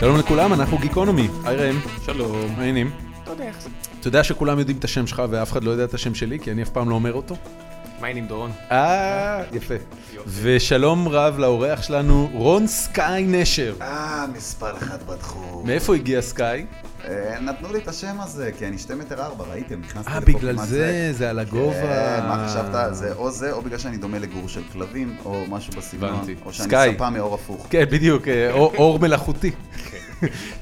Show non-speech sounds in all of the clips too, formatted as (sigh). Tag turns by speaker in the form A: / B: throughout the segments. A: שלום לכולם, אנחנו גיקונומי. היי ראם,
B: שלום.
A: מה העניינים?
B: אתה יודע איך זה.
A: אתה יודע שכולם יודעים את השם שלך ואף אחד לא יודע את השם שלי, כי אני אף פעם לא אומר אותו?
B: מה העניינים דורון?
A: אה, יפה. ושלום רב לאורח שלנו, רון סקאי נשר.
C: אה, מספר אחת בתחום.
A: מאיפה הגיע סקאי?
C: אה, נתנו לי את השם הזה, כי אני שתי מטר ארבע, ראיתם? נכנסתי
A: אה,
C: לפה
A: בגלל
C: כמעט
A: זה, זה על הגובה.
C: כן, מה חשבת? זה או זה, או בגלל שאני דומה לגור של כלבים, או משהו בסגנון.
B: הבנתי.
C: או שאני
A: סקאי.
C: ספה מאור הפוך.
A: כן, בדיוק, אה, אור- אור מלאכותי.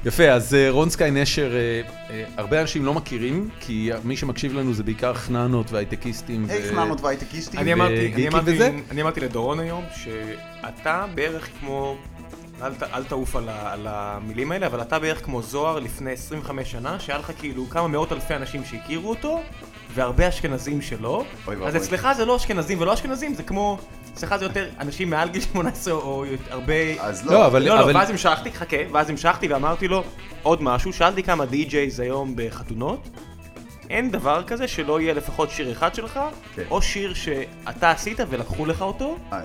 A: יפה, אז אה, רון סקאי נשר, אה, אה, הרבה אנשים לא מכירים, כי מי שמקשיב לנו זה בעיקר חננות והייטקיסטים. ו-
C: היי, חננות והייטקיסטים.
B: אני אמרתי, אני
A: וגיקים
B: אמרתי,
A: וזה?
B: אני אמרתי לדורון היום, שאתה בערך כמו, אל, ת- אל תעוף על, ה, על המילים האלה, אבל אתה בערך כמו זוהר לפני 25 שנה, שהיה לך כאילו כמה מאות אלפי אנשים שהכירו אותו, והרבה אשכנזים שלא.
C: אוי ואבוי.
B: אז אצלך זה לא אשכנזים ולא אשכנזים, זה כמו, אצלך זה יותר אנשים מעל גיל 18 או יותר- הרבה...
C: אז
A: לא, אבל-
C: לא, אבל...
B: לא, לא, ואז המשכתי, חכה, ואז המשכתי ואמרתי לו עוד משהו, שאלתי כמה די-ג'ייז היום בחתונות, אין דבר כזה שלא יהיה לפחות שיר אחד שלך,
C: כן.
B: או שיר שאתה עשית ולקחו לך אותו,
C: אה,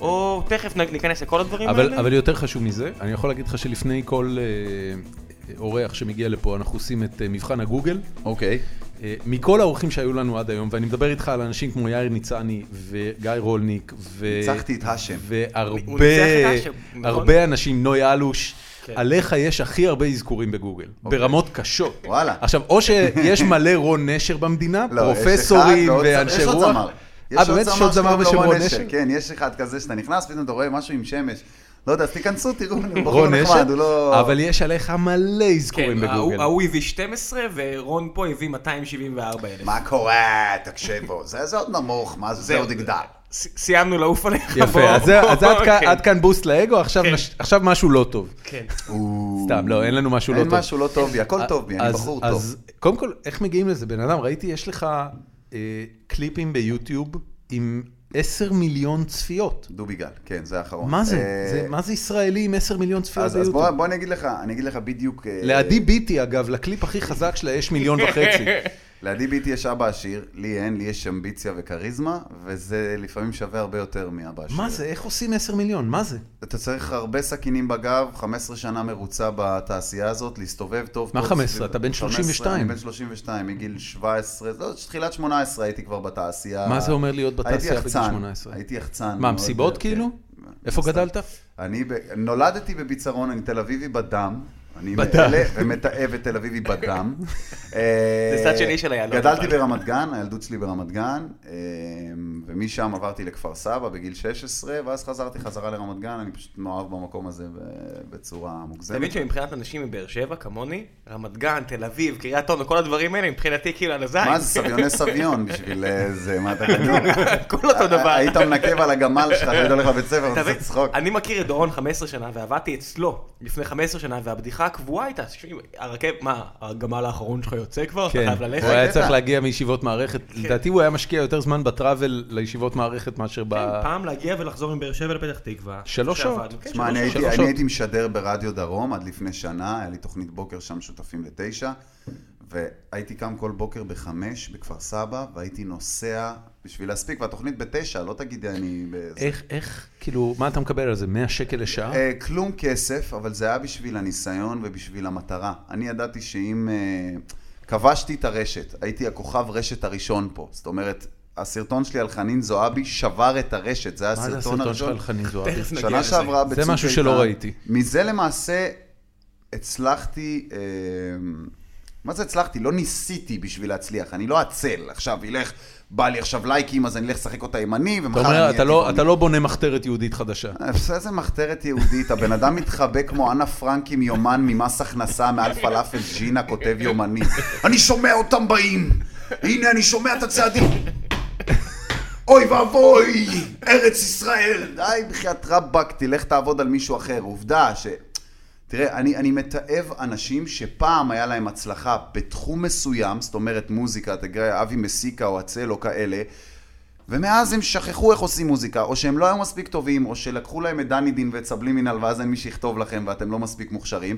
B: או תכף נ- ניכנס לכל הדברים
A: אבל,
B: האלה.
A: אבל יותר חשוב מזה, אני יכול להגיד לך שלפני כל אה, אורח שמגיע לפה, אנחנו עושים את אה, מבחן הגוגל.
C: אוקיי.
A: אה, מכל האורחים שהיו לנו עד היום, ואני מדבר איתך על אנשים כמו יאיר ניצני וגיא רולניק, אה, ו...
C: ניצחתי את האשם.
B: הוא
A: והרבה
B: ניצח את האשם, נכון?
A: הרבה אנשים, נוי אלוש,
B: כן.
A: עליך יש הכי הרבה אזכורים בגוגל, ברמות קשות.
C: אוקיי. וואלה.
A: עכשיו, או שיש מלא רון נשר במדינה,
C: לא, יש אחד
A: פרופסורים
C: ועוד-
A: ואנשי
C: יש עוד
A: רוח.
C: זמר.
A: אה,
C: יש עוד
A: באמת? יש עוד זמר
C: שקוראים לו
A: בשם
C: רון
A: רון נשר?
C: כן, יש אחד כזה שאתה נכנס, פתאום אתה רואה משהו עם שמש. לא יודע, אז תיכנסו, תראו, הוא בחור
A: רון נשר?
C: נחמד, הוא לא...
A: אבל יש עליך מלא אזכורים בגוגל.
B: כן, ההוא הביא 12 ורון פה הביא 274 אלף.
C: מה קורה? תקשיבו, זה זה עוד נמוך, מה זה, זה עוד יגדל.
B: סיימנו לעוף עליך. בוא,
A: יפה, אז זה- אז עד
B: (laughs) בוא,
A: כאן-
B: כן.
A: עד כאן בוסט לאגו, עכשיו
B: כן.
A: נש- עכשיו משהו לא טוב.
B: כן.
A: סתם, לא, אין לנו משהו לא
C: אין
A: טוב.
C: משהו לא טוב בי, הכל טוב בי, אני
A: אז-
C: בחור טוב.
A: אז קודם כל, איך מגיעים לזה? בן אדם, ראיתי, יש לך אה, קליפים ביוטיוב עם 10 מיליון צפיות.
C: דובי גל, כן, זה האחרון.
A: מה זה?
C: אה,
A: זה- לא מה זה ישראלי עם 10 מיליון צפיות
C: אז, אז
A: ביוטיוב?
C: בוא, בוא אני אגיד לך, אני אגיד לך בדיוק... אה,
A: לעדי ביטי, אגב, לקליפ הכי חזק שלה יש מיליון וחצי.
C: לעדי ביטי יש אבא עשיר, לי אין, לי יש אמביציה וכריזמה, וזה לפעמים שווה הרבה יותר מאבא עשיר.
A: מה זה? איך עושים 10 מיליון? מה זה?
C: אתה צריך הרבה סכינים בגב, 15 שנה מרוצה בתעשייה הזאת, להסתובב טוב.
A: מה
C: טוב
A: 15?
C: סביב-
A: אתה בן 32.
C: אני בן 32, מגיל 17, לא, תחילת 18 הייתי כבר בתעשייה.
A: מה זה אומר להיות
C: הייתי
A: בתעשייה בגיל
C: יחצן,
A: 18?
C: הייתי יחצן.
A: מה,
C: מאוד,
A: מסיבות
C: כן.
A: כאילו? איפה
C: סתם.
A: גדלת?
C: אני ב... נולדתי בביצרון, אני תל אביבי בדם. אני
A: בדם.
C: מאלה ומתעב את תל אביבי
B: (laughs)
C: בדם. אה,
B: זה צד שני של היעלון,
C: גדלתי
B: אבל.
C: ברמת גן, הילדות שלי ברמת גן, אה, ומשם עברתי לכפר סבא בגיל 16, ואז חזרתי חזרה לרמת גן, אני פשוט מאוהב במקום הזה ב- בצורה
B: אתה מבין
C: מוגזמת.
B: שמבחינת אנשים מבאר שבע, כמוני, רמת גן, תל אביב, קריית אונו, כל הדברים האלה, מבחינתי כאילו על הזין.
C: מה זה
B: (laughs)
C: סביוני סביון בשביל אה, זה, מה אתה חושב?
B: הכל אותו דבר.
C: היית מנקב על הגמל שלך, היית הולך לבית ספר,
B: אתה
C: אתה עושה
B: מבין?
C: צחוק.
B: אני מכיר את דורון 15 שנה, ועבדתי אצלו לפני 15 שנה, והבדיחה הקבועה הייתה, "תשמעי, הרכב, מה, הגמל האחרון שלך יוצא כבר? אתה
A: כן,
B: חייב
A: הוא
B: ללכת?
A: היה
C: קטע.
A: צריך להגיע מישיבות מערכת. לדעתי הוא היה משקיע יותר זמן בטראבל לישיבות מערכת מאשר ב...
B: כן, פעם להגיע ולחזור מבאר שבע לפתח תקווה.
A: שלוש
B: שעבדנו.
A: שעות.
B: כן,
C: תשמע,
B: שלוש
C: אני
B: שעות.
C: הייתי-
A: שלוש
C: אני
A: שעות.
C: הייתי משדר ברדיו דרום עד לפני שנה, היה לי תוכנית בוקר שם שותפים לתשע, והייתי קם כל בוקר בחמש בכפר סבא, והייתי נוסע בשביל להספיק, והתוכנית בתשע, לא תגידי אני... ב-
A: איך, איך, כאילו, מה אתה מקבל על זה? 100 שקל לשעה?
C: אה, כלום כסף, אבל זה היה בשביל הניסיון ובשביל המטרה. אני ידעתי שאם... אה, כבשתי את הרשת, הייתי הכוכב רשת הראשון פה. זאת אומרת, הסרטון שלי על חנין זועבי שבר את הרשת, זה היה
A: מה זה
C: הסרטון
A: הסרטון שלך
C: הראשון.
A: על חנין זועבי?
B: תכף נגיע
C: שנה
B: לזה.
C: שעברה
A: זה
C: בצוק
A: משהו שלא
C: איתן.
A: ראיתי.
C: מזה למעשה הצלחתי, אה, מה זה הצלחתי? לא ניסיתי בשביל להצליח, אני לא עצל. עכשיו ילך, בא לי עכשיו לייקים, אז אני אלך לשחק אותה ימני,
A: אתה
C: ומחר אה, אני
A: אומר,
C: אהיה
A: אתה לא,
C: טבעוני.
A: אתה לא בונה מחתרת יהודית חדשה.
C: עושה איזה מחתרת יהודית, הבן אדם מתחבא כמו אנה פרנק עם יומן ממס הכנסה מעל פלאפל ג'ינה, כותב יומני. אני שומע אותם באים! הנה, אני שומע את הצעדים! אוי ואבוי! ארץ ישראל! די, בחייאת רבאק, תלך תעבוד על מישהו אחר. עובדה ש... תראה, אני, אני מתעב אנשים שפעם היה להם הצלחה בתחום מסוים, זאת אומרת מוזיקה, תגרא, אבי מסיקה או עצל או כאלה, ומאז הם שכחו איך עושים מוזיקה, או שהם לא היו מספיק טובים, או שלקחו להם את דני דין ואת סבלימינל, ואז אין מי שיכתוב לכם ואתם לא מספיק מוכשרים.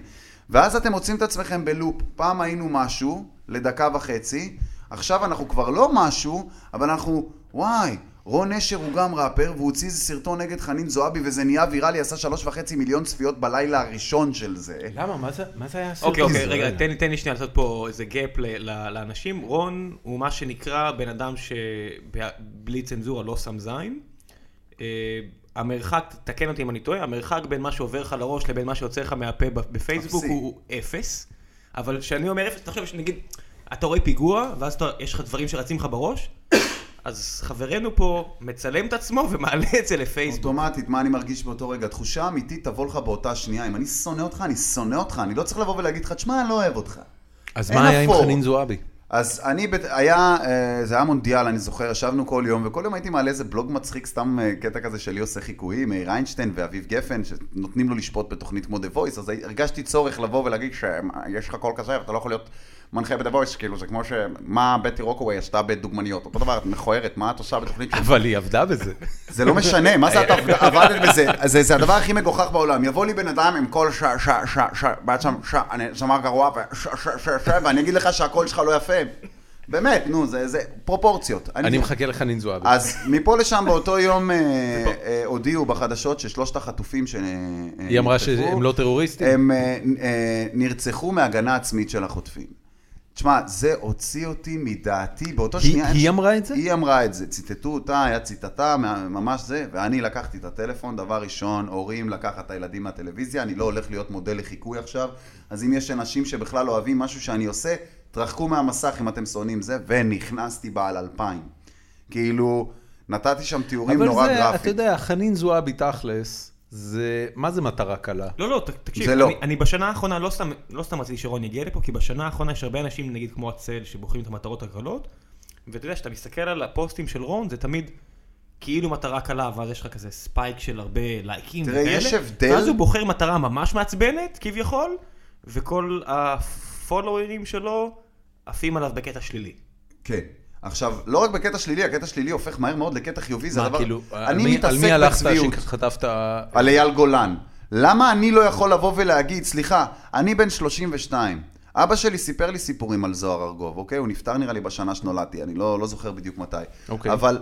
C: ואז אתם מוצאים את עצמכם בלופ. פעם היינו משהו, לדקה וחצי, עכשיו אנחנו כבר לא משהו, אבל אנחנו, וואי, רון נשר הוא גם ראפר, והוא הוציא איזה סרטון נגד חנין זועבי, וזה נהיה ויראלי, עשה שלוש וחצי מיליון צפיות בלילה הראשון של זה.
A: למה? מה זה- מה זה היה הסרט?
B: אוקיי, אוקיי,
A: הזה?
B: רגע, תן לי- תן לי שנייה לעשות פה איזה גאפ ל- ל- לאנשים. רון הוא מה שנקרא בן אדם שבלי צנזורה לא שם זין. אה, המרחק, תקן אותי אם אני טועה, המרחק בין מה שעובר לך לראש לבין מה שיוצא לך מהפה ב- בפייסבוק
C: אפסי.
B: הוא אפס. אבל כשאני אומר אפס, תחשוב שנגיד, אתה רואה פיגוע, ואז אתה- יש לך דברים שרצים לך בראש, (coughs) אז חברנו פה מצלם את עצמו ומעלה את זה לפייסבוק.
C: אוטומטית, מה אני מרגיש באותו רגע? תחושה אמיתית תבוא לך באותה שנייה. אם אני שונא אותך, אני שונא אותך. אני לא צריך לבוא ולהגיד לך, תשמע, אני לא אוהב אותך.
A: אז
C: אין
A: מה היה עם
C: אפור.
A: חנין זועבי?
C: אז אני, בת- היה, אה, זה היה מונדיאל, אני זוכר, ישבנו כל יום, וכל יום הייתי מעלה איזה בלוג מצחיק, סתם אה, קטע כזה שלי עושה חיקויים, מאיר איינשטיין ואביב גפן, שנותנים לו לשפוט בתוכנית כמו The Voice, אז הי- הרגשתי צורך לבוא ולהגיד שיש לך קול כזה, ואתה לא יכול להיות מנחה ב-The Voice, כאילו, זה כמו ש... מה בטי רוקווי עשתה בדוגמניות, אותו דבר, את מכוערת, מה את עושה בתוכנית של
A: אבל היא עבדה בזה.
C: זה לא משנה, מה זה
A: (laughs)
C: את עבד- עבדת בזה? זה, זה הדבר הכי מגוחך בעולם. יבוא לי בן אדם עם קול ש... ש... ש... ש... בעצם ש... אני זמר גרוע ו... ש... ש... ש... ש... ואני אגיד לך שהקול שלך לא יפה. באמת, נו, זה, זה פרופורציות.
A: אני מחכה לחנין זועבי.
C: אז מפה לשם באותו יום אה, אה, הודיעו בחדשות ששלושת החטופים ש... אה,
A: היא אמרה שהם לא טרוריסטים?
C: הם אה, אה, נרצחו מהגנה עצמית של החוטפים. תשמע, זה הוציא אותי מדעתי, באותו
A: היא-
C: שנייה...
A: היא אמרה את זה?
C: היא אמרה את זה, ציטטו אותה, היה ציטטה, מה- ממש זה, ואני לקחתי את הטלפון, דבר ראשון, הורים לקחת את הילדים מהטלוויזיה, אני לא הולך להיות מודל לחיקוי עכשיו, אז אם יש אנשים שבכלל אוהבים משהו שאני עושה, תרחקו מהמסך אם אתם שונאים זה, ונכנסתי בעל אלפיים. כאילו, נתתי שם תיאורים נורא
A: אבל זה, אתה
C: גרפיים.
A: יודע, חנין זועבי תכלס, זה, מה זה מטרה קלה?
B: לא, לא, ת- תקשיב,
C: זה
B: אני,
C: לא.
B: אני בשנה האחרונה לא סתם, לא סתם רציתי שרון יגיע לפה, כי בשנה האחרונה יש הרבה אנשים, נגיד כמו הצל, שבוחרים את המטרות הקלות, ואתה יודע, כשאתה מסתכל על הפוסטים של רון, זה תמיד כאילו מטרה קלה, ואז יש לך כזה ספייק של הרבה לייקים.
C: תראה,
B: וכאלה,
C: יש הבדל-
B: ואז הוא בוחר מטרה ממש מעצבנת, כביכול, וכל הפולואים שלו עפים עליו בקטע שלילי.
C: כן. עכשיו, לא רק בקטע שלילי, הקטע שלילי הופך מהר מאוד לקטע חיובי, זה
A: מה,
C: הדבר...
A: כאילו, על
C: אני
A: מי-
C: מתעסק
A: על מי הלכת
C: בצביעות.
A: שחטפת...
C: על אייל גולן. למה אני לא יכול לבוא ולהגיד, סליחה, אני בן 32. אבא שלי סיפר לי סיפורים על זוהר ארגוב, אוקיי? הוא נפטר נראה לי בשנה שנולדתי, אני לא, לא זוכר בדיוק מתי.
A: אוקיי.
C: אבל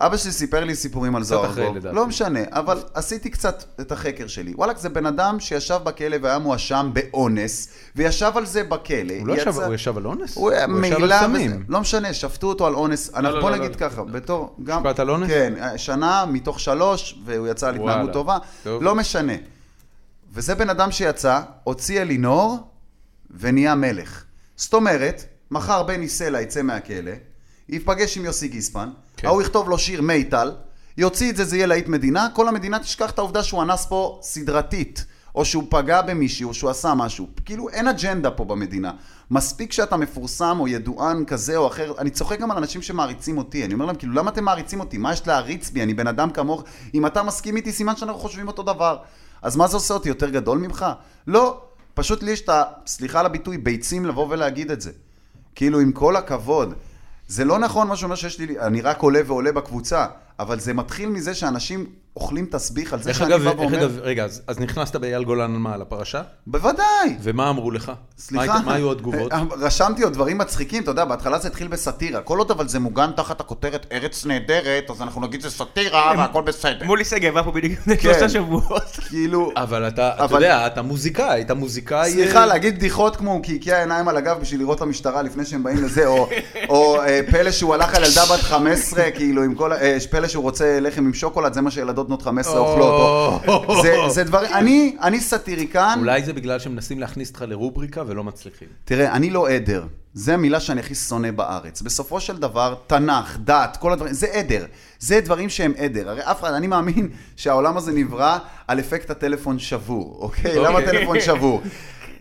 C: אבא שלי סיפר לי סיפורים על זוהר
A: אחרי,
C: ארגוב.
A: לדעתי.
C: לא משנה, אבל עשיתי קצת את החקר שלי. וואלכ, זה בן אדם שישב בכלא והיה מואשם באונס, וישב על זה בכלא.
A: הוא לא ישב,
C: יצא-
A: הוא ישב על אונס?
C: הוא היה
A: ישב על
C: מעילה וזה,
A: סמים.
C: לא משנה, שפטו אותו על אונס, אנחנו
A: לא,
C: בוא
A: לא,
C: נגיד
A: לא.
C: ככה, בתור, גם,
A: משפט על אונס?
C: כן, שנה מתוך שלוש, והוא יצא על התנהגות
A: וואלה,
C: טובה,
A: טוב.
C: לא משנה. וזה בן אדם שיצא, הוציא אלינור, ונהיה מלך. זאת אומרת, מחר בני סלע יצא מהכלא, ייפגש עם יוסי גיספן,
A: כן.
C: ההוא יכתוב לו שיר מיטל, יוציא את זה, זה יהיה להיט מדינה, כל המדינה תשכח את העובדה שהוא אנס פה סדרתית, או שהוא פגע במישהו, או שהוא עשה משהו. כאילו, אין אג'נדה פה במדינה. מספיק שאתה מפורסם או ידוען כזה או אחר, אני צוחק גם על אנשים שמעריצים אותי, אני אומר להם, כאילו, למה אתם מעריצים אותי? מה יש להעריץ בי? אני בן אדם כמוך, אם אתה מסכים איתי, סימן שאנחנו חושבים אותו דבר. אז מה זה עושה אותי יותר גדול ממך? לא, פשוט לי יש את ה... סליחה על הביטוי, ביצים לבוא ולהגיד את זה. כאילו, עם כל הכבוד, זה לא נכון מה שאומר שיש לי... אני רק עולה ועולה בקבוצה, אבל זה מתחיל מזה שאנשים אוכלים תסביך על זה
A: איך
C: שאני
A: אגב,
C: בא
A: איך
C: ואומר...
A: אגב, רגע, אז אז נכנסת באייל גולן על מה, על הפרשה?
C: בוודאי!
A: ומה אמרו לך? מה
C: סליחה. אה,
A: היית- מה היו התגובות?
C: רשמתי עוד דברים מצחיקים, אתה יודע, בהתחלה זה התחיל בסאטירה. כל עוד אבל זה מוגן תחת הכותרת ארץ נהדרת, אז אנחנו נגיד זה סאטירה והכל בסדר.
B: מולי שגב היה פה בדיוק לפני שלושה
C: כן.
B: שבועות.
C: (laughs) כאילו...
A: אבל אתה, אתה
C: אבל-
A: יודע, אתה מוזיקאי, אתה מוזיקאי...
C: סליחה,
A: אה,
C: להגיד בדיחות כמו כי הקיאה עיניים על הגב בשביל לראות למשטרה לפני שהם באים לזה, או- או אה, פלא שהוא הלך על ילדה בת 15, כאילו, עם כל... ה- אה, פלא שהוא רוצה לחם עם שוקולד, זה מה שילדות בנות 15 אוכלות. או- זה- זה דברים... אני- אני סאטיריקן.
A: אולי זה בגלל שמנסים להכניס אותך לרובריקה ולא מצליחים.
C: תראה, אני לא עדר. זה המילה שאני הכי שונא בארץ. בסופו של דבר, תנ"ך, דת, כל הדברים, זה עדר. זה דברים שהם עדר. הרי אף אחד, אני מאמין (laughs) שהעולם הזה נברא על אפקט הטלפון שבור, אוקיי?
A: אוקיי.
C: למה הטלפון שבור?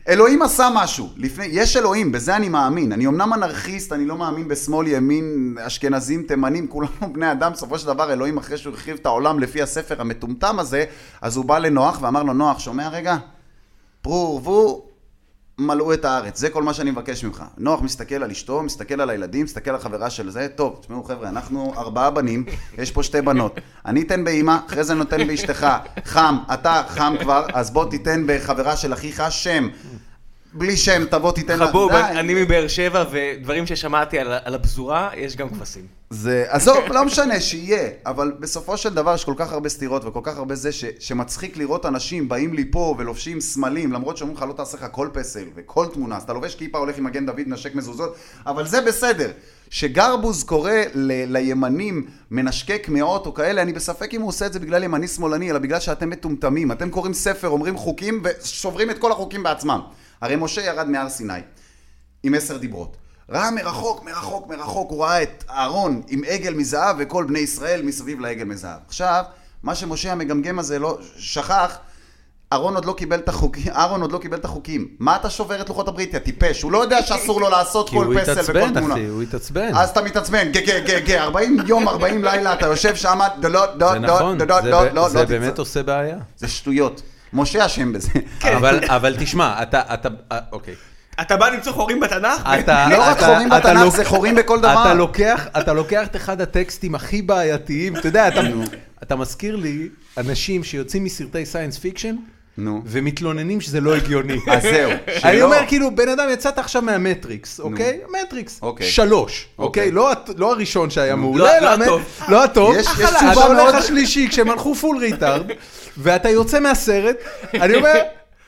C: אלוהים עשה משהו. לפני, יש אלוהים, בזה אני מאמין. אני אמנם אנרכיסט, אני לא מאמין בשמאל, ימין, אשכנזים, תימנים, כולנו (laughs) בני אדם. בסופו של דבר, אלוהים, אחרי שהוא הרחיב את העולם לפי הספר המטומטם הזה, אז הוא בא לנוח ואמר לו, נוח, שומע רגע? פרו ורבו, מלאו את הארץ, זה כל מה שאני מבקש ממך. נוח מסתכל על אשתו, מסתכל על הילדים, מסתכל על חברה של זה, טוב, תשמעו חבר'ה, אנחנו ארבעה בנים, יש פה שתי בנות. אני אתן באימא, אחרי זה נותן באשתך. חם, אתה חם כבר, אז בוא תיתן בחברה של אחיך שם. בלי שם, תבוא תיתן לה-
B: חבוב,
C: די.
B: אני מבאר שבע, ודברים ששמעתי על ה- על הפזורה, יש גם כבשים.
C: זה, עזוב, לא משנה, שיהיה, אבל בסופו של דבר יש כל כך הרבה סתירות וכל כך הרבה זה ש, שמצחיק לראות אנשים באים לי פה ולובשים סמלים, למרות שאומרים לך לא תעשה לך כל פסל וכל תמונה, אז אתה לובש כיפה, הולך עם מגן דוד, נשק מזוזות, אבל זה בסדר. שגרבוז קורא ל, לימנים מנשקי קמעות או כאלה, אני בספק אם הוא עושה את זה בגלל ימני שמאלני, אלא בגלל שאתם מטומטמים. אתם קוראים ספר, אומרים חוקים ושוברים את כל החוקים בעצמם. הרי משה ירד מהר סיני. עם עשר דיברות. ראה מרחוק, מרחוק, מרחוק, הוא ראה את אהרון עם עגל מזהב וכל בני ישראל מסביב לעגל מזהב. עכשיו, מה שמשה המגמגם הזה לא שכח, אהרון עוד לא קיבל את החוקים, אהרון עוד לא קיבל את החוקים. מה אתה שובר את לוחות הברית, יא טיפש? הוא לא יודע שאסור לו לעשות
A: כי הוא
C: כל פסל וכל
A: התעצבן,
C: תמונה.
A: אחי, הוא התעצבן.
C: אז אתה מתעצבן, גה גה גה גה, 40 יום, 40 לילה, אתה יושב שם, דו לא, דו,
A: זה נכון,
C: דו, דו,
A: זה
C: דו,
A: ב-
C: לא, לא
A: זה
C: תצא.
A: באמת עושה בעיה.
C: זה שטויות. משה
A: (laughs)
C: אשם בזה.
A: אבל- אבל תשמע, אתה, אתה, אה, אוקיי.
B: אתה בא למצוא חורים בתנ"ך?
A: אתה,
C: לא רק
A: אתה-
C: חורים
A: אתה
C: בתנ"ך,
A: לוק-
C: זה חורים בכל דבר.
A: אתה לוקח, אתה לוקח את אחד הטקסטים הכי בעייתיים, אתה יודע, אתה, אתה מזכיר לי אנשים שיוצאים מסרטי סיינס פיקשן,
C: נו.
A: ומתלוננים שזה
C: (laughs)
A: לא הגיוני.
C: אז זהו,
A: אני
C: שלא.
A: אומר, כאילו, בן אדם, יצאת עכשיו מהמטריקס, אוקיי? מטריקס.
C: אוקיי.
A: שלוש, אוקיי?
C: אוקיי.
A: לא הת- לא הראשון שהיה
B: לא-
A: מעולה,
B: לא
A: המט-
B: הטוב.
A: לא הטוב.
C: יש- יש
A: אחלה,
C: תשובה
A: אתה הולך
C: מאוד-
A: השלישי, כשהם הלכו פול ריטארד,
C: (laughs)
A: ואתה יוצא מהסרט, אני אומר...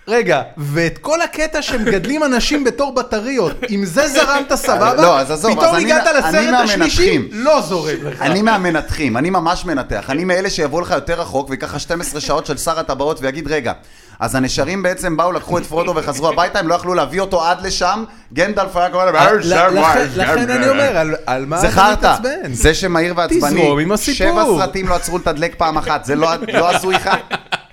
A: רגע, ואת כל הקטע שמגדלים אנשים בתור בטריות, אם זה
C: (laughs)
A: זרמת סבבה,
C: לא, אז עזוב, אז
A: פתאום
C: אני-
A: הגעת
C: אני
A: לסרט השלישי,
C: מהמנחים.
A: לא זורם לך.
C: אני מהמנתחים, אני ממש מנתח. אני מאלה שיבואו לך יותר רחוק ויקח לך 12 שעות של שר הטבעות ויגיד, רגע, אז הנשרים בעצם באו, לקחו את פרודו וחזרו הביתה, הם לא יכלו להביא אותו עד לשם, גנדלף היה קורא
A: אה,
C: להם,
A: לכן- לכן אני אומר, על- על מה
C: זה
A: אתה
C: חרטא,
A: מתעצבן?
C: זה שמהיר ועצבני,
A: תזרום עם הסיפור.
C: שבע סרטים לא עצרו לתדלק פעם אחת, זה לא- לא עשו אחד,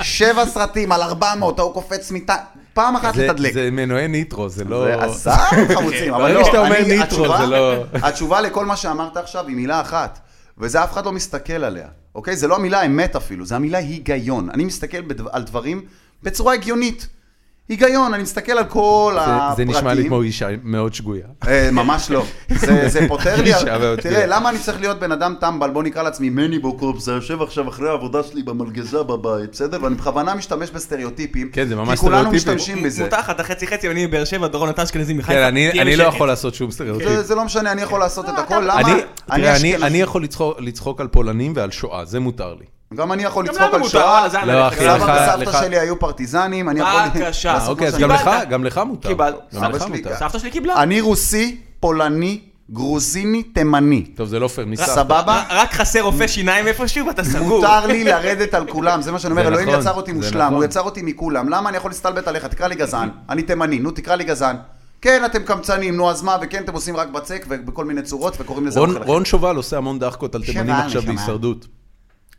C: שבע סרטים על 400, ההוא קופץ מיטה, פעם אחת
A: זה-
C: לתדלק.
A: זה מנועי ניטרו, זה לא...
C: זה עזר חמוצים, אבל
A: ברגע
C: לא,
A: שאתה אומר
C: אני-
A: ניטרו,
C: התשובה-
A: זה לא-
C: התשובה לכל מה שאמרת עכשיו היא מילה אחת, וזה אף אחד לא מסתכל עליה, אוקיי? זה לא המילה אמת אפילו, זה המילה היגיון. אני מסתכל בדו- על דברים בצורה הגיונית. היגיון, אני מסתכל על כל
A: זה-
C: הפרטים.
A: זה נשמע לי כמו אישה מאוד שגויה.
C: אה, ממש לא. זה, זה
A: (laughs)
C: פותר לי...
A: אישה מאוד
C: תראה,
A: גדולה.
C: למה אני צריך להיות בן אדם טמבל? בוא נקרא לעצמי מני בוקרופס, אני יושב עכשיו אחרי העבודה שלי במלגזה בבית, בסדר? ואני בכוונה משתמש בסטריאוטיפים.
A: כן, זה ממש
C: כי כולנו
A: סטריאוטיפים.
C: משתמשים בזה.
B: מותחת, החצי חצי, אני מבאר שבע, דורון, אתה אשכנזי כאילו מחיפה.
A: כן, אני
B: תהיה
A: אני לא
B: בשקט.
A: יכול לעשות שום סטריאוטיפ.
C: זה- זה לא משנה, אני
B: כן.
C: יכול לעשות את הכל, למה?
A: אני- אוקיי. תראה, אני-
C: אשכנזי. אה,
A: אני יכול לצחוק- לצחוק על פולנים ועל שואה, זה מותר לי.
C: גם אני יכול
B: גם
C: לצחוק
B: לנו
C: על
B: מותר,
C: שואה,
B: אז אנא,
A: לא,
B: לך.
A: אחי,
C: סבא
A: לך-
C: וסבתא
A: לך-
C: שלי היו פרטיזנים, אני יכול...
B: בבקשה.
C: לעשות
A: אה,
C: מה
A: אוקיי, אז
C: שאני
A: גם לך,
B: קיבלת.
A: גם לך מותר.
B: קיבלת.
A: גם
C: אבא
A: לך
C: שלי
A: מותר.
C: גם.
B: סבתא שלי קיבלה.
C: אני רוסי, פולני, גרוזיני, תימני.
A: טוב, זה לא פייר, ניסה.
C: סבבה?
A: (laughs)
B: ר- רק חסר רופא שיניים איפשהו ואתה סגור.
C: מותר לי לרדת על כולם, זה מה שאני אומר,
A: זה
C: אלוהים
A: נכון,
C: יצר אותי
A: זה
C: מושלם,
A: נכון.
C: הוא יצר אותי מכולם, למה אני יכול להסתלבט עליך? תקרא לי גזען, אני תימני, נו תקרא לי גזען. כן, אתם קמצנים, נו אז מה, וכן, אתם עושים רק בצק ובכל מיני צורות וקוראים לזה
A: רון-
C: אוכל.
A: רון שובל עושה המון דחקות על תימנים
C: שמה,
A: עכשיו
C: נשמה.
A: בהישרדות.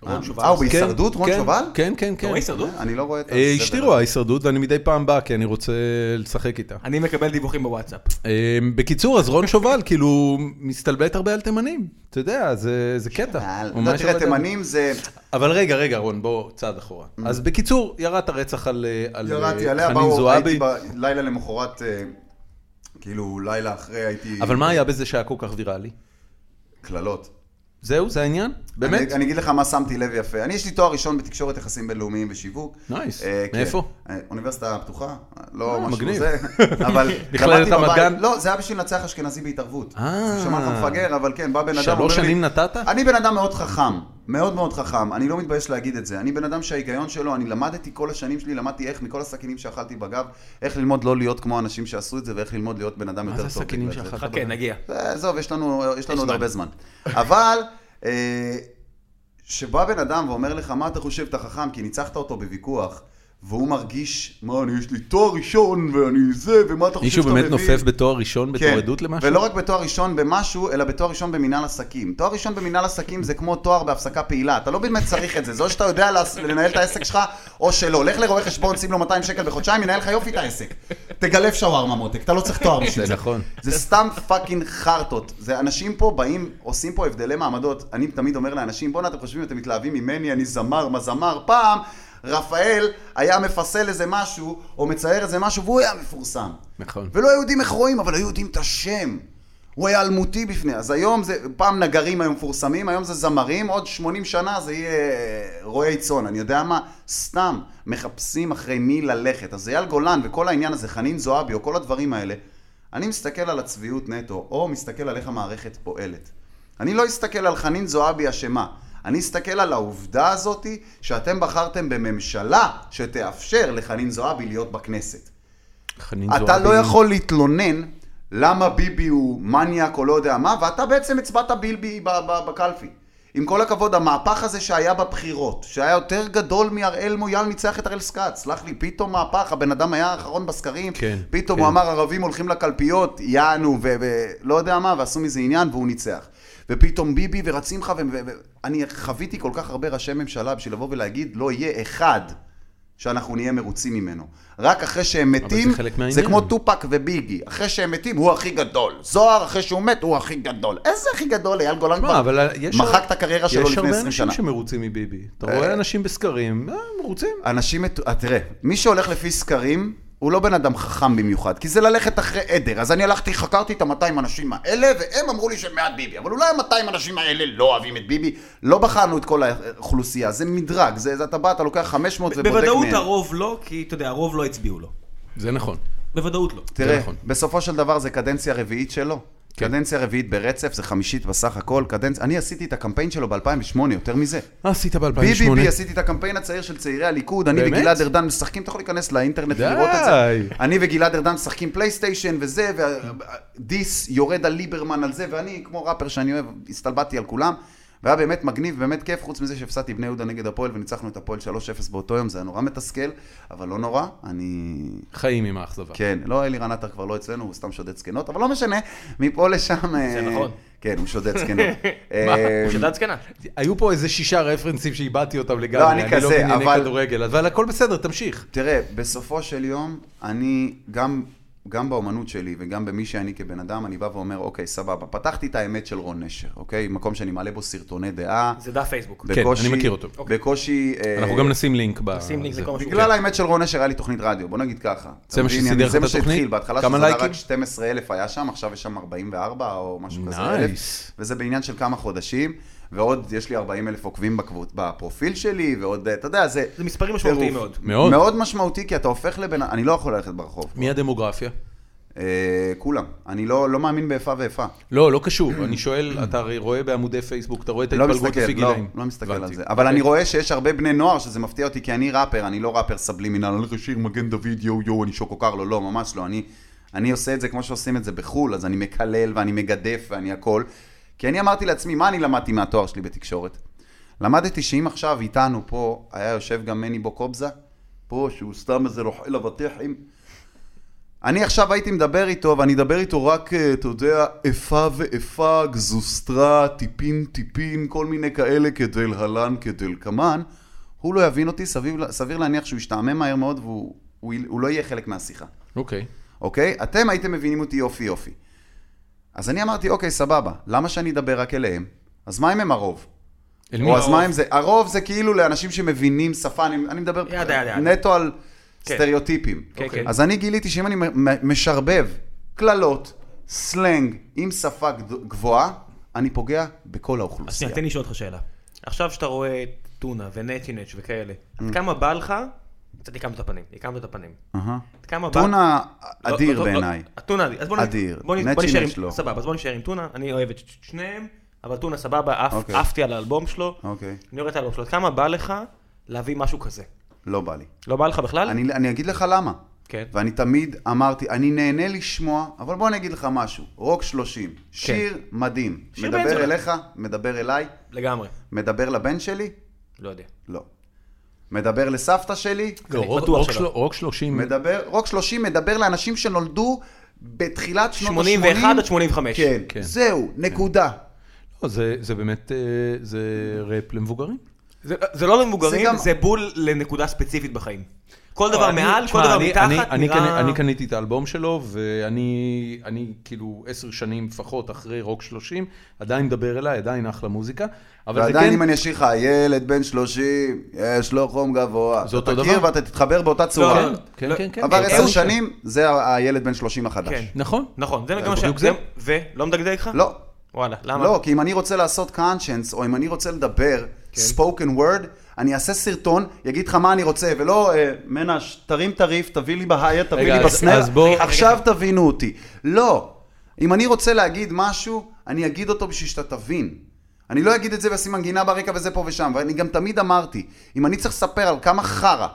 B: רון שובל.
C: אה, הוא
A: כן,
C: בהישרדות, רון
A: כן,
C: שובל?
A: כן, כן,
B: אתה
A: כן.
B: רואה הישרדות?
C: אני לא רואה את
A: אה,
C: הסדר.
A: אשתי רואה הישרדות ואני מדי פעם בא כי אני רוצה לשחק איתה.
B: אני מקבל דיווחים בוואטסאפ.
A: אה, בקיצור, אז רון שובל כאילו מסתלבט הרבה על תימנים. אתה יודע, זה זה קטע.
C: כן, אבל,
A: הוא
C: אתה
A: ממש
C: אה, לא,
A: לא
C: תראה,
A: עובד על-
C: תימנים זה...
A: אבל רגע, רגע, רון, בוא צעד אחורה. אז בקיצור, ירד הרצח על אה, על, אה,
C: ירדתי עליה,
A: חנין
C: באו, הייתי
A: זועבי.
C: בלילה למחרת, אה, כאילו לילה אחרי הייתי...
A: אבל מה היה בזה שהיה כל כך ויראלי?
C: קללות.
A: זהו, זה העניין? באמת?
C: אני, אני אגיד לך מה שמתי לב יפה. אני, יש לי תואר ראשון בתקשורת יחסים בינלאומיים ושיווק.
A: Nice.
C: אה, כן.
A: מאיפה? אה,
C: אה, אוניברסיטה פתוחה, לא משהו
A: מגניב. (laughs)
C: זה, אבל
A: בכלל
C: למדתי
A: אתה
C: בבית.
A: מדען?
C: לא, זה היה בשביל לנצח אשכנזי בהתערבות.
A: אה.
C: זה שמע לך מפגר, אבל כן, בא בן אדם,
A: שלוש
C: אומר לי-
A: שנים נתת?
C: אני בן אדם מאוד חכם, מאוד מאוד חכם, אני לא מתבייש להגיד את זה. אני בן אדם שההיגיון שלו, אני למדתי כל השנים שלי, למדתי איך מכל הסכינים שאכלתי בגב, איך ללמוד לא להיות כמו האנשים שעשו את זה, ואיך ללמוד להיות בן אדם
A: מה
C: יותר
A: זה
C: טוב.
A: הסכינים
C: בגלל זה.
A: שאכלת?
B: חכה, נגיע.
C: זה- עזוב, יש לנו, יש לנו עוד
B: זמן.
C: הרבה זמן. אבל, אה, שבא בן אדם ואומר לך, מה אתה חושב, אתה חכם, כי ניצחת אותו בוויכוח, והוא מרגיש, מה, אני, יש לי תואר ראשון, ואני זה, ומה אתה חושב
A: מישהו
C: שאתה מבין?
A: באמת נופף בתואר ראשון בתור עדות למשהו?
C: כן, ולא רק בתואר ראשון במשהו, אלא בתואר ראשון במנהל עסקים. תואר ראשון במנהל עסקים זה כמו תואר בהפסקה פעילה, אתה לא באמת צריך את זה, זה או שאתה יודע לעס- לנהל את העסק שלך, או שלא. לך לרואה חשבון, שים לו 200 שקל בחודשיים, ינהל לך יופי את העסק. תגלף שווארמה מותק, אתה לא צריך תואר
A: זה
C: בשביל זה.
A: נכון.
C: זה סתם פאקינג חרטות. זה אנשים פה באים, עושים פה הבדלי מעמדות. אני תמיד אומר לאנשים, בואנה, אתם חושבים, אתם מתלהבים ממני, אני זמר, מה זמר? פעם רפאל היה מפסל איזה משהו, או מצייר איזה משהו, והוא היה מפורסם.
A: נכון.
C: ולא היו יודעים איך רואים, אבל היו יודעים את השם. הוא היה אלמותי בפני, אז היום זה, פעם נגרים היו מפורסמים, היום זה זמרים, עוד 80 שנה זה יהיה אה, רועי צאן, אני יודע מה, סתם מחפשים אחרי מי ללכת. אז אייל גולן וכל העניין הזה, חנין זועבי או כל הדברים האלה, אני מסתכל על הצביעות נטו, או מסתכל על איך המערכת פועלת. אני לא אסתכל על חנין זועבי אשמה. אני אסתכל על העובדה הזאת שאתם בחרתם בממשלה שתאפשר לחנין זועבי להיות בכנסת.
A: חנין
C: אתה לא יכול להתלונן למה ביבי הוא מניאק או לא יודע מה, ואתה בעצם הצבעת ביבי ב- ב- בקלפי. עם כל הכבוד, המהפך הזה שהיה בבחירות, שהיה יותר גדול מהראל מויאל ניצח את הראל סקאט, סלח לי, פתאום מהפך, הבן אדם היה האחרון בסקרים,
A: כן,
C: פתאום
A: כן.
C: הוא אמר ערבים הולכים לקלפיות, יענו, ולא יודע מה, ועשו מזה עניין, והוא ניצח. ופתאום ביבי ורצים לך, ואני חוויתי כל כך הרבה ראשי ממשלה בשביל לבוא ולהגיד, לא יהיה אחד שאנחנו נהיה מרוצים ממנו. רק אחרי שהם מתים,
A: חלק
C: זה
A: מהעניין.
C: כמו טופק וביגי. אחרי שהם מתים, הוא הכי גדול. זוהר, אחרי שהוא מת, הוא הכי גדול. איזה הכי גדול? אייל גולן
A: מה,
C: כבר
A: אבל יש...
C: מחק את הקריירה שלו
A: יש
C: לפני
A: הרבה
C: 20
A: אנשים
C: שנה.
A: שמרוצים מביבי. אתה
C: אה.
A: רואה אנשים בסקרים, אה, מרוצים.
C: אנשים, מת- אה, תראה, מי שהולך לפי סקרים, הוא לא בן אדם חכם במיוחד, כי זה ללכת אחרי עדר. אז אני הלכתי, חקרתי את ה-200 אנשים האלה, והם אמרו לי שהם בעד ביבי. אבל אולי ה-200 אנשים האלה לא אוהבים את ביבי. לא בחנו את כל האוכלוסייה, זה מדרג. זה, זה- אתה בא, אתה לוקח 500 ובודק מהם.
B: בוודאות הרוב לא, כי אתה יודע, הרוב לא הצביעו לו.
A: זה נכון.
B: בוודאות לא.
C: תראה,
A: נכון.
C: בסופו של דבר זה קדנציה רביעית שלו.
A: כן.
C: קדנציה רביעית ברצף, זה חמישית בסך הכל. קדנציה... אני עשיתי את הקמפיין שלו ב-2008, יותר מזה.
A: מה עשית ב-2008?
C: ביבי בי עשיתי את הקמפיין הצעיר של צעירי הליכוד, אני
A: באמת?
C: וגלעד ארדן משחקים, אתה יכול להיכנס לאינטרנט
A: די.
C: ולראות את זה. אני וגלעד ארדן משחקים פלייסטיישן וזה, ודיס יורד על ליברמן על זה, ואני, כמו ראפר שאני אוהב, הסתלבטתי על כולם. והיה באמת מגניב, באמת כיף, חוץ מזה שהפסדתי בני יהודה נגד הפועל וניצחנו את הפועל 3-0 באותו יום, זה היה נורא מתסכל, אבל לא נורא, אני
A: חיים עם האכזבה.
C: כן, לא, אלירן עטר כבר לא אצלנו, הוא סתם שודד זקנות, אבל לא משנה, מפה לשם... זה
B: נכון.
C: כן, הוא שודד
B: (laughs)
C: זקנות. אה,
B: הוא שדד זקנה.
A: היו פה איזה שישה רפרנסים שאיבדתי אותם לגמרי.
C: לא, אני כזה,
A: אני לא בענייני
C: אבל-
A: כדורגל, אבל הכל בסדר, תמשיך.
C: תראה, בסופו של יום, אני גם... גם באומנות שלי וגם במי שאני כבן אדם, אני בא ואומר, אוקיי, סבבה, פתחתי את האמת של רון נשר, אוקיי? מקום שאני מעלה בו סרטוני דעה.
B: זה אוקיי. דף פייסבוק.
A: כן, אני מכיר אותו.
C: בקושי... אה,
A: אנחנו גם נשים לינק ב...
B: שים לינק
A: זה.
B: לכל מה שהוא
C: בגלל האמת של רון נשר היה לי תוכנית רדיו, בוא נגיד
A: כן.
C: ככה.
A: זה מה
C: אתה מבין?
A: שסידר לך
C: זה
A: את
C: מה שהתחיל,
A: התוכנית?
C: בהתחלה
A: כמה
C: שזה היה
A: לייקים?
C: רק 12 אלף היה שם, עכשיו יש שם 44 או משהו כזה
A: Nice.
C: אלף. וזה בעניין של כמה חודשים, ועוד יש לי 40 אלף עוקבים בקבוצ- בפרופיל שלי, ועוד, אתה יודע, זה...
B: זה מספרים משמעותיים
C: טירוף.
B: מאוד.
A: מאוד.
C: מאוד משמעותי, כי אתה הופך לבן... אני לא יכול ללכת ברחוב.
A: מי הדמוגרפיה?
C: אה, כולם. אני לא לא מאמין באיפה ואיפה.
A: לא, לא קשור. אני שואל, אתה הרי רואה בעמודי פייסבוק, אתה רואה את
C: לא
A: ההתפלגות
C: מסתכל,
A: לפי
C: לא,
A: גילאים.
C: לא מסתכל
A: הבנתי. אוקיי.
C: על זה. אבל אני רואה שיש הרבה בני נוער שזה מפתיע אותי, כי אני ראפר, אני לא ראפר סבלימינל, אני הולך לשיר מגן דוד, יואו יואו, אני שוקו קרלו, לא, ממש לא. אני, אני עושה את זה כמו שעושים את זה בחו"ל, אז אני מקלל ואני מגדף ואני הכל. כי אני אמרתי לעצמי, מה אני למדתי מהתואר שלי בתקשורת? למדתי שאם עכשיו איתנו פה היה יושב גם מני בוקובזה, פה שהוא סתם איזה רוכל אבטיחים, אני עכשיו הייתי מדבר איתו, ואני אדבר איתו רק, אה, אתה יודע, איפה ואיפה, גזוסטרה, טיפין טיפין, כל מיני כאלה כדלהלן, כדלקמן, הוא לא יבין אותי, סביר, סביר להניח שהוא ישתעמם מהר מאוד והוא הוא, יל- הוא לא יהיה חלק מהשיחה,
A: אוקיי.
C: אוקיי? אתם הייתם מבינים אותי יופי יופי. אז אני אמרתי, אוקיי, סבבה, למה שאני אדבר רק אליהם? אז מה אם הם הרוב?
A: אל מי?
C: או אז מה אם זה? הרוב זה כאילו לאנשים שמבינים שפה, אני, אני מדבר
B: ידע, ידע, ידע.
C: נטו על
B: כן.
C: סטריאוטיפים.
B: כן,
C: אוקיי.
B: כן.
C: אז אני גיליתי שאם אני מ- מ- משרבב קללות, סלנג עם שפה גד- גבוהה, אני פוגע בכל
B: אז
C: האוכלוסייה.
B: שנייה, תן לי לשאול אותך שאלה. עכשיו שאתה רואה את טונה ונטינץ' וכאלה,
C: אה.
B: עד כמה בא לך, קצת הקמת את הפנים, הקמת את הפנים.
C: אהה.
B: עד כמה בא...
C: טונה
B: לא,
C: אדיר
B: לא, לא,
C: בעיניי.
B: הטונה אדיר. אז בוא נ-
C: אדיר.
B: בוא נ- בוא
C: נצ'ינץ'
B: נשאר
C: לא.
B: עם... סבבה, אז בוא נשאר עם טונה, אני אוהב את ש- ש- שניהם, אבל טונה סבבה, עף-
C: אוקיי.
B: עפתי על האלבום שלו,
C: אוקיי,
B: אני רואה את האלבום שלו. עד כמה בא לך להביא משהו כזה?
C: לא בא לי.
B: לא בא לך בכלל?
C: אני, אני אגיד לך למה.
B: כן.
C: ואני תמיד אמרתי, אני נהנה לשמוע, אבל בוא אני אגיד לך משהו. רוק 30, שיר מדהים.
B: כן. שיר
C: מדבר
B: בעצם.
C: אליך, מדבר אליי,
B: לגמרי.
C: מדבר לבן שלי,
B: לא יודע.
C: לא. מדבר לסבתא שלי,
A: לא,
B: אני
A: רוק-
B: בטוח
A: רוק
B: שלא.
A: של- רוק 30,
C: מדבר, רוק 30 מדבר לאנשים שנולדו בתחילת שנות ה-80.
B: 81 עד 85.
C: כן,
A: כן.
C: זהו, נקודה.
A: לא, זה זה באמת, אה, זה ראפ למבוגרים.
B: זה, זה לא למבוגרים,
C: זה
B: זה,
C: גם-
B: גם... זה בול לנקודה ספציפית בחיים. כל דבר
A: לא, אני-
B: מעל,
A: תשמע,
B: כל דבר
A: אני-
B: מתחת,
A: אני-
B: נראה...
A: אני קנה- אני קניתי את האלבום שלו, ואני אני כאילו עשר שנים לפחות אחרי רוק 30, עדיין מדבר אליי, עדיין אחלה מוזיקה. אבל זה
C: ועדיין
A: כן,
C: אם אני אשאיר לך, ילד בן 30, יש לו חום גבוה.
A: זה אותו
C: אתה תכיר
A: דבר.
C: ואתה תתחבר באותה צורה.
A: כן, כן, כן, כן.
C: עבר
A: כן,
C: עשר
A: כן.
C: שנים, זה ה- הילד בן 30 החדש.
B: כן.
A: נכון.
B: נכון, זה גם מה ש...
A: בדיוק זה.
B: ולא מדגדג לך?
C: לא.
B: וואלה, למה?
C: לא, כי אם אני רוצה לעשות conscience, או אם אני רוצה לדבר, spoken word, אני אעשה סרטון, יגיד לך מה אני רוצה, ולא, אה, מנש, תרים תריף, תביא לי בהייה, תביא
A: רגע,
C: לי
A: אז-
C: בסנאפ,
A: אז בוא-
C: עכשיו תבינו אותי. לא. אם אני רוצה להגיד משהו, אני אגיד אותו בשביל שאתה תבין. אני לא אגיד את זה ואשים מנגינה ברקע וזה פה ושם, ואני גם תמיד אמרתי, אם אני צריך לספר על כמה חרא,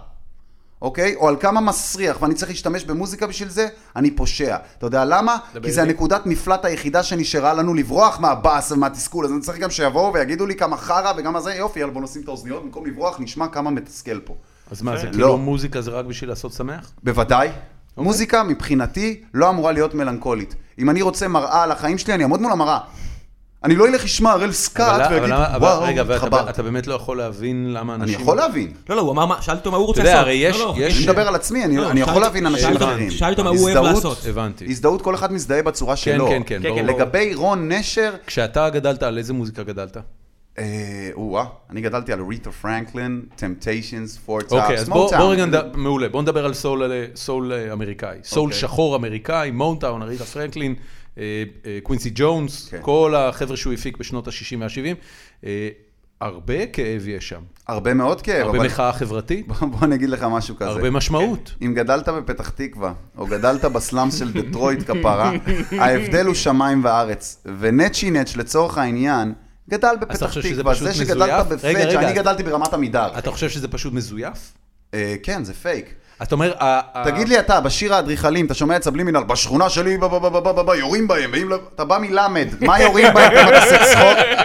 C: אוקיי? או על כמה מסריח, ואני צריך להשתמש במוזיקה בשביל זה, אני פושע. אתה יודע למה? כי זה
A: איתי.
C: הנקודת מפלט היחידה שנשארה לנו לברוח מהבאס ומהתסכול, אז אני צריך גם שיבואו ויגידו לי כמה חרא וכמה זה, יופי, יאללה בוא נשים את האוזניות, במקום לברוח נשמע כמה מתסכל פה.
A: אז מה, זה
C: כן.
B: לא.
A: כאילו מוזיקה זה רק בשביל לעשות שמח?
C: בוודאי.
A: אוקיי.
C: מוזיקה מבחינתי לא אמורה להיות מלנכולית. אם אני רוצה מראה על החיים שלי, אני אעמוד מול המראה. אני לא אלך לשמוע הראל
A: אבל-
C: סקאט
A: אבל
C: ואגיד,
A: למה- אבל-
C: וואו,
A: רגע, ואתה-
C: התחברת.
A: אתה באמת לא יכול להבין למה
C: אני
A: אנשים...
C: יכול להבין.
D: לא, לא, הוא אמר מה, שאלתי אותו מה הוא רוצה
A: יודע,
D: לעשות.
A: הרי יש-
D: לא, לא,
A: יש-
C: אני
D: ש-
C: מדבר על עצמי, אני-
D: לא,
C: אני
D: שאלתי-
C: יכול להבין
D: שאלתי-
C: אנשים
A: שאלתי-
C: אחרים.
D: שאלתי אותו מה הוא אוהב
C: הזדהות-
D: לעשות.
A: הבנתי.
C: הזדהות, כל אחד מזדהה בצורה שלו.
A: כן, כן, ברור.
C: לגבי רון נשר,
A: כשאתה גדלת, על איזה מוזיקה גדלת?
C: אה, או-אה, אני גדלתי על ריטה פרנקלין, טמפטיישנס, פורטאפס,
A: אוקיי, אז בוא בוא רגע, נד- מעולה, בוא נדבר על סול, אה, סול אה, אמריקאי. סול
C: אוקיי.
A: שחור אמריקאי, מונטאון, אריתה פרנקלין, אה, אה, קווינסי ג'ונס,
C: כן.
A: כל החבר'ה שהוא הפיק בשנות ה-60 וה-70. אה, הרבה כאב יש שם,
C: הרבה מאוד כאב,
A: הרבה
C: כן, אבל כן.
A: מחאה חברתית,
C: (laughs) בוא בוא אני אגיד לך משהו כזה.
A: הרבה משמעות.
C: אם גדלת בפתח תקווה, או גדלת בסלאמס של דטרויט
D: (laughs)
C: כפרה, ההבדל הוא שמיים וארץ. ונצ'י נץ' לצורך העניין, גדל
A: אתה
C: בפתח
A: חושב שזה
C: תקווה,
A: פשוט
C: זה שגדלת
A: מזויף? רגע,
C: בפאג'
A: רגע.
C: אני גדלתי ברמת עמידר.
A: אתה חושב שזה פשוט מזויף?
C: אה, כן, זה פייק.
A: אתה אומר, ה- ה-
C: תגיד לי אתה, בשיר האדריכלים, אתה שומע את סבלימינל, בשכונה שלי, ב- ב- ב- ב- ב- ב- יורים בהם, ואם לא- אתה בא מלמד, מה יורים בהם, אתה עושה צחוק?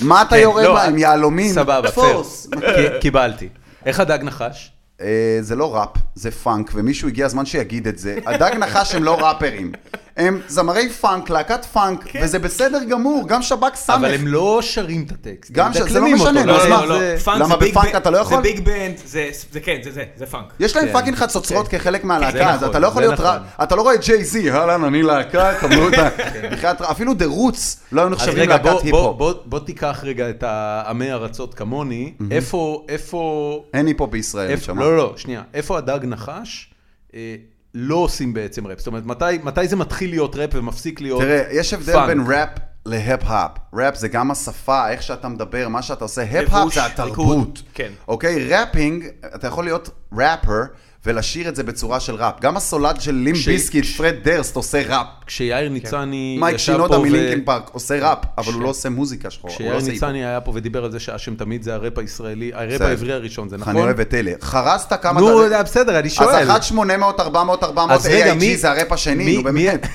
C: מה אתה
A: כן,
C: יורה
A: לא,
C: בהם, יהלומים?
A: סבבה, פייר.
C: תפוס.
A: כי- קיבלתי. איך הדג נחש?
C: אה, זה לא ראפ, זה פאנק, ומישהו הגיע הזמן שיגיד את זה. הדג נחש הם לא ראפרים. הם זמרי פאנק, להקת פאנק, וזה בסדר גמור, גם שב"כ
A: כן. אבל הם
C: סמך.
A: לא שרים את הטקסט.
C: גם
A: הם
C: ש- זה לא
A: מדקלמים אותו,
C: משנה,
D: לא,
C: אז
A: זה-
C: מה,
D: לא, לא,
A: זה-
D: פאנק
C: למה
D: זה ביג
C: בפאנק
D: בנ-
C: אתה לא יכול?
D: זה ביג בנד, זה- זה כן, זה זה, זה פאנק.
C: יש להם
A: כן.
C: פאקינג חצוצרות כחלק מהלהקה, אז
A: נכון,
C: אתה לא יכול
A: זה
C: להיות רע.
A: נכון.
C: אתה לא רואה את ג'יי זי, אהלן, אני להקה, קבלו את
A: (laughs)
C: ה... בחייאת רע. אפילו דה רוץ לא היו
A: כן. אז
C: נחשבים
A: רגע, בוא-
C: להקת
A: בוא-
C: היפ-הופ.
A: בוא- בוא תיקח רגע את העמי ארצות כמוני, איפה, איפה,
C: אין היפ-הופ בישראל,
A: איפה-
C: נשמה.
A: לא, לא, שנייה, איפה הדג נחש אה, לא עושים בעצם ראפ? זאת אומרת, מתי- מתי זה מתחיל להיות ראפ ומפסיק להיות
C: תראה, יש הבדל
A: לא. פאנק.
C: בין ראפ להפ-האפ. ראפ זה גם השפה, איך שאתה מדבר, מה שאתה עושה. הפ-האפ
B: לבוש,
C: זה
B: ריקוד,
C: התרבות.
B: כן.
C: אוקיי? ראפינג, אתה יכול להיות ראפר ולשיר את זה בצורה של ראפ. גם הסולד של לים
A: כש-
C: ביסקיט, פרד דרסט, עושה ראפ.
A: כשיאיר ניצני
C: כן. מייק
A: ישב פה
C: שינודה
A: ו-
C: מלינקין פארק עושה ראפ, אבל
A: כש-
C: הוא לא עושה מוזיקה שחורה. הוא לא
A: כשיאיר
C: עושה היפ-הופ.
A: ניצני היה פה ודיבר על זה שאשם תמיד זה הראפ הישראלי, הראפ
C: בסדר.
A: העברי הראשון, זה נכון?
C: אני אוהב את אלה. חרזת כמה...
A: נו, אה,
C: דברים.
A: בסדר, אני
C: אז
A: שואל.
C: 1 800 400 400
A: אז רגע,
C: AIG
A: מי-
C: זה הראפ השני,
A: מי-
C: נו באמת.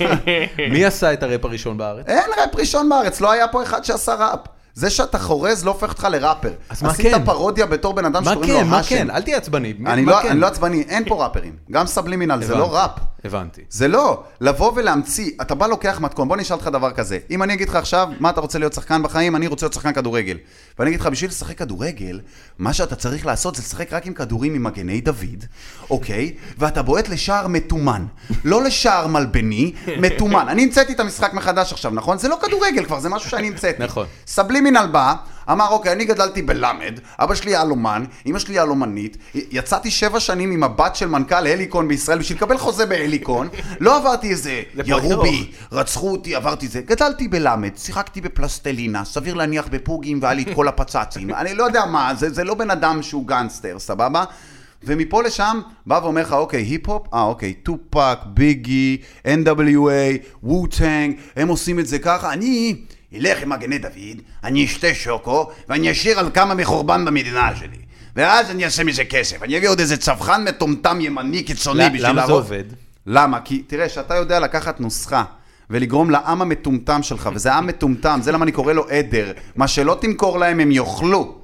A: מי- מי עשה את הראפ הראשון בארץ?
C: אין ראפ ראשון בארץ, לא היה פה אחד שעשה ראפ. זה שאתה חורז לא הופך אותך לראפר.
A: אז מה
C: עשית
A: כן?
C: פרודיה בתור בן אדם
A: מה
C: שקוראים לו
A: כן,
C: האשם.
A: מה כן? אל תהיה עצבני. מי-
C: אני
A: מה
C: לא-
A: כן?
C: אני לא עצבני, אין פה ראפרים. גם סבלימינל זה לא ראפ.
A: הבנתי, הבנתי.
C: זה לא, לבוא ולהמציא, אתה בא לוקח מתכון, בוא נשאל אותך דבר כזה, אם אני אגיד לך עכשיו, מה אתה רוצה להיות שחקן בחיים, אני רוצה להיות שחקן כדורגל. ואני אגיד לך, בשביל לשחק כדורגל, מה שאתה צריך לעשות זה לשחק רק עם כדורים עם מגני דוד, אוקיי? ואתה בועט לשער מתומן, לא לשער מלבני, מתומן. אני המצאתי את המשחק מחדש עכשיו, נכון? זה לא כדורגל כבר, זה משהו שאני המצאתי.
A: נכון.
C: סבלימינל בא, אמר, אוקיי, אני גדלתי בלמד, אבא שלי יהלומן, אמא שלי יהלומנית, י- יצאתי שבע שנים עם הבת של מנכ"ל הליקון בישראל בשביל לקבל חוזה בהליקון, לא עברתי איזה,
B: פרויקט
C: ירו בי,
B: ארוך.
C: רצחו אותי, עברתי זה. גדלתי בלמד, שיחקתי בפלסטלינה, סביר להניח בפוגים והיה לי את כל הפצצים. אני לא יודע מה, זה, זה לא בן אדם שהוא גנגסטר, סבבה? ומפה לשם, בא ואומר לך, אוקיי, היפ-הופ, אה, אוקיי, טופק, ביגי, NWA, ווטנג, הם עושים את זה ככה, אני אלך עם מגני דוד, אני אשתה שוקו, ואני אשיר על כמה מחורבן במדינה שלי. ואז אני אעשה מזה כסף, אני אביא עוד איזה צווחן מטומטם ימני קיצוני
A: ל-
C: בשביל
A: למה זה
C: להראות-
A: עובד?
C: למה? כי תראה, שאתה יודע לקחת נוסחה ולגרום לעם המטומטם שלך, וזה עם מטומטם, זה למה אני קורא לו עדר. מה שלא תמכור להם הם יאכלו.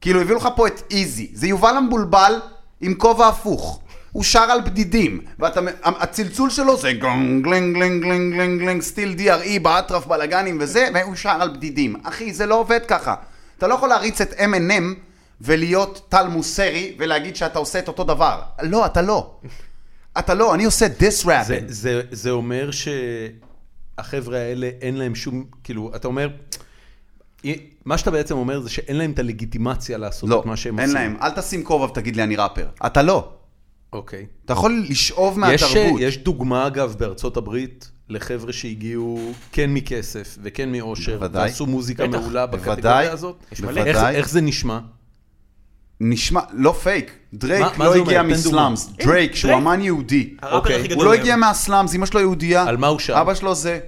C: כאילו, הביאו לך פה את איזי. זה יובל המבולבל עם כובע הפוך. הוא שר על בדידים, והצלצול שלו זה גונג, גלנג, גלנג, גלנג, גלנג, גלנג, סטיל DRE E, באטרף בלאגנים וזה, והוא שר על בדידים. אחי, זה לא עובד ככה. אתה לא יכול להריץ את M&M ולהיות טל מוסרי ולהגיד שאתה עושה את אותו דבר. לא, אתה לא. אתה לא, אני עושה לא, דיס ראפ.
A: זה- זה- זה אומר שהחבר'ה האלה אין להם שום, כאילו, אתה אומר, מה שאתה בעצם אומר זה שאין להם את הלגיטימציה לעשות
C: לא,
A: את מה שהם
C: אין
A: עושים.
C: להם. אל תשים כובע ותגיד לי אני ראפר. אתה לא.
A: אוקיי.
C: אתה יכול לשאוב
A: יש,
C: מהתרבות.
A: יש דוגמה, אגב, בארצות הברית, לחבר'ה שהגיעו כן מכסף וכן מאושר,
C: בוודאי.
A: ועשו מוזיקה
B: בטח.
A: מעולה
C: בוודאי.
A: בקטגוריה הזאת.
C: יש
A: איך-
C: מלא.
A: איך,
C: בוודאי.
A: איך זה נשמע?
C: נשמע, לא פייק.
A: מה-
C: דרייק
A: מה
C: לא
A: זה אומר?
C: הגיע
A: תן דוגמה.
C: מסלאמס. דרייק, שהוא
B: דרייק.
C: אמן יהודי.
B: הראפר
A: אוקיי.
B: הכי
C: הוא
B: גדול
C: לא
B: היום.
C: הגיע מהסלאמס, אמא שלו יהודייה.
A: על מה הוא שר?
C: אבא שלו זה...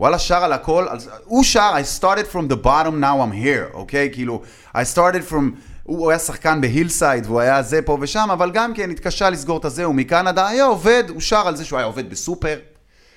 C: וואלה שר על הכל, על... הוא שר I started from the bottom now I'm here, אוקיי? כאילו, I started from, הוא הוא היה שחקן בהילסייד והוא היה זה פה ושם, אבל גם כן התקשה לסגור את הזה, הוא מקנדה, היה עובד, הוא שר על זה שהוא היה עובד בסופר,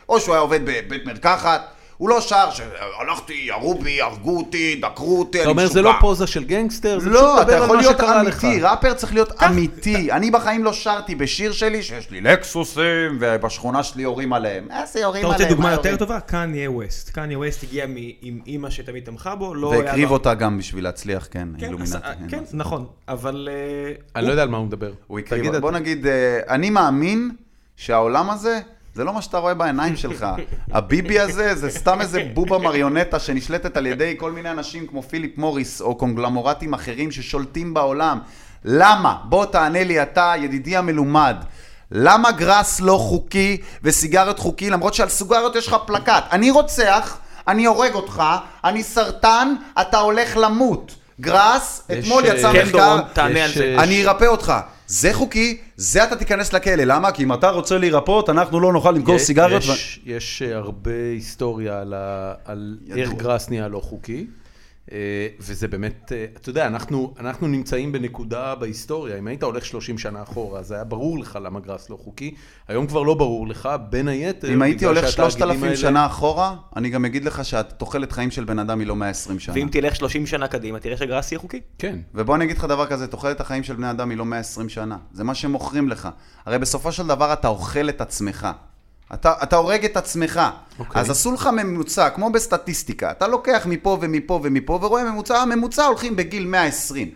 C: או שהוא היה עובד בבית מרקחת, הוא לא שר שהלכתי, ירו בי, הרגו אותי, דקרו אותי, אני
A: אתה אומר, זה
C: משוגע."
A: לא פוזה של גנגסטר, זה פשוט
C: לא, אתה
A: לדבר
C: יכול
A: על מה
C: להיות
A: שקרה לך.
C: אמיתי, ראפר צריך להיות אמיתי. אני בחיים לא שרתי בשיר שלי שיש לי לקסוסים, ובשכונה שלי יורים עליהם. איזה יורים
D: אתה
C: עליהם?
D: רוצה דוגמה
C: מה
D: יותר
C: יורים?
D: טובה? קניה ווסט. קניה ווסט הגיע מ- עם אימא שתמיד תמכה בו, לא היה...
C: והקריב
D: לו-
C: אותה גם בשביל להצליח, כן,
D: כן,
C: אילומינטי.
D: עשה-
C: אין
D: כן,
C: מה.
D: נכון, אבל... אה,
A: אני לא יודע על מה הוא מדבר.
C: הוא
A: תגיד
C: הקריב,
A: אתה.
C: בוא נגיד, אה, אני מאמין שהעולם הזה, זה לא מה שאתה רואה בעיניים
A: (laughs)
C: שלך. הביבי הזה, זה סתם איזה בובה מריונטה שנשלטת על ידי כל מיני אנשים כמו פיליפ מוריס, או קונגלמורטים אחרים ששולטים בעולם. למה? בוא תענה לי אתה, ידידי המלומד. למה גראס לא חוקי וסיגריות חוקי, למרות שעל סיגריות יש לך פלקט? אני רוצח, אני הורג אותך, אני סרטן, אתה הולך למות. גראס,
A: יש,
C: אתמול יצא
A: אה,
C: מחקר...
B: כן, דורון, תענה
A: יש,
B: על זה.
A: אה,
C: אני ארפא אותך. זה חוקי, זה אתה תיכנס לכלא. למה? כי אם אתה רוצה להירפות, אנחנו לא נוכל למכור
A: יש-
C: סיגריות. ו-
A: יש- יש אה, הרבה היסטוריה על ה- על
C: ידוע.
A: איך גראס נהיה לא חוקי, אה, וזה באמת, אה, אתה יודע, אנחנו אנחנו נמצאים בנקודה בהיסטוריה, אם היית הולך 30 שנה אחורה, אז היה ברור לך למה גראס לא חוקי, היום כבר לא ברור לך, בין היתר,
C: אם הייתי
A: בגלל
C: הולך
A: שהתאגידים
C: 3,000
A: האלה-
C: שנה אחורה, אני גם אגיד לך שהתוחלת חיים של בן אדם היא לא 120 שנה.
B: ואם תלך 30 שנה קדימה, תראה שגראס יהיה חוקי?
A: כן.
C: ובוא אני אגיד לך דבר כזה, תוחלת החיים של בני אדם היא לא 120 שנה. זה מה שמוכרים לך. הרי בסופו של דבר אתה אוכל את עצמך. אתה, אתה הורג את עצמך. Okay.
A: אוקיי.
C: אז עשו לך ממוצע, כמו בסטטיסטיקה. אתה לוקח מפה ומפה ומפה ורואה ממוצע, הממוצע הולכים בגיל 120,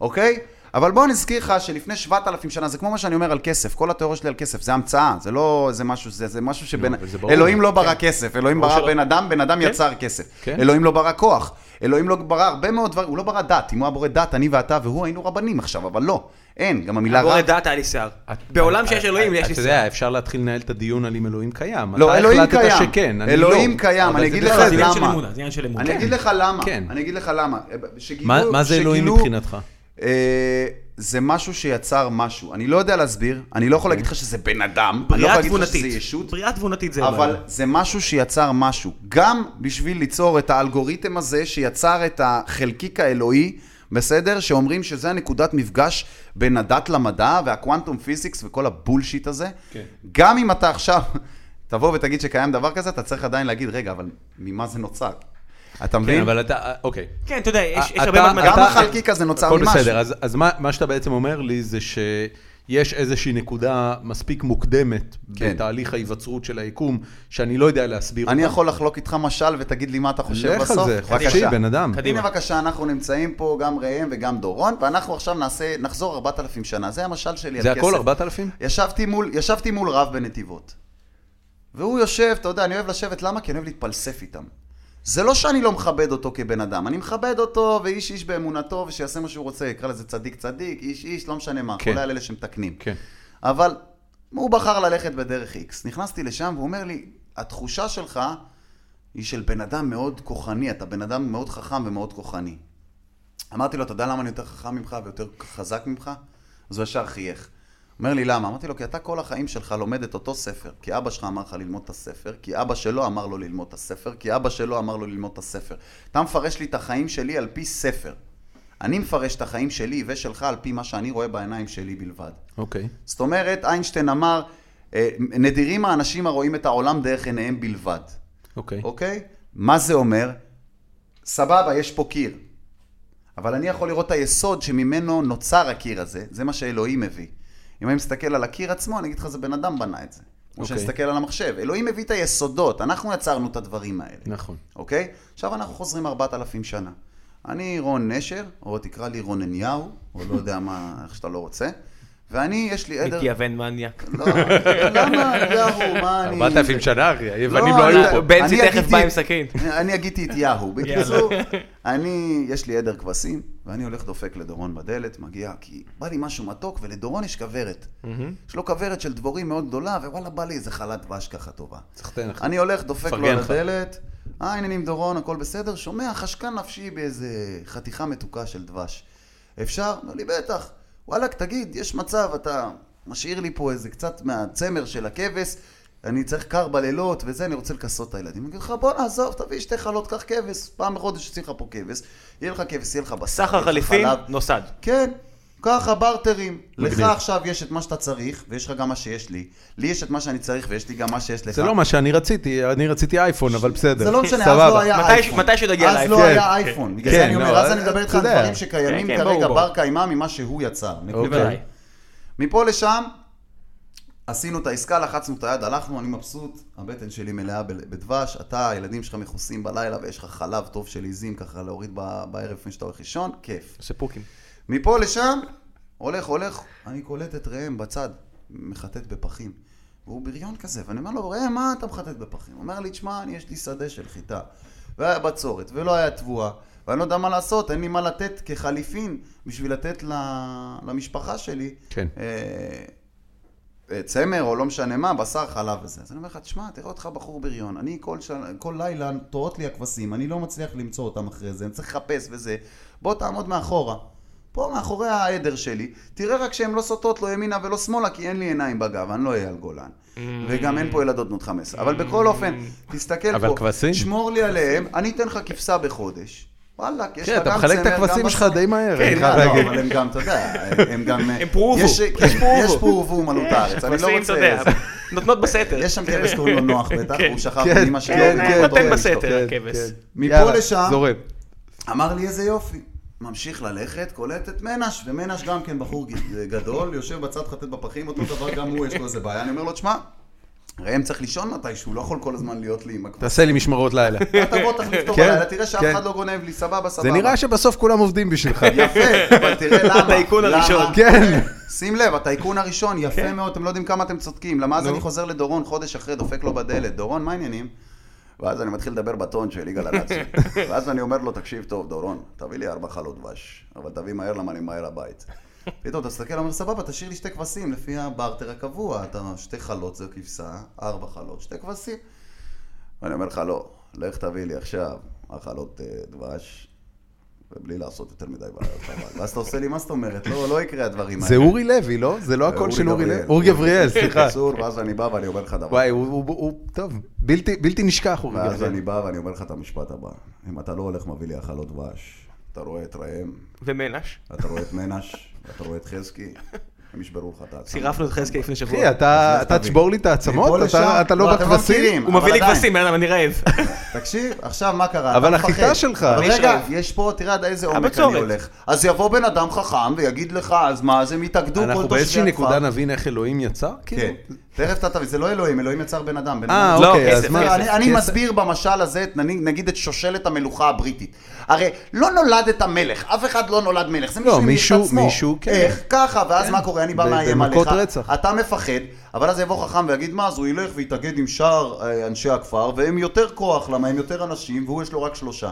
C: אוקיי? אבל בוא נזכיר לך שלפני 7,000 שנה, זה כמו מה שאני אומר על כסף, כל התיאוריה שלי על כסף, זה המצאה, זה לא איזה משהו, זה, זה משהו שבין...
A: לא, אבל זה ברור.
C: אלוהים לא ברא כסף, אלוהים ברא
B: שלא.
C: בן אדם, בן אדם יצר כסף.
A: כן.
C: אלוהים לא ברא כוח, אלוהים לא ברא הרבה מאוד דברים, הוא לא ברא דת, אם הוא היה בורא דת, אני ואתה והוא היינו רבנים עכשיו, אבל לא, אין, גם המילה
B: בורא
C: רב.
B: דעת היה לי שיער.
A: את-
D: בעולם
A: את-
D: שיש אלוהים,
A: את-
D: יש לי
A: אה, אתה יודע, אפשר להתחיל לנהל את הדיון על אם אלוהים קיים.
C: לא,
A: אתה
C: אלוהים
A: החלטת
C: קיים.
A: שכן, אני
C: אלוהים
A: לא.
C: קיים,
A: אבל
C: אני
A: זה
C: אגיד
A: בכלל-
C: לך-
D: זה עניין של
C: למה?
D: אמונה, זה עניין של אמונה.
C: אני אגיד לך למה,
A: כן.
C: אני אגיד לך למה. שגילו-
A: מה- מה זה אלוהים
C: שגילו-
A: מבחינתך?
C: אה, זה משהו שיצר משהו, אני לא יודע להסביר, אני לא
A: כן.
C: יכול להגיד לך שזה בן אדם, אני לא יכול
D: בריאה
C: להגיד לך שזה
D: תבונתית.
C: ישות,
D: בריאה תבונתית זה...
C: אבל
D: אלוהים.
C: זה משהו שיצר משהו. גם בשביל ליצור את האלגוריתם הזה, שיצר את החלקיק האלוהי, בסדר? שאומרים שזה הנקודת מפגש בין הדת למדע והקוונטום פיזיקס וכל הבולשיט הזה.
A: כן.
C: גם אם אתה עכשיו (laughs) תבוא ותגיד שקיים דבר כזה, אתה צריך עדיין להגיד, רגע, אבל ממה זה נוצר? אתה
A: כן,
C: מבין?
A: אבל אתה, אוקיי.
D: כן, אתה יודע, יש יש
A: אתה-
D: הרבה
A: אתה-
D: מתמטיקה.
C: גם החלקיק הזה נוצר
A: הכל
C: ממשהו.
A: בסדר, אז, אז מה, מה שאתה בעצם אומר לי זה שיש איזושהי נקודה מספיק מוקדמת
C: כן.
A: בתהליך ההיווצרות של היקום, שאני לא יודע להסביר
C: אני
A: אותה.
C: יכול לחלוק איתך משל ותגיד לי מה אתה חושב
A: לך על
C: בסוף.
A: זה,
C: בבקשה.
A: תקשיב, בן אדם.
C: הנה בבקשה, אנחנו נמצאים פה, גם ראם וגם דורון, ואנחנו עכשיו נעשה, נחזור 4,000 שנה. זה המשל שלי על
A: זה הכל
C: כסף.
A: 4,000?
C: ישבתי מול, ישבתי מול רב בנתיבות. והוא יושב, אתה יודע, אני אוהב לשבת, למה? כי אני אוהב להתפלסף איתם. זה לא שאני לא מכבד אותו כבן אדם, אני מכבד אותו, ואיש איש באמונתו, ושיעשה מה שהוא רוצה, יקרא לזה צדיק צדיק, איש איש, לא משנה מה,
A: כן.
C: כולל אלה שמתקנים.
A: כן.
C: אבל הוא בחר ללכת בדרך איקס. נכנסתי לשם, והוא אומר לי, התחושה שלך היא של בן אדם מאוד כוחני, אתה בן אדם מאוד חכם ומאוד כוחני. אמרתי לו, אתה יודע למה אני יותר חכם ממך ויותר חזק ממך? אז הוא ישר חייך. אומר לי, למה? אמרתי לו, כי אתה כל החיים שלך לומד את אותו ספר. כי אבא שלך אמר לך ללמוד את הספר, כי אבא שלו אמר לו ללמוד את הספר, כי אבא שלו אמר לו ללמוד את הספר. אתה מפרש לי את החיים שלי על פי ספר. אני מפרש את החיים שלי ושלך על פי מה שאני רואה בעיניים שלי בלבד.
A: אוקיי.
C: זאת אומרת, איינשטיין אמר, אה, נדירים האנשים הרואים את העולם דרך עיניהם בלבד,
A: אוקיי.
C: אוקיי? מה זה אומר? סבבה, יש פה קיר. אבל אני יכול לראות את היסוד שממנו נוצר הקיר הזה, זה מה שאלוהים הביא. אם אני מסתכל על הקיר עצמו, אני אגיד לך, זה בן אדם בנה את זה. כמו שאני
A: אוקיי.
C: מסתכל על המחשב. אלוהים הביא את היסודות, אנחנו יצרנו את הדברים האלה.
A: נכון.
C: אוקיי? עכשיו אנחנו חוזרים 4,000 שנה. אני רון נשר, או תקרא לי רונניהו, או לא יודע מה, איך שאתה לא רוצה. ואני, יש לי עדר...
D: מתייוון מניאק.
C: לא, למה יהו, מה אני...
A: 4,000 שנה, אחי, היוונים לא
C: אני-
A: היו פה.
D: בנצי
C: אני
D: תכף
C: הגיתי-
D: בא עם סכין.
C: אני הגיתי את יהו. בקיצור, אני, יש לי עדר כבשים, ואני הולך דופק לדורון בדלת, מגיע, כי בא לי משהו מתוק, ולדורון יש כוורת. יש לו כוורת של דבורים מאוד גדולה, ווואלה, בא לי איזה חלת דבש ככה טובה.
A: סחטיין אחי.
C: אני הולך, דופק לו
A: מפרגן
C: על
A: לך.
C: הדלת, אה, העניינים דורון, הכל בסדר, שומע חשקן נפשי באיזה חתיכה מתוקה של דבש. אפשר? אומר לי, בטח. וואלכ, תגיד, יש מצב, אתה משאיר לי פה איזה קצת מהצמר של הכבש, אני צריך קר בלילות וזה, אני רוצה לכסות את הילדים. אני אגיד לך, בוא נעזוב, תביא שתי חלות, קח כבש. פעם בחודש יוצאים לך פה כבש. יהיה לך כבש, יהיה לך בשר. יהיה
B: סחר
C: לך
B: חליפין,
C: חלב.
B: נוסד.
C: כן, ככה בארטרים. לך
A: מגניב.
C: עכשיו יש את מה שאתה צריך, ויש לך גם מה שיש לי. לי יש את מה שאני צריך, ויש לי גם מה שיש לך.
A: זה לא מה שאני רציתי, אני רציתי אייפון, אבל בסדר.
C: זה לא משנה, אז
A: סבבה.
C: לא היה
B: מתי-
C: אייפון.
B: מתי שתגיע
C: אז
B: לאייפון.
C: לא
A: כן.
C: היה אייפון. בגלל
A: כן,
C: זה אני אומר,
A: לא,
C: אז
A: אה,
C: אני מדבר איתך
A: אתה
C: על
A: יודע.
C: דברים שקיימים
B: כן, כן, ברור,
C: כרגע
B: ברור.
C: בר קיימא ממה שהוא יצר. נקודה.
A: אוקיי.
C: מפה לשם, עשינו את העסקה, לחצנו את היד, הלכנו, אני מבסוט, הבטן שלי מלאה ב- בדבש, אתה, הילדים שלך מכוסים בלילה ויש לך חלב טוב של עיזים ככה להוריד ב- בערב לפני שאתה הולך לישון, כיף.
B: עושה פוקים.
C: מפה לשם, הולך, הולך, אני קולט את ראם בצד, מחטט בפחים. והוא בריון כזה, ואני אומר לו, ראם, מה אתה מחטט בפחים? הוא אומר לי, תשמע, אני, יש לי שדה של חיטה, והיה בצורת, ולא היה תבואה, ואני לא יודע מה לעשות, אין לי מה לתת כחליפין בשביל לתת ל- למשפחה שלי.
A: כן.
C: אה, אה, צמר או לא משנה מה, בשר, חלב וזה. אז אני אומר לך, תשמע, תראה אותך בחור בריון. אני כל, של... כל לילה טועות לי הכבשים, אני לא מצליח למצוא אותם אחרי זה, אני צריך לחפש וזה. בוא תעמוד מאחורה. פה מאחורי העדר שלי, תראה רק שהן לא סוטות לא ימינה ולא שמאלה, כי אין לי עיניים בגב, אני לא אייל גולן. וגם אין פה ילדות בנות 15. אבל בכל אופן, תסתכל
A: אבל
C: פה,
A: כבשים?
C: שמור לי עליהם, אני אתן לך כבשה בחודש. וואלכ, יש לך
A: כן, אתה
C: גם צמר, גם
A: מחלק את הכבשים
C: בשר.
A: שלך די מהר.
C: כן,
A: אני
C: לא,
A: חייב
C: לא,
A: להגיד.
C: אבל הם גם, אתה יודע, הם
B: (laughs)
C: גם...
B: הם פרובו.
C: יש- כן,
B: יש פרובו.
C: יש פרובו מלות הארץ, אני לא
B: כבשים, אתה
C: רוצה...
B: יודע, נותנות בסתר.
C: יש שם כבש קוראים לו נוח בטח,
B: כן.
C: הוא שכב
A: כן,
C: מאמא שלו.
A: כן,
C: והוא
A: כן,
C: אותו
B: נותן
C: אוהב
B: בסתר.
C: אותו.
A: כן,
B: הכבש.
A: כן.
C: מפה
A: יאללה,
C: לשם.
A: זורם.
C: אמר לי איזה יופי. ממשיך ללכת, קולט את מנש, ומנש גם כן בחור ג- גדול, יושב בצד חטט בפחים, אותו דבר גם הוא, יש לו איזה בעיה. אני אומר לו, תשמע, ראם צריך לישון מתישהו, לא יכול כל הזמן להיות לי
A: (laughs)
C: עם הכבשים.
A: תעשה לי משמרות לילה.
C: אתה בוא תחליף אותו
A: כן,
C: בלילה, תראה שאף
A: כן.
C: אחד לא גונב לי, סבבה, סבבה.
A: זה נראה שבסוף כולם עובדים בשבילך.
C: יפה, אבל תראה למה.
B: הטייקון
C: למה?
B: הראשון.
A: כן.
C: שים לב, הטייקון הראשון, יפה מאוד, אתם לא יודעים כמה אתם צודקים. למה אז אני חוזר לדורון חודש אחרי, דופק לו בדלת, דורון, מה העניינים? ואז אני מתחיל לדבר בטון של יגאל אלעצי. (laughs) ואז אני אומר לו, תקשיב טוב, דורון, תביא לי ארבע חלות דבש, אבל תביא מהר למה אני מהר הבית. פתאום אתה מסתכל, אומר, סבבה, תשאיר לי שתי כבשים, לפי הברטר הקבוע, אתה שתי חלות זה כבשה, ארבע חלות, שתי כבשים. ואני אומר לך, לא, לך תביא לי עכשיו אכלות אה, דבש, ובלי לעשות יותר מדי בעיות. (laughs) אבל." ואז אתה עושה לי, מה זאת אומרת? לא, לא יקרה הדברים האלה.
A: זה אורי לוי, לא? זה לא הקול של אורי לוי. אורי גבריאל, סליחה.
C: בקיצור, ואז אני בא ואני אומר לך דבר.
A: וואי, הוא- הוא- הוא טוב. בלתי בלתי נשכח אורי
C: ואז
A: גבריאל.
C: אני בא ואני אומר לך את המשפט הבא. אם אתה לא הולך, מביא לי אכלות דבש. אתה רואה את ראם,
B: ומנש.
C: אתה רואה את מנש, אתה רואה את חזקי, הם ישברו לך את העצמות.
B: צירפנו את חזקי לפני שבוע.
A: אחי, אתה
C: אז
A: אתה
C: תביא.
A: תשבור לי את
C: מפה
A: העצמות?
C: לשם?
A: אתה- אתה לא
C: אתם
A: בכבשים?
C: מכירים,
B: הוא מביא לי
C: אבל עדיין.
B: כבשים, בן אדם, אני
C: (laughs)
B: רעב.
C: תקשיב, עכשיו מה קרה?
A: אבל
C: אתה
A: החיטה
C: מפחד.
A: שלך.
C: אבל
B: אני
C: רגע,
B: שואף.
C: יש פה, תראה עד איזה עומק אני
B: הבצורת.
C: הולך. אז יבוא בן אדם חכם ויגיד לך, אז מה, אז הם יתאגדו כל
A: אנחנו באיזושהי
C: תושבי הכפר.
A: נקודה נבין איך אלוהים יצר?
C: כן.
A: כאילו?
C: תכף אתה תבין, זה לא אלוהים, אלוהים יצר בן אדם. בן
A: אה,
C: אדם.
B: לא,
A: אוקיי, אז
B: כסף,
A: מה?
B: כסף,
C: אני, אני
A: כסף.
C: מסביר במשל הזה, את, נני- נגיד את שושלת המלוכה הבריטית. הרי לא נולדת מלך, אף אחד לא נולד מלך, זה
A: לא,
C: מישהו המציא את
A: מישהו-
C: עצמו.
A: מישהו, כן.
C: איך? ככה, ואז מה קורה? אני בא
A: ב-
C: מאיים עליך.
A: במכות רצח.
C: אתה מפחד, אבל אז יבוא חכם ויגיד מה, אז הוא ילך ויתאגד עם שאר אה, אנשי הכפר, והם יותר כוח, למה הם יותר אנשים, והוא יש לו רק שלושה.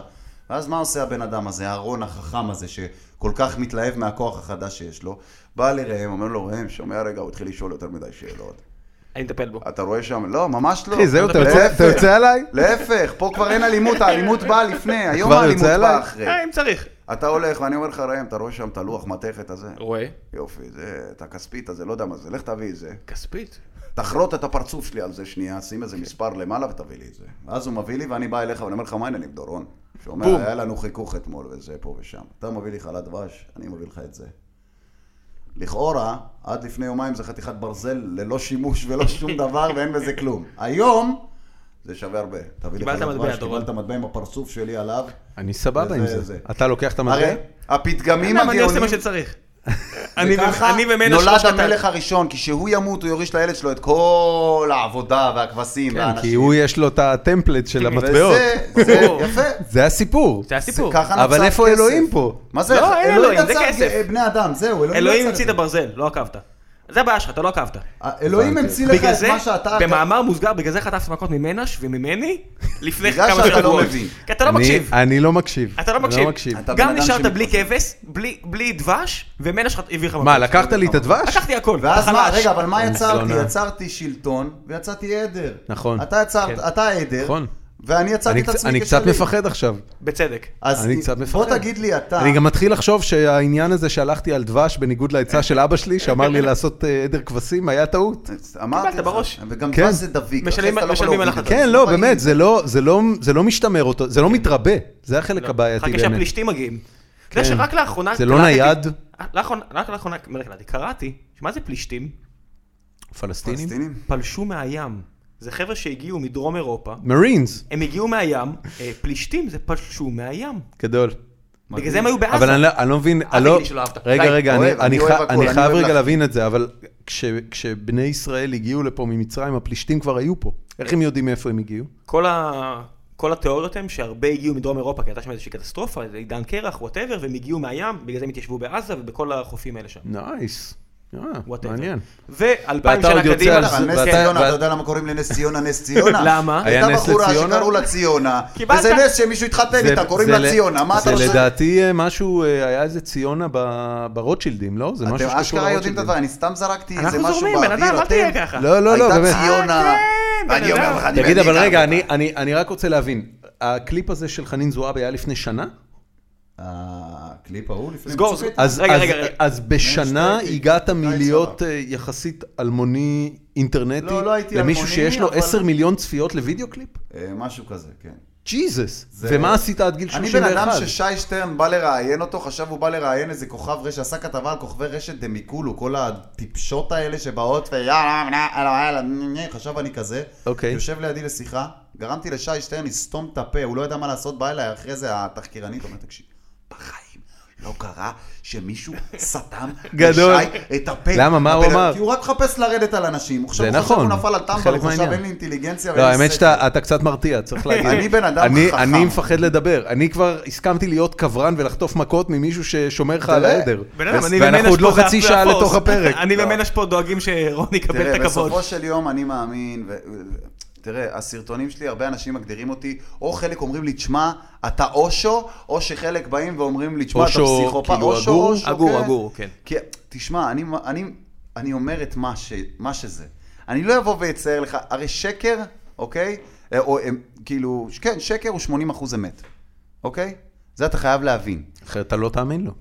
C: ואז מה עושה הבן אדם הזה, אהרון החכם הזה, שכל כך מתלהב מהכוח החדש שיש לו? בא לראם, אומר לו, ראם, שומע רגע, הוא התחיל לשאול יותר מדי שאלות.
B: אני אטפל בו.
C: אתה רואה שם, לא, ממש לא.
A: אחי, זהו, אתה יוצא- אתה
C: להפך.
A: יוצא עליי?
C: להפך, פה כבר אין אלימות, האלימות באה לפני, היום
A: כבר
C: האלימות
A: יוצא
C: באה
A: עליי?
C: אחרי.
B: אה, אם צריך.
C: אתה הולך, ואני אומר לך, ראם, אתה רואה שם את הלוח מתכת הזה?
B: רואה.
C: יופי, זה, את הכספית הזה, לא יודע מה זה, לך תביא את זה.
B: כספית.
C: תחרוט את הפרצוף שלי על זה שנייה, שים
B: אוקיי.
C: איזה מספר למעלה ותביא לי את זה. ואז הוא מביא לי ואני בא אליך ואני אומר לך, מה העניינים, דורון? שאומר, היה לנו חיכוך אתמול וזה פה ושם. אתה מביא לי חלת דבש, אני מביא לך את זה. לכאורה, עד לפני יומיים זה חתיכת ברזל ללא שימוש ולא שום
B: (laughs)
C: דבר ואין בזה כלום. היום, זה שווה הרבה. תביא לי
B: קיבלת
C: חלת
B: מטבע,
C: דבש,
B: דורון.
C: קיבלת מטבע עם הפרצוף שלי עליו.
A: אני סבבה עם
C: וזה-
A: זה. אתה לוקח את המטבע? אה,
C: הרי הפתגמים
B: למה אני עושה
C: הגאונים...
B: מה
C: (laughs)
B: שצריך. אני
C: וככה
B: אני ומנש
C: נולד
B: ראש קטן.
C: המלך הראשון, כי כשהוא ימות הוא יוריש לילד שלו את כל העבודה והכבשים
A: כן,
C: והאנשים.
A: כי הוא יש לו את הטמפלט של המטבעות.
C: וזה, זה
B: ברור.
C: יפה.
A: זה הסיפור.
B: זה הסיפור.
C: ככה
A: אבל
C: נוצר
A: איפה
C: כסף.
A: אלוהים פה?
C: מה זה?
B: לא, אין אלוהים, זה
C: יצר
B: כסף.
C: ג- בני אדם, זהו, אלוהים
B: אלוהים
C: יצר
B: המציא את
C: זה.
B: הברזל, לא עקבת. זה הבעיה שלך, אתה לא עקבת.
C: אלוהים
A: הבנתי.
C: המציא לך
B: בגלל
C: את
B: זה,
C: מה שאתה...
B: במאמר מוסגר, בגלל זה חטפת מכות ממנש וממני לפני
C: בגלל
B: כמה שבועות.
C: שאתה לא מבין.
B: כי אתה לא
A: אני-
B: מקשיב.
A: אני לא מקשיב.
B: אתה לא
A: אני
B: מקשיב.
C: אתה בן
B: גם
C: אדם
B: נשארת בלי
C: שמתמצא.
B: כבש, בלי- בלי דבש, ומנש חט- הביא לך מכות.
A: מה, לקחת לי את הדבש?
B: לקחתי הכל,
C: ואז מה,
B: חלש.
C: רגע, אבל מה
A: אין
C: יצרתי?
A: זונה.
C: יצרתי שלטון ויצרתי עדר.
A: נכון.
C: אתה יצרת, אתה עדר.
A: נכון.
C: ואני יצאתי
A: אני
C: את
A: קצ-
C: עצמי
A: אני
C: כשלי.
A: קצת מפחד עכשיו.
B: בצדק.
C: אז
A: אני
C: אם-
A: קצת
C: בוא
A: מפחד.
C: תגיד לי אתה,
A: אני גם מתחיל לחשוב שהעניין הזה שהלכתי על דבש בניגוד לעצה של אבא שלי, שאמר לי לעשות אה, עדר כבשים, היה טעות.
C: אמרתי
B: קיבלת
C: לך,
B: בראש.
C: וגם
A: כן.
C: מה זה דביק,
B: משלמים-
C: לכן אתה לא יכול
B: משלמים על
C: להוריד את
B: החלטה.
C: זה.
A: כן, לא,
C: פעיל.
A: באמת, זה לא- זה לא- זה לא משתמר אותו, זה לא מתרבה, זה החלק הבעייתי
B: אחר כך
A: באמת.
B: שהפלישתים מגיעים. אתה יודע
A: כן.
B: שרק לאחרונה...
A: זה לא
B: קלטתי-
A: נייד?
B: לאחרונה- רק לאחרונה, מה זה קלטתי? קראתי, שמה זה פלישתים?
A: פלסטינים?
C: פלסטינים?
B: פלשו מהים. זה חבר'ה שהגיעו מדרום אירופה,
A: מרינס,
B: הם הגיעו מהים, אה, פלישתים זה פלשו מהים.
A: גדול.
B: בגלל זה הם היו בעזה.
A: אבל אני לא- אני לא מבין, אני
B: תגיד
A: לא...
B: לי שלא אהבת.
A: רגע,
B: די,
A: רגע,
C: אוהב,
A: אני-
C: אני
A: אני
C: אוהב
A: חי-
C: הכל,
A: אני
C: אני
A: חייב
C: אוהב
A: רגע
C: לך.
A: להבין את זה, אבל כש- כשבני ישראל הגיעו לפה ממצרים, הפלישתים כבר היו פה. איך הם יודעים מאיפה הם הגיעו?
B: כל, ה... כל התיאוריות הן שהרבה הגיעו מדרום אירופה, כי הייתה שם איזושהי קטסטרופה, איזה עידן קרח, וואטאבר, והם הגיעו מהים, בגלל זה הם התיישבו בעזה ובכל החופים האלה שם.
A: נייס. אה,
B: whatever.
A: מעניין.
B: ואלפיים
A: ואתה
B: שנה
A: עוד יוצא
B: קדימה,
A: על
B: אנחנו-
A: זה,
C: נס
A: ואתה-
B: כן,
A: ואתה-
C: ציונה, אתה יודע למה קוראים לנס ציונה נס
A: (laughs)
C: ציונה?
B: למה?
A: היה
C: הייתה
A: נס
C: בחורה
A: לציונה?
C: שקראו לה
A: (laughs)
C: ציונה,
B: קיבלת.
C: וזה נס שמישהו התחתן איתה, קוראים לה
A: ל-
C: ציונה, מה אתה
A: זה
C: חושב?
A: לדעתי אה, משהו, אה, היה איזה ציונה ב- ברוטשילדים, לא? זה משהו
C: אתם
A: שקשור
C: אשכרה יודעים את
A: לרוטשילדים.
C: הדבר, אני סתם זרקתי איזה
B: אנחנו
C: משהו
B: זורמים, בן
C: באוויר,
B: אדם, אל תהיה
C: אתם...
B: ככה.
A: לא, לא, לא, באמת.
C: הייתה ציונה,
B: אה, כן,
C: ואני
B: בן
C: אומר
B: אדם.
C: לך, אני
A: תגיד, אבל
C: אני
A: רגע,
C: גם-
A: אני- אני אני רק רוצה להבין, הקליפ הזה של חנין זועבי היה לפני שנה?
C: הקליפ ההוא לפני...
B: סגור,
C: צוק
B: סגור.
C: איתן.
A: אז,
B: רגע,
A: אז,
B: רגע, רגע.
A: אז בשנה
C: שטייטי.
A: הגעת
C: די,
A: מלהיות
C: סבבה.
A: אה, יחסית אלמוני אינטרנטי,
C: לא, לא הייתי
A: למישהו
C: אלמוני,
A: שיש לו
C: אבל-
A: 10 מיליון צפיות לוידאו קליפ?
C: אה, משהו כזה, כן.
A: ג'יזוס.
C: זה-
A: ומה עשית עד גיל
C: אני בן
A: 31?
C: אדם ששי שטרן בא לראיין אותו, חשב הוא בא לראיין איזה כוכב רשת, עשה כתבה על כוכבי רשת דמיקולו, כל הטיפשות האלה שבאות ויאללה, יאללה, יאללה, יאללה, חשב אני כזה.
A: אוקיי.
C: יושב לידי לשיחה, גרמתי לשי שטרן לסתום את הפה, הוא לא ידע מה לעשות, בא אליי, אחרי זה התחקירנית אומרת, תקשיב, בחיים. לא קרה שמישהו סתם
A: (laughs) גדול.
C: לשי את הפה.
A: למה? מה הוא
C: הבן-
A: אמר?
C: כי הוא רק מחפש לרדת על אנשים. הוא חושב
A: זה
C: הוא חושב
A: נכון.
C: הוא נפל על טמבל,
A: חלק
C: הוא חשב
A: מהעניין.
C: אין לי אינטליגנציה
A: לא,
C: ואין לי
A: האמת
C: שכל."
A: שאתה אתה קצת מרתיע, צריך להגיד.
C: אני בן אדם
A: אני-
C: חכם.
A: אני מפחד לדבר. אני כבר הסכמתי להיות קברן ולחטוף מכות ממישהו ששומר לך על
C: תראה. לא.
A: העדר.
B: בן אדם, אני
A: ואנחנו
B: ומנש
A: עוד לא
B: פה זה
A: חצי
B: הפלאפוס.
A: שעה לתוך הפרק.
B: (laughs)
A: לא.
B: אני ומנש פה דואגים שרון יקבל את
C: תראה,
B: הכבוד.
C: בסופו של יום אני מאמין, ו... תראה, הסרטונים שלי, הרבה אנשים מגדירים אותי, או חלק אומרים לי, תשמע, אתה אושו, או שחלק באים ואומרים לי, תשמע, אתה
A: אושו,
C: פסיכופת,
A: כאילו, אגור?
B: אגור, אגור, כן.
C: כי, תשמע, אני, אני, אני אומר את מה, ש, מה שזה. אני לא אבוא ואצייר לך, הרי שקר, אוקיי? אה, או אה, כאילו, כן, שקר הוא 80 אחוז אמת, אוקיי? זה אתה חייב להבין.
A: אחרת אתה לא תאמין לו.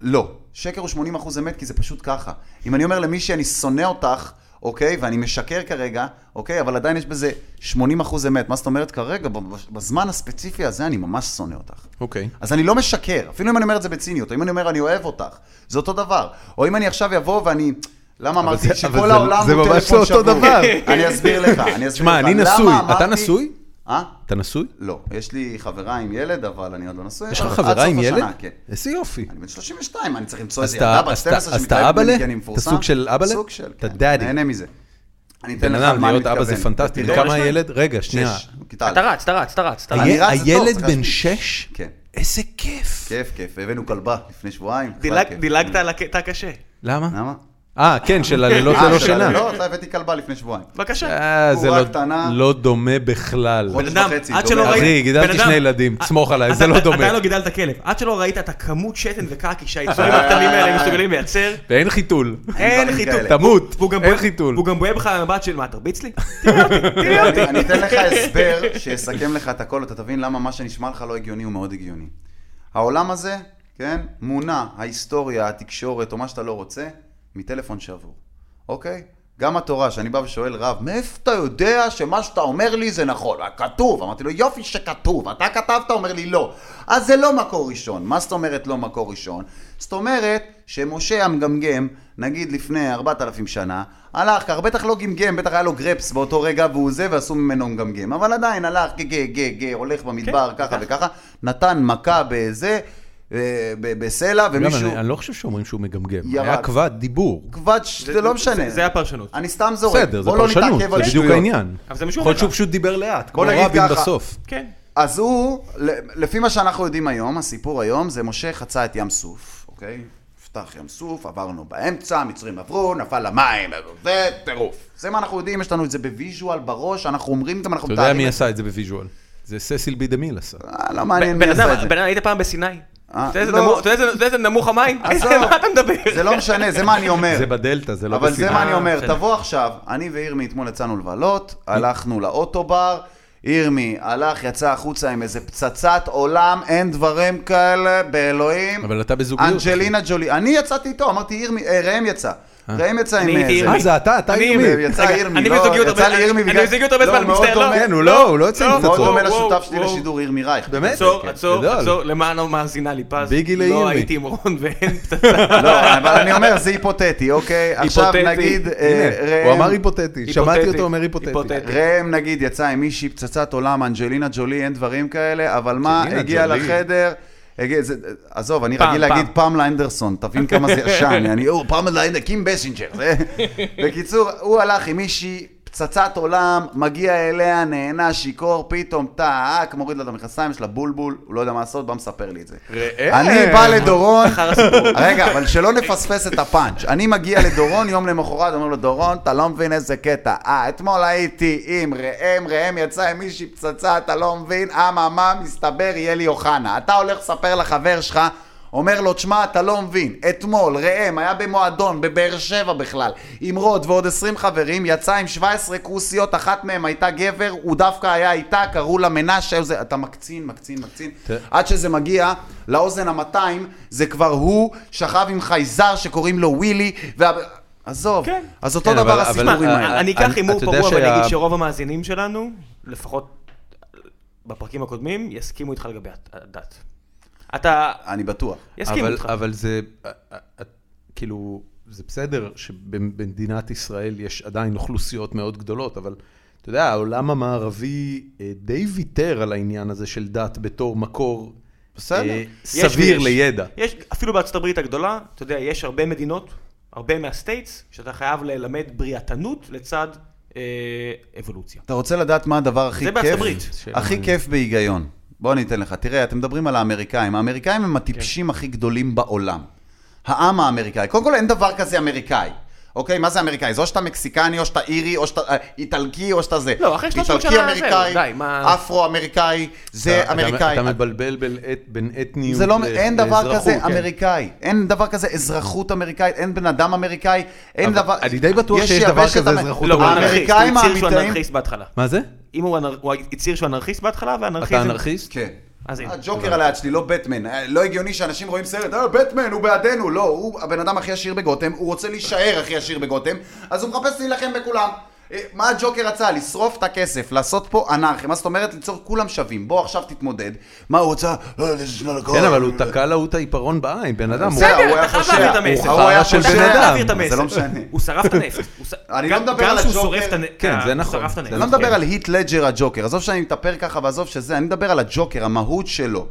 C: לא. שקר הוא 80 אחוז אמת, כי זה פשוט ככה. אם אני אומר למישהי, אני שונא אותך, אוקיי, ואני משקר כרגע, אוקיי, אבל עדיין יש בזה 80 אחוז אמת. מה זאת אומרת כרגע? ב- בזמן הספציפי הזה אני ממש שונא אותך.
A: אוקיי.
C: אז אני לא משקר, אפילו אם אני אומר את זה בציניות, או אם אני אומר אני אוהב אותך, זה אותו דבר. או אם אני עכשיו אבוא ואני... למה אמרתי
A: זה- אבל
C: שכל
A: זה-
C: העולם
A: זה
C: הוא
A: ממש
C: טלפון
A: לא
C: שבור?
A: אותו דבר.
C: (laughs) אני אסביר לך, אני אסביר לך.
A: תשמע, אני
C: למה
A: נשוי.
C: אמרתי-
A: אתה נשוי?
C: אה?
A: אתה נשוי?
C: לא. יש לי חברה עם ילד, אבל אני עוד לא נשוי.
A: יש לך
C: אבל עד
A: חברה
C: סוף
A: עם
C: השנה,
A: ילד?
C: כן.
A: איזה יופי.
C: אני בן 32, אני צריך למצוא
A: אז
C: איזה
A: אתה-
C: ילדה בת
A: אז אתה-
C: 12
A: אז אתה
C: שמתלהבת
A: אבאלה?
C: ממני, כי אני
A: אתה
C: מפורסם.
A: סוג של אבאלה?
C: סוג של,
A: אתה
C: כן.
A: דאדי.
C: נהנה מזה. אני אתן
A: בן
C: לך על
A: אדם,
C: מה אני
A: להיות
C: מתכוון.
A: אבא זה פנטסטי.
C: ותראה,
A: כמה הילד? רגע, שנייה.
C: שש, כיתה א'.
B: אתה רץ, אתה רץ, אתה רץ. אתה רץ.
C: אני
A: הילד-
C: רץ לצורך,
A: הילד
C: צריך
A: בן
C: להשמיש.
A: שש?
C: כן.
A: איזה כיף.
C: כיף, כיף. הבאנו כלבה לפני שבועיים.
B: דילג-
C: בכלל כיף.
B: דילגת על הקטע הקשה.
A: למה?
C: למה?
A: אה, כן, של הלילות
C: אה,
A: ללא
C: של
A: שינה.
C: הלילות, לא, הבאתי כלבה לפני שבועיים.
B: בבקשה.
A: אה, זה
C: בחורה
A: לא-
C: קטנה.
A: לא דומה בכלל.
C: חודש
B: בן אדם,
C: וחצי,
B: עד
C: דומה.
B: שלא
C: אחי,
B: ראית...
A: גידלתי
B: בן אדם-
A: שני ילדים,
B: אה,
A: סמוך עליי,
B: אתה-
A: זה לא
B: אתה-
A: דומה.
B: עדיין לא גידלת כלב. עד שלא ראית את הכמות שתן וקקי
C: (laughs)
B: שהיצורים הקטנים האלה לא מסוגלים לייצר,
A: ואין חיתול.
B: אין
C: דברים
B: חיתול.
C: כאלה.
A: תמות,
B: והוא גם
A: אין
B: בוהה-
A: חיתול.
B: והוא גם בוהה בך על המבט של מה, תרביץ לי? תראה אותי, תראה אותי.
C: אני אני אתן לך הסבר שיסכם לך את הכל, אתה תבין למה מה שנשמע לך לא הגיוני הוא מאוד הגיוני. העולם הזה, כן, מונע ההיסטוריה, התקשורת, או מה שאתה לא רוצה, מטלפון שבור, אוקיי? גם התורה, שאני בא ושואל רב, מאיפה אתה יודע שמה שאתה אומר לי זה נכון? כתוב. אמרתי לו, יופי שכתוב, אתה כתבת, אומר לי לא. אז זה לא מקור ראשון. מה זאת אומרת לא מקור ראשון? זאת אומרת שמשה המגמגם, נגיד לפני 4,000 שנה, הלך כך, בטח לא גמגם, בטח היה לו גרפס באותו רגע והוא זה, ועשו ממנו מגמגם. אבל עדיין הלך, גה גה גה גה, הולך במדבר, ככה וככה, נתן מכה בזה, אה, ב- בסלע,
A: גם,
C: ומישהו...
A: אני אני לא חושב שאומרים שהוא מגמגם.
C: ירד.
A: היה כבד דיבור.
C: כבד, ש- זה לא משנה.
B: זה הפרשנות.
C: אני סתם זורק.
A: בסדר, זה
C: בוא לא
A: פרשנות,
C: נתעכב על
A: זה בדיוק
C: שטויות.
A: העניין.
B: אבל זה מה שהוא
A: יכול להיות
B: אומר
A: שהוא
B: לך.
A: פשוט דיבר לאט, כמו
C: בוא נגיד
A: רבין
C: ככה.
A: בסוף.
B: כן.
C: אז הוא, ל- לפי מה שאנחנו יודעים היום, הסיפור היום זה משה חצה את ים סוף, אוקיי? נפתח ים סוף, עברנו באמצע, המצרים עברו, נפל למים, זה טירוף. זה מה אנחנו יודעים, יש לנו את זה בוויז'ואל בראש, אנחנו אומרים גם, אנחנו
A: אתה יודע מי
C: את זה.
A: עשה את זה בוויז'ואל? זה ססיל בידמיל עשה.
C: אה, לא מעניין
B: בן
C: מי עשה
B: אדם,
C: את זה.
B: בן אדם, היית פעם בסיני?
C: אה,
B: אתה יודע איזה
C: לא.
B: נמוך- אתה יודע איזה- אתה יודע איזה נמוך המים?
C: עזוב.
B: איזה- מה אתה מדבר?
C: זה לא משנה, זה מה אני אומר.
A: זה בדלתא, זה לא
C: אבל
A: בסיני.
C: זה מה אני
B: אה,
C: אומר,
B: בסדר.
C: תבוא עכשיו, אני וירמי אתמול יצאנו לבלות, הלכנו לאוטובר, ירמי הלך, יצא החוצה עם איזה פצצת עולם, אין דברים כאלה, באלוהים.
A: אבל אתה בזוגיות, אחי.
C: אנג'לינה ג'ולי. אני יצאתי איתו, אמרתי ירמי, אה, ראם יצא. ראם יצא עם
B: אני הייתי
C: איזה...
B: ירמי.
A: אה, זה אתה, אתה
B: אני-
A: ירמי.
C: ירמי, יצא
B: רגע,
C: ירמי.
B: אני
C: לא,
B: בזוגיות הרבה-
C: יצא לי ירמי
B: אני
C: בגלל-
B: בזוגיות הרבה
C: לא,
B: זמן,
C: מאוד
B: מצטער, לא.
C: דומה-
A: כן, הוא לא, הוא לא יוצא עם
C: מאוד
A: פצצות.
C: דומה
B: וואו,
C: לשותף שלי
B: וואו.
C: לשידור, ירמי רייך.
A: באמת?
B: עצור,
A: כן,
B: עצור,
A: גדול.
B: עצור, למען המאזינה לי פז.
A: ביגי
B: לא
A: לירמי.
B: הייתי עם רון ואין פצצה.
C: לא, אבל אני אומר, זה היפותטי, אוקיי? עכשיו
B: היפותטי.
C: נגיד, אה,
A: הנה,
C: ראם...
A: הוא אמר היפותטי, שמעתי
B: היפותטי.
A: אותו אומר היפותטי.
B: היפותטי.
C: ראם נגיד יצא עם מישהי פצצת עולם, אנג'לינה ג'ולי, אין דברים כאלה, אבל מה,
A: אנג'לינה
C: הגיע
A: ג'ולי.
C: לחדר, הגיע, זה, עזוב, אני
B: פעם,
C: רגיל
B: פעם.
C: להגיד פעם לאנדרסון, תבין כמה זה ישן, אני, או, פעם לאנדרסון, קים בסינג'ר. זה- בקיצור, הוא הלך עם מישהי, פצצת עולם, מגיע אליה, נהנה, שיכור, פתאום, טאק, מוריד לה את המכנסיים, יש לה בולבול, הוא לא יודע מה לעשות, בא מספר לי את זה.
A: ראם.
C: אני בא לדורון, (laughs) רגע, אבל שלא נפספס את הפאנץ'. אני מגיע לדורון יום למחרת, אומר לו, דורון, אתה לא מבין איזה קטע. אה, אתמול הייתי עם ראם, ראם יצא עם מישהי פצצה, אתה לא מבין, אממה, מסתבר, יהיה לי אוחנה. אתה הולך לספר לחבר שלך, אומר לו, תשמע, אתה לא מבין, אתמול ראם היה במועדון בבאר שבע בכלל, עם רוד ועוד 20 חברים, יצא עם 17 כוסיות, אחת מהם הייתה גבר, הוא דווקא היה איתה, קראו לה מנשה, זה- אתה מקצין, מקצין, מקצין.
A: ת-
C: עד שזה מגיע לאוזן ה-200, זה כבר הוא שכב עם חייזר שקוראים לו ווילי, וה... עזוב,
B: כן.
C: אז אותו
A: כן,
C: דבר
A: אבל-
C: הסיפורים
A: אבל-
C: האלה.
B: לא אני
A: אני-
B: אקח הימור
A: אתה יודע
B: פרוע ואני
A: שה-
B: אגיד שרוב המאזינים שלנו, לפחות בפרקים הקודמים, יסכימו איתך לגבי הת- הדת. אתה...
C: אני בטוח.
B: יסכימו
A: אבל-
B: איתך.
A: אבל זה, אה, אה, אה, כאילו, זה בסדר שבמדינת ישראל יש עדיין אוכלוסיות מאוד גדולות, אבל אתה יודע, העולם המערבי אה, די ויתר על העניין הזה של דת בתור מקור
C: בסדר.
A: אה,
B: יש
A: סביר
B: ויש.
A: לידע.
B: יש, אפילו בארצות הברית הגדולה, אתה יודע, יש הרבה מדינות, הרבה מהסטייטס, שאתה חייב ללמד בריאתנות לצד אה, אבולוציה.
C: אתה רוצה לדעת מה הדבר הכי
B: זה
C: כיף?
B: בארצות הברית.
A: שאלה
C: הכי
A: מעניינת.
C: כיף בהיגיון. בוא אני אתן לך. תראה, אתם מדברים על האמריקאים. האמריקאים הם
A: כן.
C: הטיפשים הכי גדולים בעולם. העם האמריקאי. קודם כל, אין דבר כזה אמריקאי. אוקיי, מה זה אמריקאי? זה או שאתה מקסיקני, או שאתה אירי, או שאתה אה, איטלקי, או שאתה זה.
B: לא, אחרי 300 שנה, זהו,
C: איטלקי אמריקאי,
B: די, מה-
C: אפרו-אמריקאי, זה
A: אתה-
C: אמריקאי.
A: אתה מבלבל בין את- בין אתניות
C: זה לא,
A: ל-
C: אין דבר
A: לאזרחות,
C: כזה
A: כן.
C: אמריקאי, אין דבר כזה אזרחות אמריקאית, אין בן אדם אמריקאי, אין
A: אבל
C: דבר...
A: אני די בטוח
C: יש
A: שיש דבר
C: יבשת
A: כזה
C: אמר-
A: אזרחות
B: לא, הוא אנרכיסט, הוא
C: האמריקאים
B: הצהיר שהוא
C: האמיתיים...
B: אנרכיסט בהתחלה.
A: מה זה?
B: אם הוא אנר- הוא הצהיר שהוא אנרכיסט בהתחלה, ואנרכיזם...
A: אתה אנרכיסט?
C: כן.
B: אז הנה.
C: הג'וקר על היד שלי, לא בטמן. אה, לא הגיוני שאנשים רואים סרט, אה, בטמן, הוא בעדנו. לא, הוא הבן אדם הכי עשיר בגותם, הוא רוצה להישאר הכי עשיר בגותם, אז הוא מחפש להילחם בכולם. אה, מה הג'וקר רצה? לשרוף את הכסף, לעשות פה אנרכיה. מה זאת אומרת? ליצור כולם שווים. בוא עכשיו תתמודד. מה הוא רוצה? אה, זה של הלקוח.
A: כן, אבל הוא תקע להוא את העיפרון בעין, בן אדם. הוא-
C: בסדר,
B: בסדר,
C: הוא היה
B: אתה חייב
C: פושע.
B: להעביר את
C: הוא
B: המסר.
A: חרא
B: אתה
A: של
B: חייב
A: בן אדם.
B: להעביר את
C: זה
B: המסר.
C: לא משנה.
B: הוא שרף את הנפט. הוא ש-
C: אני
B: גם-
C: לא מדבר על
B: גם שהוא
C: הג'וקר.
B: שורף את הנפט.
A: כן, זה
B: הוא
A: נכון.
B: שרף את
A: זה
B: הנפט.
C: אני לא מדבר על היט לג'ר הג'וקר, עזוב שאני מתאפר ככה ועזוב שזה, אני מדבר על הג'וקר, המהות שלו,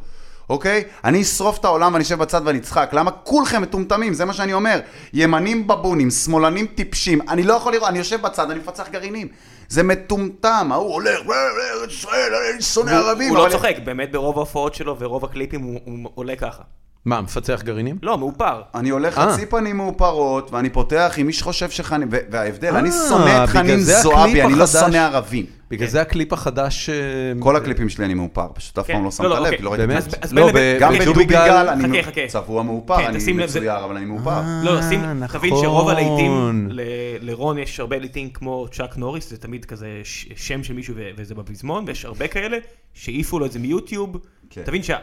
C: אוקיי? אני אשרוף את העולם ואני אשב בצד ואני אצחק, למה כולכם מטומטמים, זה מה שאני אומר. ימנים בבונים, שמאלנים טיפשים, אני לא יכול לראות, אני יושב בצד, אני מפצח גרעינים. זה מטומטם, ההוא הולך, "אה, אה, ארץ ישראל, אני שונא
B: הוא-
C: ערבים.
B: הוא לא
C: אבל-
B: צוחק, באמת ברוב ההופעות שלו ורוב הקליפים הוא הוא עולה ככה.
A: מה, מפצח גרעינים?
B: לא, מאופר.
C: אני הולך
A: אה.
C: חצי פנים מאופרות, ואני פותח עם איש חושב שחנין, ו- וההבדל, אני
A: אה,
C: שונא את
A: בגלל
C: חנין
A: זה הקליפ
C: זועבי, אני לא
A: החדש.
C: שונא ערבים.
A: בגלל זה הקליפ החדש... אה,
C: כל הקליפים שלי אני מאופר, פשוט אף
B: כן.
C: פעם לא שמת
B: לא, לא,
C: לב,
B: אוקיי.
C: כי לא ראיתי
A: באמת?
C: כלום.
B: אז
A: לא,
B: בין לבין-
C: גם
B: אוקיי,
C: בדובי גל,
B: חכה,
C: אני
B: חכה.
C: צבוע מאופר,
B: כן,
C: אני
B: תשים לב, זה-
C: מצויר, אבל אני מאופר.
B: לא, שים,
A: אה,
B: תבין שרוב
A: נכון.
B: הלהיטים, ל- לרון יש הרבה להיטים כמו צ'אק נוריס, זה תמיד כזה ש- שם של מישהו ו- וזה בפזמון, ויש הרבה כאלה שהעיפו לו את זה מיוטיוב.
C: כן.
B: תבין שה...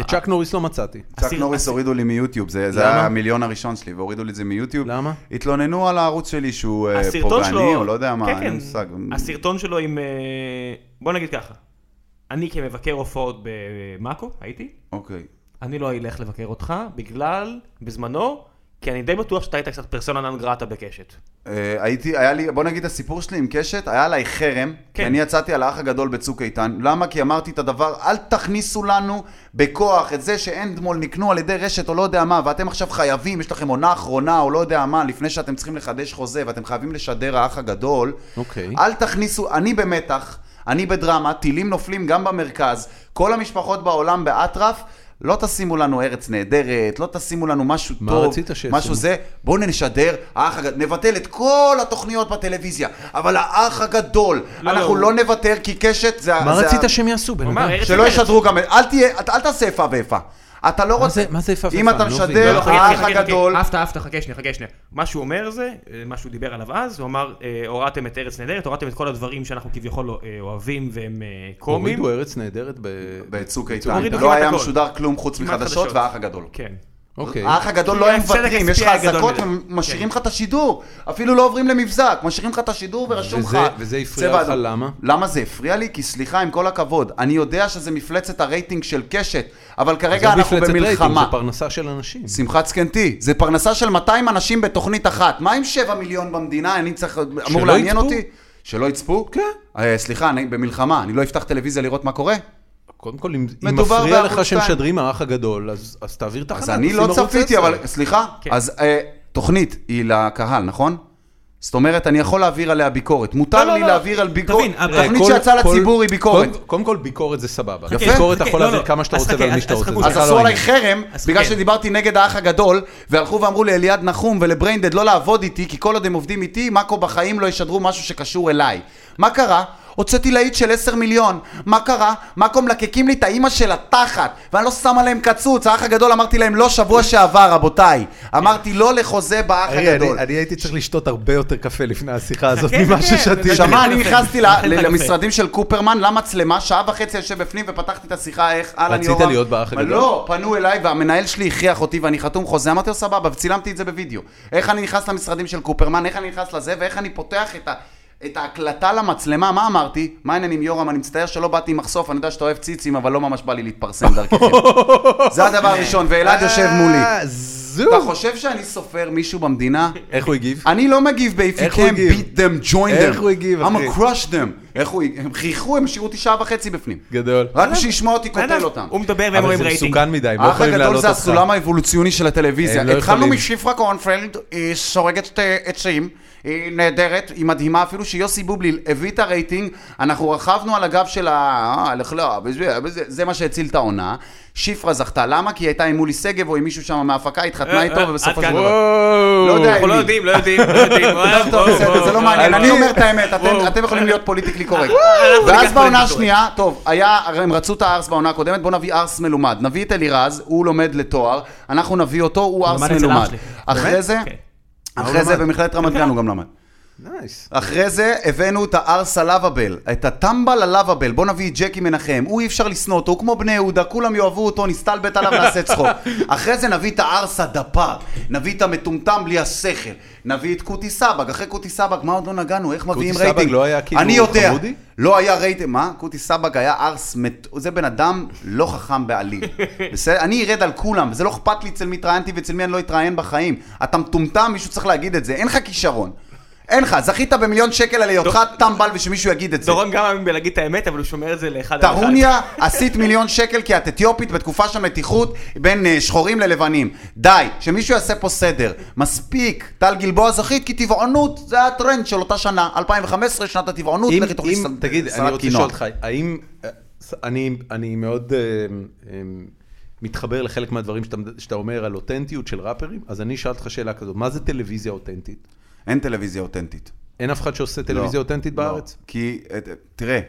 A: את צ'אק נוריס לא מצאתי.
C: צ'אק
B: הסיר-
C: נוריס
B: הסיר-
C: הורידו לי מיוטיוב, זה זה
A: למה?
C: היה המיליון הראשון שלי, והורידו לי את זה מיוטיוב.
A: למה?
C: התלוננו על הערוץ שלי שהוא אה, פוגעני, או לא יודע מה,
B: כן,
C: אין
B: כן.
C: לי מושג.
B: הסרטון שלו עם... אה, בוא נגיד ככה, אני כמבקר הופעות במאקו, הייתי,
C: אוקיי.
B: אני לא אלך לבקר אותך, בגלל, בזמנו, כי אני די בטוח שאתה היית קצת פרסונה נן גרטה בקשת.
C: אה, הייתי, היה לי, בוא נגיד הסיפור שלי עם קשת, היה עליי חרם,
B: כן.
C: כי אני יצאתי על האח הגדול בצוק איתן. למה? כי אמרתי את הדבר, אל תכניסו לנו בכוח את זה שאנדמול נקנו על ידי רשת או לא יודע מה, ואתם עכשיו חייבים, יש לכם עונה אחרונה או לא יודע מה, לפני שאתם צריכים לחדש חוזה, ואתם חייבים לשדר האח הגדול.
A: אוקיי.
C: אל תכניסו, אני במתח, אני בדרמה, טילים נופלים גם במרכז, כל המשפחות בעולם באטרף. לא תשימו לנו ארץ נהדרת, לא תשימו לנו משהו
A: מה
C: טוב,
A: רצית שישימו?
C: משהו זה, בואו נשדר, האח הגדול, נבטל את כל התוכניות בטלוויזיה, אבל האח הגדול,
B: לא,
C: אנחנו
B: לא.
C: לא נוותר כי קשת זה... ה-
A: מה
C: זה ה-
A: רצית שהם יעשו, בן
B: הוא אמר,
A: אדם?
B: ארץ
C: שלא
B: נהדרת.
C: ישדרו גם, אל תהיה, אל תעשה איפה ואיפה. אתה לא
A: מה זה-
C: רוצה...
A: מה זה איפה
C: אם
A: ואיפה?
C: אתה
A: אני לא מבין.
C: משדר,
A: לא,
B: חכה, חכה,
C: כן, האח
B: חכה, חכה.
C: הגדול...
D: אהבת,
B: אהבת, חכה שנייה, חכה שנייה. מה שהוא אומר זה, אה, מה שהוא דיבר עליו אז, הוא אמר, אה, הורדתם את ארץ נהדרת, הורדתם את כל הדברים שאנחנו כביכול לא, אה, אוהבים והם אה, קומיים.
A: הורידו ארץ נהדרת ב...
C: בצוק
B: הורידו
C: איתן. לא
B: כמעט
C: היה
B: הכל.
C: משודר כלום חוץ
B: כמעט
C: מחדשות
B: חדשות.
C: והאח הגדול.
B: כן.
A: אוקיי. כן.
C: האח הגדול לא
B: כי
C: היה
B: ההפסד
C: מוותרים, יש לך
B: הכספי היה
C: אזעקות
B: גדול מדי.
C: ומשאירים לך את השידור. אפילו לא עוברים למבזק, משאירים לך את השידור ורשום לך.
A: וזה- וזה הפריע
C: צבע
A: לך,
C: אדום.
A: למה?
C: למה זה הפריע לי? כי סליחה, עם כל הכבוד, אני יודע שזה מפלצת הרייטינג של קשת, אבל כרגע
A: עזוב
C: אנחנו
A: לא מפלצת רייטינג,
C: במלחמה.
A: זה פרנסה של אנשים.
C: שמחת זקנתי, זה פרנסה של 200 אנשים בתוכנית אחת. מה עם 7 מיליון במדינה? אני צריך, אמור
A: שלא
C: לעניין
A: יצפו.
C: אותי? שלא יצפו?
A: כן.
C: אה, סליחה, אני במלחמה, אני לא אפתח טלוויזיה לראות מה קורה?
A: קודם כל, אם אם
C: מדובר
A: מפריע
C: בערוץ
A: לך שהם
C: שתיים.
A: משדרים האח הגדול, אז אז תעביר תחנה.
C: אז אני
A: תשים
C: לא
A: ערוץ
C: צפיתי,
A: עשר.
C: אבל סליחה?
B: כן.
C: אז אה, תוכנית היא לקהל, נכון? זאת אומרת, אני יכול להעביר עליה ביקורת.
D: לא,
C: מותר
D: לא,
C: לי
D: לא.
C: להעביר על ביקורת.
D: תבין,
A: תראה,
C: תוכנית
A: כל-
C: שיצאה
A: כל-
C: לציבור היא ביקורת. אוקיי,
A: קודם- קודם כל, ביקורת זה סבבה.
C: יפה.
A: ביקורת אתה
D: חכה,
A: יכול
D: לא,
A: להעביר
D: לא.
A: כמה שאתה
D: אז
A: רוצה
D: חכה,
A: ועל מי
D: אז-
A: שאתה
D: אז
A: רוצה.
D: חכו
A: זה
C: אז
A: בכלל לא
C: עשו עליי
A: העניין.
C: חרם,
D: אז
C: בגלל
D: כן.
C: שדיברתי נגד האח הגדול, והלכו ואמרו לאליעד נחום ולבריינדד לא לעבוד איתי, כי כל עוד הם עובדים איתי, מאקו בחיים לא ישדרו משהו שקשור אליי. מה קרה? הוצאתי להיט של 10 מיליון, מה קרה? מאקו מלקקים לי את האימא של התחת, ואני לא שם עליהם קצוץ, האח הגדול אמרתי להם לא שבוע שעבר, רבותיי. אמרתי לא לחוזה באח
A: אחי,
C: הגדול.
A: אני- אני הייתי צריך לשתות הרבה יותר קפה לפני השיחה
D: (laughs)
A: הזאת
D: חכה,
A: ממה
D: חכה,
A: ששתיתי.
C: שמע,
D: (laughs)
C: אני
D: יפה.
C: נכנסתי ל-
D: לכן
C: ל-
D: אתה
C: למשרדים של קופרמן, למצלמה, שעה וחצי יושב בפנים ופתחתי את השיחה, איך, אהלן
A: רצית
C: יורם.
A: להיות באח הגדול?
C: לא, פנו אליי והמנהל שלי הכריח אותי ואני חתום חוזה, אמרתי לו סבבה, וצילמתי את זה בווידאו. איך אני נכנס למשרדים של קופרמן, איך אני נכנס לזה, ואיך אני פותח את ה... את ההקלטה למצלמה, מה אמרתי? מה העניינים עם יורם? אני מצטער שלא באתי עם מחשוף, אני יודע שאתה אוהב ציצים, אבל לא ממש בא לי
A: (laughs)
C: להתפרסם דרככם. זה הדבר הראשון, ואלעד יושב מולי.
A: אה, זו.
C: אתה חושב שאני סופר מישהו במדינה?
A: איך הוא הגיב?
C: אני לא מגיב ב- if you
A: איך הוא
C: can
A: הגיב?
C: beat them, join them.
A: איך הוא הגיב, אחי?
C: I'm a crush them. איך הוא, הם חייכו, הם השאירו אותי שעה וחצי בפנים.
A: גדול.
C: רק בשביל לשמוע אותי
B: בן אדם,
C: קוטל אותם.
B: הוא מדבר והם
A: אבל
B: רואים
A: זה
B: רייטינג.
A: מסוכן מדי, הם לא
C: האח
A: יכולים להעלות
C: הגדול
A: אותך.
C: זה הסולם האבולוציוני של
A: הם
C: הטלוויזיה.
A: לא
C: התחלנו
A: יכולים.
C: משפרה קורנפלד, היא סורגת אה, עצים, היא נהדרת, היא מדהימה, אפילו שיוסי בובליל הביא את הרייטינג, אנחנו רכבנו על הגב של ה... אה, לך לא, וזה- וזה- זה מה שהציל את העונה. שפרה זכתה, למה? כי היא הייתה עם מולי שגב או עם מישהו שם מההפקה, התחתנה
B: אה, אה,
C: איתו
B: עד
C: ובסופו של
B: כאן.
C: דבר. לא יודע,
B: אנחנו לא
C: מי.
B: יודעים, לא יודעים,
A: (laughs)
B: לא יודעים. וואו,
C: טוב,
B: וואו,
C: בסדר,
B: וואו,
C: זה לא
B: וואו.
C: מעניין, אני
B: וואו.
C: אומר את האמת, אתם-
B: וואו. אה,
C: אתם יכולים להיות פוליטיקלי קורקט.
B: אנחנו ניקח
C: ואז
B: פוליטיקלי
C: בעונה
B: קורקט.
C: השנייה, טוב, היה, הם רצו את הארס בעונה הקודמת, בואו נביא ארס מלומד. נביא את אלירז, הוא לומד לתואר, אנחנו נביא אותו, הוא
A: לא-
C: ארס
D: למד אצל אח
C: מלומד.
D: שלי.
C: אחרי
A: באמת?
C: זה,
D: כן.
C: אחרי זה במכללת רמת גן הוא גם למד.
A: נייס.
C: אחרי זה הבאנו את הארס הלאביבל, את הטמבל הלאביבל, בוא נביא את ג'קי מנחם, הוא אי אפשר לשנוא אותו, הוא כמו בני יהודה, כולם יאהבו אותו, נסתלבט עליו,
A: (laughs)
C: נעשה צחוק. אחרי זה נביא את הארס הדפ"ר, נביא את המטומטם בלי השכל, נביא את קוטי סבג, אחרי קוטי סבג, מה עוד לא נגענו, איך מביאים
A: סבג
C: רייטינג?
A: לא היה כאילו
C: אני יודע,
A: חמודי?
C: לא היה רייטינג, מה? קוטי סבג היה ארס, מת... זה בן אדם לא חכם בעליל. בסדר? אני ארד על כולם, וזה לא אכפת לי אצל מי התראיינתי ואצל מי אני לא אתראיין בחיים. אתה מטומטם, מישהו צריך להגיד את זה, אין לך כישרון. אין לך, זכית במיליון שקל על היותך טמבל ושמישהו יגיד את זה.
B: דורון גם מאמין בלהגיד את האמת, אבל הוא שומר את זה לאחד על אחד.
C: טרוניה, עשית מיליון שקל כי את אתיופית בתקופה של מתיחות בין אה, שחורים ללבנים. די, שמישהו יעשה פה סדר. מספיק, טל גלבוע זכית כי טבעונות, זה הטרנד של אותה שנה. 2015, שנת הטבעונות,
A: אם,
C: לכי תאכלי
A: אם,
C: סל-
A: תגיד,
C: סלט
A: אני רוצה
C: קינוע.
A: לשאול אותך, האם, אה, ס- אני, אני מאוד אה, אה, מתחבר לחלק מהדברים שאתה, שאתה אומר על אותנטיות של ראפרים, אז אני אשאל אותך שאלה כזאת, מה זה טלוויזיה אותנטית?
C: אין טלוויזיה אותנטית.
A: אין אף אחד שעושה טלוויזיה
C: לא,
A: אותנטית
C: לא.
A: בארץ?
C: כי, אה, תראה,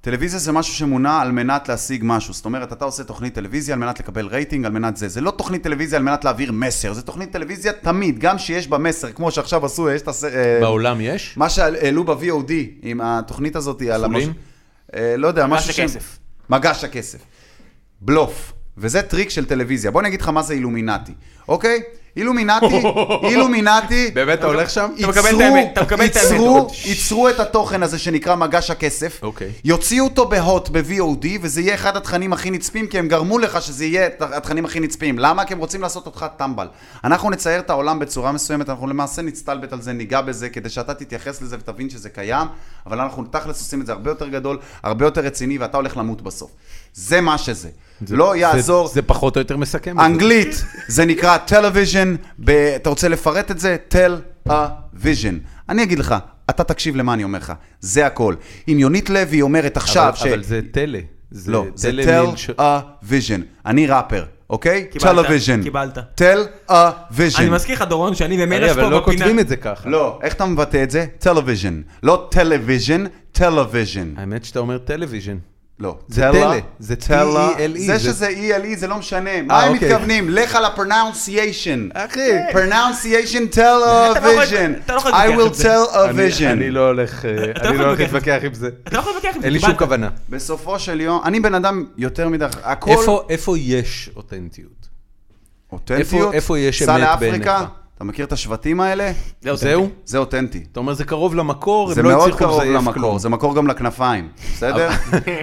C: טלוויזיה זה משהו שמונע על מנת להשיג משהו. זאת אומרת, אתה עושה תוכנית טלוויזיה על מנת לקבל רייטינג, על מנת זה. זה לא תוכנית טלוויזיה על מנת להעביר מסר, זה תוכנית טלוויזיה תמיד, גם שיש בה מסר, כמו שעכשיו עשו, יש את הס... אה,
A: בעולם יש?
C: מה שהעלו ב-VOD עם התוכנית הזאת על
A: חולים?
C: המש- אה, לא יודע,
B: מגש
C: משהו ש...
B: הכסף.
C: מגש הכסף. בלוף. וזה טריק של טלוויזיה. בוא אני אגיד לך מה זה אילומינטי, אוקיי?
A: (laughs)
C: אילומינטי, אילומינטי,
A: באמת אתה הולך שם?
B: אתה מקבל את האמת, אתה מקבל את האמת,
C: ייצרו,
B: דוד.
C: ייצרו את התוכן הזה שנקרא מגש הכסף,
A: אוקיי.
C: יוציאו אותו בהוט, ב-VOD, וזה יהיה אחד התכנים הכי נצפים, כי הם גרמו לך שזה יהיה את התכנים הכי נצפים. למה? כי הם רוצים לעשות אותך טמבל. אנחנו נצייר את העולם בצורה מסוימת, אנחנו למעשה נצטלבט על זה, ניגע בזה, כדי שאתה תתייחס לזה ותבין שזה קיים, אבל אנחנו תכלס עושים את זה הרבה יותר גדול, הרבה יותר רציני, ואתה הולך למות בסוף. זה מה שזה.
A: זה-
C: לא
A: זה-
C: יעזור.
A: זה פחות או יותר מסכם.
C: אנגלית, זה נקרא טלוויז'ן, ב- אתה רוצה לפרט את זה? טל-א-ויז'ן. אני אגיד לך, אתה תקשיב למה אני אומר לך, זה הכל. אם יונית לוי אומרת עכשיו
A: אבל,
C: ש...
A: אבל זה טלה. זה
C: לא, זה
A: טלה מלש-
C: טל-א-ויז'ן. אני ראפר, אוקיי?
B: קיבלת,
C: טלוויז'ן.
B: קיבלת.
C: טל-א-ויז'ן.
D: אני מזכיר לך, דורון, שאני
A: רגע,
D: ומלך
A: אבל
D: פה
A: לא
D: בפינה.
A: כותבים את זה ככה.
C: לא, איך אתה מבטא את זה? טלוויז'ן. לא טלוויז'ן, טלוויז'ן.
A: האמת שאתה אומר טלוויז'ן.
C: לא.
A: זה
E: Tella?
A: תלה, זה
B: E
A: T-E-L-E.
C: E זה שזה E-L-E זה לא משנה, מה
E: אה,
C: הם
E: אוקיי.
C: מתכוונים? לך על ה-pronunciation.
A: אחי,
C: pronunciation
B: יכול-
C: television.
B: אתה לא יכול
C: I
B: להתווכח עם
C: will
B: זה.
C: tell a
A: אני- אני
C: vision.
A: לא הולך אה, אני לא הולך
B: להתווכח.
A: להתווכח עם זה.
B: אתה לא יכול להתווכח עם זה.
A: אין לי שום
B: קיבלת.
A: כוונה.
C: בסופו של יום, אני בן אדם יותר מדי, הכל
A: איפה- איפה יש אותנטיות?
C: אותנטיות.
A: איפה- איפה יש
C: סע
A: אמת
C: לאפריקה,
A: בעיניך?
C: אתה מכיר את השבטים האלה?
A: זהו?
C: זה אותנטי.
A: אתה אומר זה קרוב למקור,
C: אוקיי. זה
A: הם לא
C: מאוד
A: הצליחו
C: קרוב
A: לזייף
C: למקור,
A: כלום.
C: זה מקור גם לכנפיים, בסדר?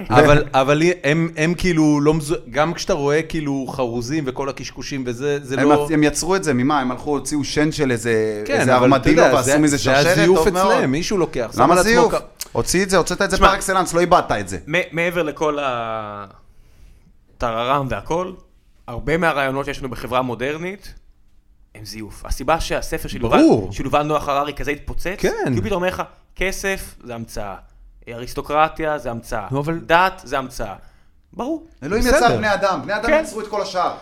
A: אבל, אבל הם, הם כאילו לא מזו... גם כשאתה רואה כאילו חרוזים וכל הקשקושים וזה, (laughs) זה
C: הם
A: לא...
C: עצ- הם יצרו את זה ממה? הם הלכו, הוציאו שן של איזה
A: כן,
C: איזה
A: אבל אתה
C: ארמדילו
A: יודע,
C: לא ועשו
A: זה-
C: מזה שרשרת,
A: זה
C: טוב
A: הזיוף
C: מאוד.
A: אצלם, מישהו לוקח. שם על
C: למה
A: עצמו
C: זיוף?
A: כ-
C: הוציא את זה, הוצאת את זה
B: תשמע,
C: פר אקסלנס, לא איבדת את זה.
B: מ- מעבר לכל הטררם והכל, הרבה מהרעיונות שיש לנו בחברה המודרנית הם זיוף. הסיבה שהספר של יובל-
A: ברור.
B: של יובל נוח הררי כזה התפוצץ,
A: כן.
B: כי הוא פתאום אומר לך, כסף זה המצאה, אריסטוקרטיה זה המצאה,
A: נו, אבל-
B: דת זה המצאה. ברור.
C: אלוהים
A: בסדר.
C: יצר בני אדם, בני אדם
B: כן.
C: יצרו את כל השאר.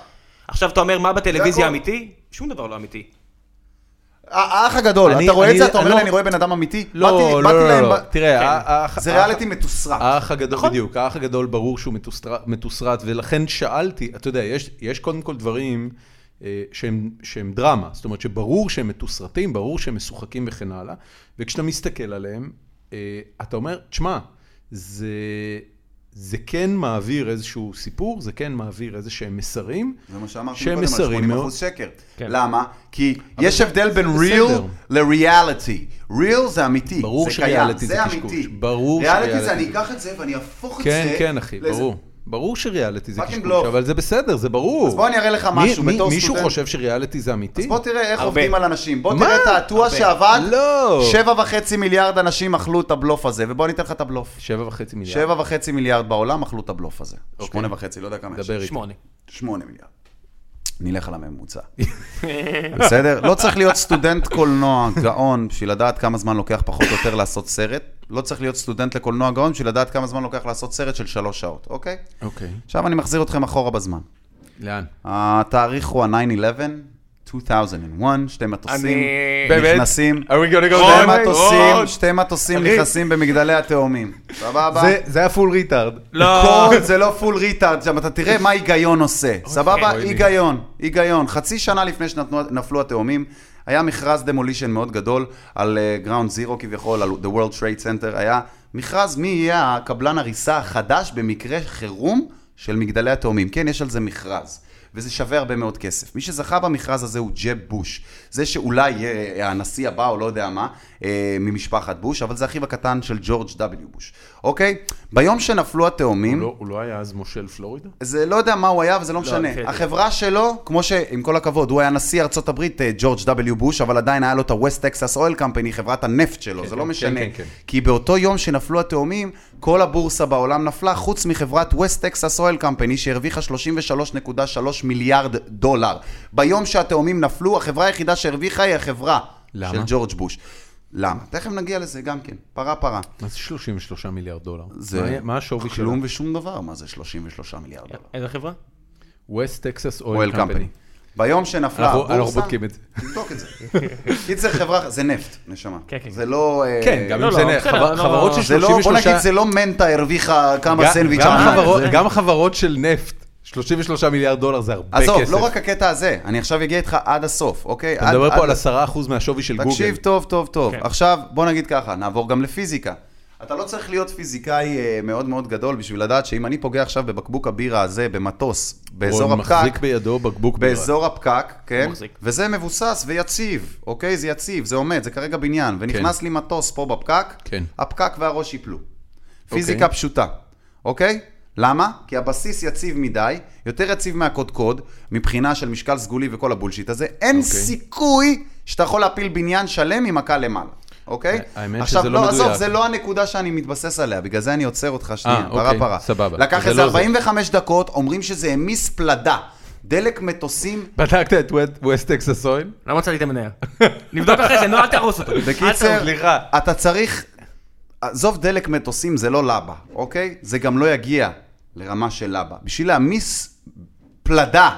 B: עכשיו אתה אומר, מה בטלוויזיה
C: הכל.
B: אמיתי? שום דבר לא אמיתי.
C: אה, האח הגדול,
A: אני-
C: אתה רואה את
A: אני-
C: זה, אתה
A: אני
C: אומר
A: לא-
C: לי, אני רואה בן אדם אמיתי?
A: לא,
C: באתי-
A: לא,
C: באתי
A: לא,
C: להם
A: לא, לא.
C: ב- כן.
A: תראה, אה, ה- ה-
C: זה
A: ה-
C: ריאליטי מתוסרט.
A: האח הגדול,
B: נכון.
A: בדיוק, האח הגדול ברור שהוא מתוסרט, מתוסרט ולכן שאלתי, אתה יודע, יש, יש קודם כל דברים אה, שהם, שהם דרמה, זאת אומרת שברור שהם מתוסרטים, ברור שהם משוחקים וכן הלאה, וכשאתה מסתכל עליהם, אה, אתה אומר, תשמע, זה, זה כן מעביר איזשהו סיפור, זה כן מעביר איזה שהם מסרים.
C: זה מה שאמרתי
A: שהם
C: קודם, על
A: מסרים
C: 80
A: מאוד.
C: אחוז שקר.
D: כן.
C: למה? כי יש הבדל בין
A: בסדר.
C: real לריאליטי. real זה אמיתי,
A: ברור
C: זה קיים,
A: שריאליטי
C: זה
A: זה קשקוש.
C: אמיתי.
A: ברור
C: ריאליטי זה
A: שריאליטי
C: אני
A: זה-
C: אקח את זה ואני אהפוך את זה.
A: כן, כן, אחי,
C: לאיזה-
A: ברור. ברור שריאליטי זה
C: Fucking
A: קשקוש,
C: bluff.
A: אבל זה בסדר, זה ברור.
C: אז בוא אני אראה לך
A: מי-
C: משהו
A: מי-
C: בתור
A: מישהו
C: סטודנט.
A: חושב שריאליטי זה אמיתי?
C: אז בוא תראה איך
B: הרבה.
C: עובדים על אנשים. בוא
A: מה?
C: תראה את העטוע
B: הרבה.
C: שעבד.
A: לא.
C: שבע וחצי מיליארד אנשים אכלו את הבלוף הזה, ובוא אני אתן לך את הבלוף.
A: שבע וחצי מיליארד.
C: שבע וחצי מיליארד בעולם אכלו את הבלוף הזה.
A: אוקיי.
C: שמונה וחצי, לא יודע כמה יש.
A: דבר איתי.
B: שמונה.
C: שמונה מיליארד. נלך על
A: (laughs)
C: הממוצע. בסדר? לא צריך להיות סטודנט קולנוע גאון בשביל לדעת כמה זמן לוקח פחות או יותר לעשות סרט. לא צריך להיות סטודנט לקולנוע גאון בשביל לדעת כמה זמן לוקח לעשות סרט של שלוש שעות, אוקיי?
A: אוקיי.
C: עכשיו אני מחזיר אתכם אחורה בזמן.
A: לאן?
C: התאריך הוא ה-9-11, 2001, שתי מטוסים
B: אה,
A: באמת?
C: נכנסים.
A: we gonna go
C: שתי
A: there? Oh,
C: מטוסים, שתי מטוסים
A: אחי.
C: נכנסים במגדלי התאומים. סבבה?
A: זה- זה היה פול ריטארד.
B: לא.
C: כל זה לא פול ריטארד שם, אתה תראה מה היגיון עושה. סבבה?
A: אוי לי.
C: היגיון, היגיון. חצי שנה לפני שנפלו התאומים, היה מכרז דמולישן מאוד גדול על גראונד זירו כביכול, על The World Trade Center, היה מכרז מי יהיה הקבלן הריסה החדש במקרה חירום של מגדלי התאומים. כן, יש על זה מכרז. וזה שווה הרבה מאוד כסף. מי שזכה במכרז הזה הוא ג'ב בוש. זה שאולי יהיה הנשיא הבא או לא יודע מה, אה, ממשפחת בוש, אבל זה אחיו הקטן של ג'ורג' W. בוש. אוקיי? ביום שנפלו התאומים...
A: הוא לא היה אז מושל פלורידה?
C: זה לא יודע מה הוא היה, וזה לא משנה.
A: כן.
B: בסדר.
C: החברה שלו, כמו שעם כל הכבוד, הוא היה נשיא ארצות הברית, אה, ג'ורג' W. בוש, אבל עדיין היה לו את ה-West Texas Oil Company, חברת הנפט שלו, זה לא
A: כן,
C: משנה.
A: כן, כן.
C: כי באותו יום שנפלו התאומים, כל הבורסה בעולם נפלה, חוץ מחברת West Texas Oil Company, שהרוויחה 33.3 מיליארד דולר. ביום שהתאומים נפלו, החברה היחידה שהרוויחה היא החברה
A: למה?
C: של ג'ורג' בוש. למה? תכף נגיע לזה גם כן, פרה פרה.
A: מה זה 33 מיליארד דולר? מה
C: זה
A: היה- מה השווי שלו?
C: כלום ושום דבר, מה זה 33 מיליארד דולר?
B: איזה חברה?
A: West Texas
C: אויל
A: Oil
C: קמפני.
A: Company.
C: ביום שנפלה
A: אנחנו-
C: הבורסה,
A: אנחנו בודקים את זה.
C: תבדוק את זה. (laughs) קיצר חברה, זה נפט, נשמה.
B: כן, כן.
C: זה לא... אה,
A: כן, גם
B: לא,
A: אם
B: לא,
A: זה נ-
B: בסדר,
A: חבר-
B: לא,
A: חברות
B: לא.
A: של
C: זה לא,
A: 33...
C: בוא נגיד, זה לא מנטה הרוויחה כמה
A: גם-
C: סנדוויץ'
A: גם
C: ענק.
A: חברות-
C: זה-
A: גם חברות של נפט, 33 מיליארד דולר זה הרבה כסף.
C: עזוב, לא רק הקטע הזה, אני עכשיו אגיע איתך עד הסוף, אוקיי?
A: אתה
C: עד-
A: מדבר פה
C: עד-
A: על 10% מהשווי של גוגל.
C: תקשיב טוב, טוב, טוב.
B: כן.
C: עכשיו, בוא נגיד ככה, נעבור גם לפיזיקה. אתה לא צריך להיות פיזיקאי אה, מאוד מאוד גדול בשביל לדעת שאם אני פוגע עכשיו בבקבוק הבירה הזה, במטוס, באזור
A: רון
C: הפקק,
A: מחזיק בידו בקבוק בירה.
C: באזור הפקק, כן?
B: מחזיק.
C: וזה מבוסס ויציב, אוקיי? זה יציב, זה עומד, זה כרגע בניין. ונכנס לי מטוס פה בפקק,
A: כן.
C: הפקק והראש ייפלו. פיזיקה פשוטה, אוקיי? למה? כי הבסיס יציב מדי, יותר יציב מהקודקוד, מבחינה של משקל סגולי וכל הבולשיט הזה. אין
A: אוקיי.
C: סיכוי שאתה יכול להפיל בניין שלם עם מכה למעלה. אוקיי?
A: האמת
C: עכשיו,
A: שזה לא
C: לא, עזוב,
A: מדויק.
C: זה לא הנקודה שאני מתבסס עליה, בגלל זה אני עוצר אותך שנייה,
A: אה,
C: כאילו, פרה
A: אוקיי,
C: פרה.
A: סבבה.
C: לקח
A: זה
C: איזה
A: לא זה.
C: 45 דקות, אומרים שזה העמיס פלדה. דלק מטוסים
A: בדקת את West Texas Oil?
B: לא מצאתי את המניה.
C: אה.
B: נבדוק אחרי זה, נו, אל תהרוס אותו.
C: בקיצר,
A: סליחה.
C: אתה צריך... עזוב דלק מטוסים, זה לא לבה, אוקיי? זה גם לא יגיע לרמה של לבה. בשביל להעמיס פלדה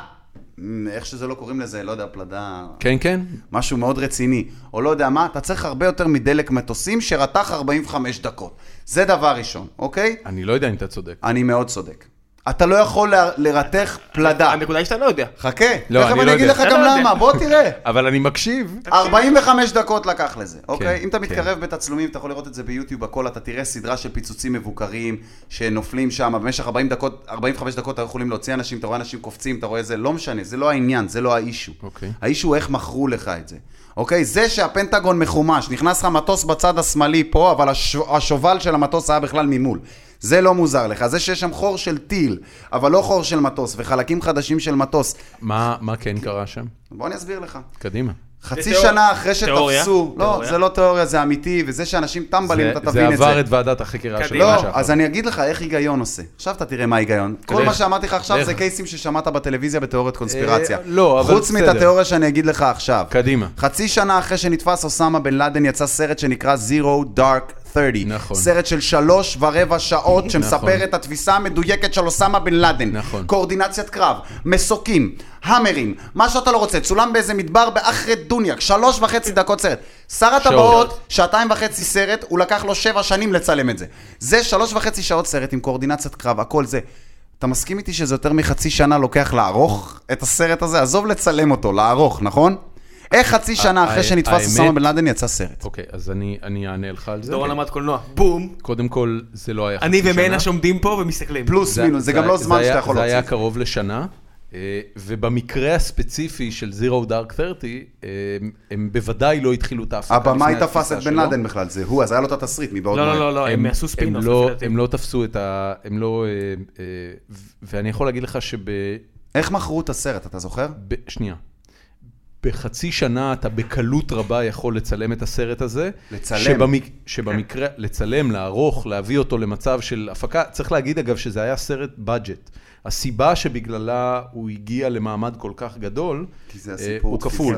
C: איך שזה לא קוראים לזה, לא יודע, פלדה...
A: כן, כן.
C: משהו מאוד רציני, או לא יודע מה, אתה צריך הרבה יותר מדלק מטוסים שרתח 45 דקות. זה דבר ראשון, אוקיי?
A: אני לא יודע אם אתה צודק.
C: אני מאוד צודק. אתה לא יכול ל- לרתך פלדה.
B: הנקודה היא שאתה לא יודע.
C: חכה,
A: לא,
C: תכף
A: אני
C: אני
A: לא
C: אגיד
A: יודע.
C: לך
B: אתה
C: גם
B: לא יודע.
C: למה, בוא
B: (laughs)
C: תראה.
A: אבל אני מקשיב.
C: 45 דקות לקח לזה, אוקיי? אם אתה
A: כן.
C: מתקרב בתצלומים, אתה יכול לראות את זה ביוטיוב הכל, אתה תראה סדרה של פיצוצים מבוקרים, שנופלים שם, במשך 40 דקות, 45 דקות אתה יכולים להוציא אנשים, אתה רואה אנשים קופצים, אתה רואה זה, לא משנה, זה לא העניין, זה לא האישו.
A: אוקיי.
C: האישו הוא איך מכרו לך את זה. אוקיי? זה שהפנטגון מחומש, נכנס לך מטוס בצד השמאלי פה, אבל הש- השובל של המטוס היה בכלל ממול. זה לא מוזר לך, זה שיש שם חור של טיל, אבל לא חור של מטוס, וחלקים חדשים של מטוס.
A: מה מה כן קרה שם?
C: בוא אני אסביר לך.
A: קדימה.
C: חצי
B: זה תיאור-
C: שנה אחרי
B: תיאוריה?
C: שתפסו, לא,
B: תיאוריה?
C: זה לא תיאוריה, זה אמיתי, וזה שאנשים טמבלים, אתה
A: זה- זה
C: תבין את
A: עבר
C: זה.
A: את ועדת החקירה של
B: קדימה.
A: מה
C: לא,
A: שאחר.
C: אז אני אגיד לך איך היגיון עושה. עכשיו אתה תראה מה ההיגיון. כל
A: לך.
C: מה שאמרתי לך עכשיו
A: לך.
C: זה קייסים ששמעת בטלוויזיה בתיאוריית קונספירציה.
A: אה, לא, אבל
C: חוץ
A: בסדר.
C: מאת התיאוריה שאני אגיד לך עכשיו.
A: קדימה.
C: חצי שנה אחרי שנתפס אוסמה בן לאדן יצא סרט שנקרא Zero Dark 30.
A: נכון.
C: סרט של שלוש ורבע שעות
A: נכון.
C: שמספר את התפיסה המדויקת של אוסמה בן לאדן.
A: נכון.
C: קואורדינציית קרב, מסוקים, המרים, מה שאתה לא רוצה, צולם באיזה מדבר באחרי דוניאק, שלוש וחצי דקות סרט. שר הטבעות, שעתיים וחצי סרט, הוא לקח לו שבע שנים לצלם את זה. זה שלוש וחצי שעות סרט עם קואורדינציית קרב, הכל זה. אתה מסכים איתי שזה יותר מחצי שנה לוקח לערוך את הסרט הזה? עזוב לצלם אותו, לערוך, נכון? איך חצי שנה אחרי
A: הא-
C: שנתפס
A: אה, האמת-
C: אוסמה בן לאדן יצא סרט?
A: אוקיי, אז אני אני אענה לך על זה.
B: דורון למד קולנוע. בום.
A: קודם כל, זה לא היה חצי
B: אני
A: שנה.
B: ומנש עומדים פה ומסתכלים.
C: פלוס מינוס, זה גם לא זמן
A: היה-
C: שאתה יכול
A: זה
C: להוציא.
A: היה קרוב לשנה, אה, ובמקרה הספציפי של Zero Dark 30, אה, הם בוודאי לא התחילו את ההפסקה.
C: הבמאי
A: לפני
C: תפס את
A: התפיסה
C: בן
A: שלו.
C: לאדן בכלל, זה הוא, אז היה לו את התסריט מבעוד
B: לא,
C: מועד.
B: לא, לא, לא, הם עשו
A: הם
B: ספינוף.
A: לא-
B: לפי דעתי.
A: הם לא תפסו את ה... הם לא... אה, אה, ו- ואני יכול להגיד לך שב...
C: איך מכרו את הסרט, אתה זוכר?
A: ב- שנייה. בחצי שנה אתה בקלות רבה יכול לצלם את הסרט הזה.
C: לצלם. כן.
A: שבמק... שבמקרה, לצלם, לערוך, להביא אותו למצב של הפקה. צריך להגיד אגב שזה היה סרט בדג'ט. הסיבה שבגללה הוא הגיע למעמד כל כך גדול,
C: כי זה
A: אה,
C: הסיפור
A: הוא
C: תפיסה.
A: כפול.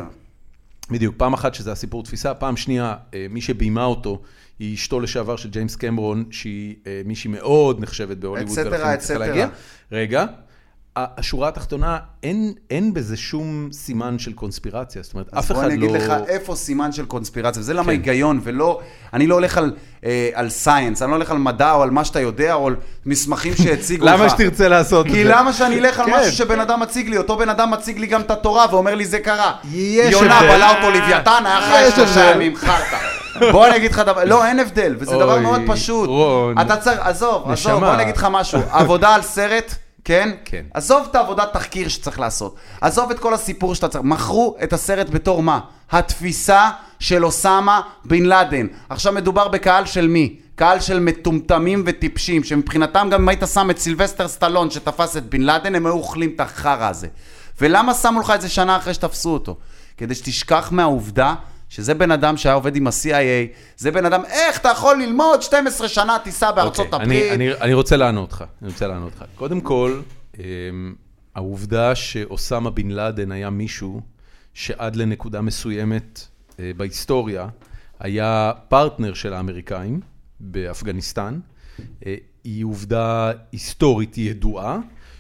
A: בדיוק, פעם אחת שזה הסיפור תפיסה, פעם שנייה, אה, מי שביימה אותו היא אשתו לשעבר של ג'יימס קמרון, שהיא אה, מישהי מאוד נחשבת בהוליווד,
C: אצטרה,
A: ולכן היא צריכה
C: אצטרה.
A: להגיע. רגע, ה- השורה התחתונה, אין, אין בזה שום סימן של קונספירציה, זאת אומרת, אף
C: אז
A: אחד לא...
C: בוא אני אגיד לך איפה סימן של קונספירציה, וזה למה
A: כן.
C: היגיון, ולא, אני לא הולך על, אה, על סcience, אני לא הולך על מדע או על מה שאתה יודע או על מסמכים שהציגו
A: (laughs)
C: לך.
A: למה שתרצה לעשות את זה?
C: כי למה שאני אלך על
A: כן.
C: משהו שבן אדם מציג לי, אותו בן אדם מציג לי גם את התורה ואומר לי זה קרה.
A: יש
C: יונה
A: הבדל.
C: בלע אותו לוויתן, היה
A: יש
C: חי שלושה
A: הבדל.
C: ימים, חרטא. בוא אני אגיד לך דבר, לא, אין הבדל, וזה דבר
A: אוי,
C: מאוד פשוט.
A: רון.
C: אתה צריך, עזוב, עזוב,
A: נשמה.
C: בוא אני אגיד לך
A: (laughs)
C: משהו, עבודה על סרט, כן?
A: כן.
C: עזוב את העבודת תחקיר שצריך לעשות, עזוב את כל הסיפור שאתה צריך, מכרו את הסרט בתור מה? התפיסה של אוסמה בן לאדן. עכשיו מדובר בקהל של מי? קהל של מטומטמים וטיפשים, שמבחינתם גם אם היית שם את סילבסטר סטלון שתפס את בן לאדן, הם היו אוכלים את החרא הזה. ולמה שמו לך את זה שנה אחרי שתפסו אותו? כדי שתשכח מהעובדה שזה בן אדם שהיה עובד עם ה-CIA, זה בן אדם, איך אתה יכול ללמוד 12 שנה טיסה בארצות
A: אוקיי,
C: הברית?
A: אני, אני, אני רוצה לענות לך, אני רוצה לענות לך. קודם כל, אמ, העובדה שאוסמה בן לאדן היה מישהו שעד לנקודה מסוימת אה, בהיסטוריה היה פרטנר של האמריקאים באפגניסטן, אה, היא עובדה היסטורית ידועה.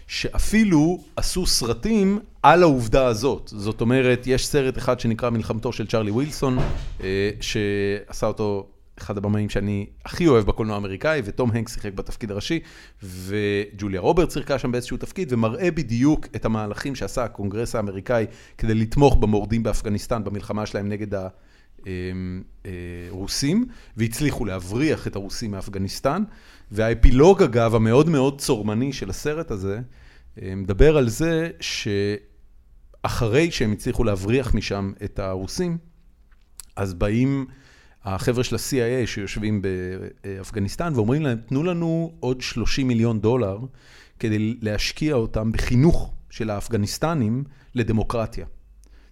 A: שאפילו עשו סרטים על העובדה הזאת. זאת אומרת, יש סרט אחד שנקרא מלחמתו של צ'רלי ווילסון, אה, שעשה אותו אחד הבמאים שאני הכי אוהב בקולנוע האמריקאי, וטום הנק שיחק בתפקיד הראשי, וג'וליה רוברט שיחקה שם באיזשהו תפקיד, ומראה בדיוק את המהלכים שעשה הקונגרס האמריקאי כדי לתמוך במורדים באפגניסטן במלחמה שלהם נגד ה... אמ, אה, רוסים, והצליחו להבריח את הרוסים מאפגניסטן. והאפילוג, אגב, המאוד מאוד צורמני של הסרט הזה, אה, מדבר על זה שאחרי שהם הצליחו להבריח משם את הרוסים, אז באים החבר'ה של ה-CIA שיושבים באפגניסטן ואומרים להם, תנו לנו עוד 30 מיליון דולר כדי להשקיע אותם בחינוך של האפגניסטנים לדמוקרטיה.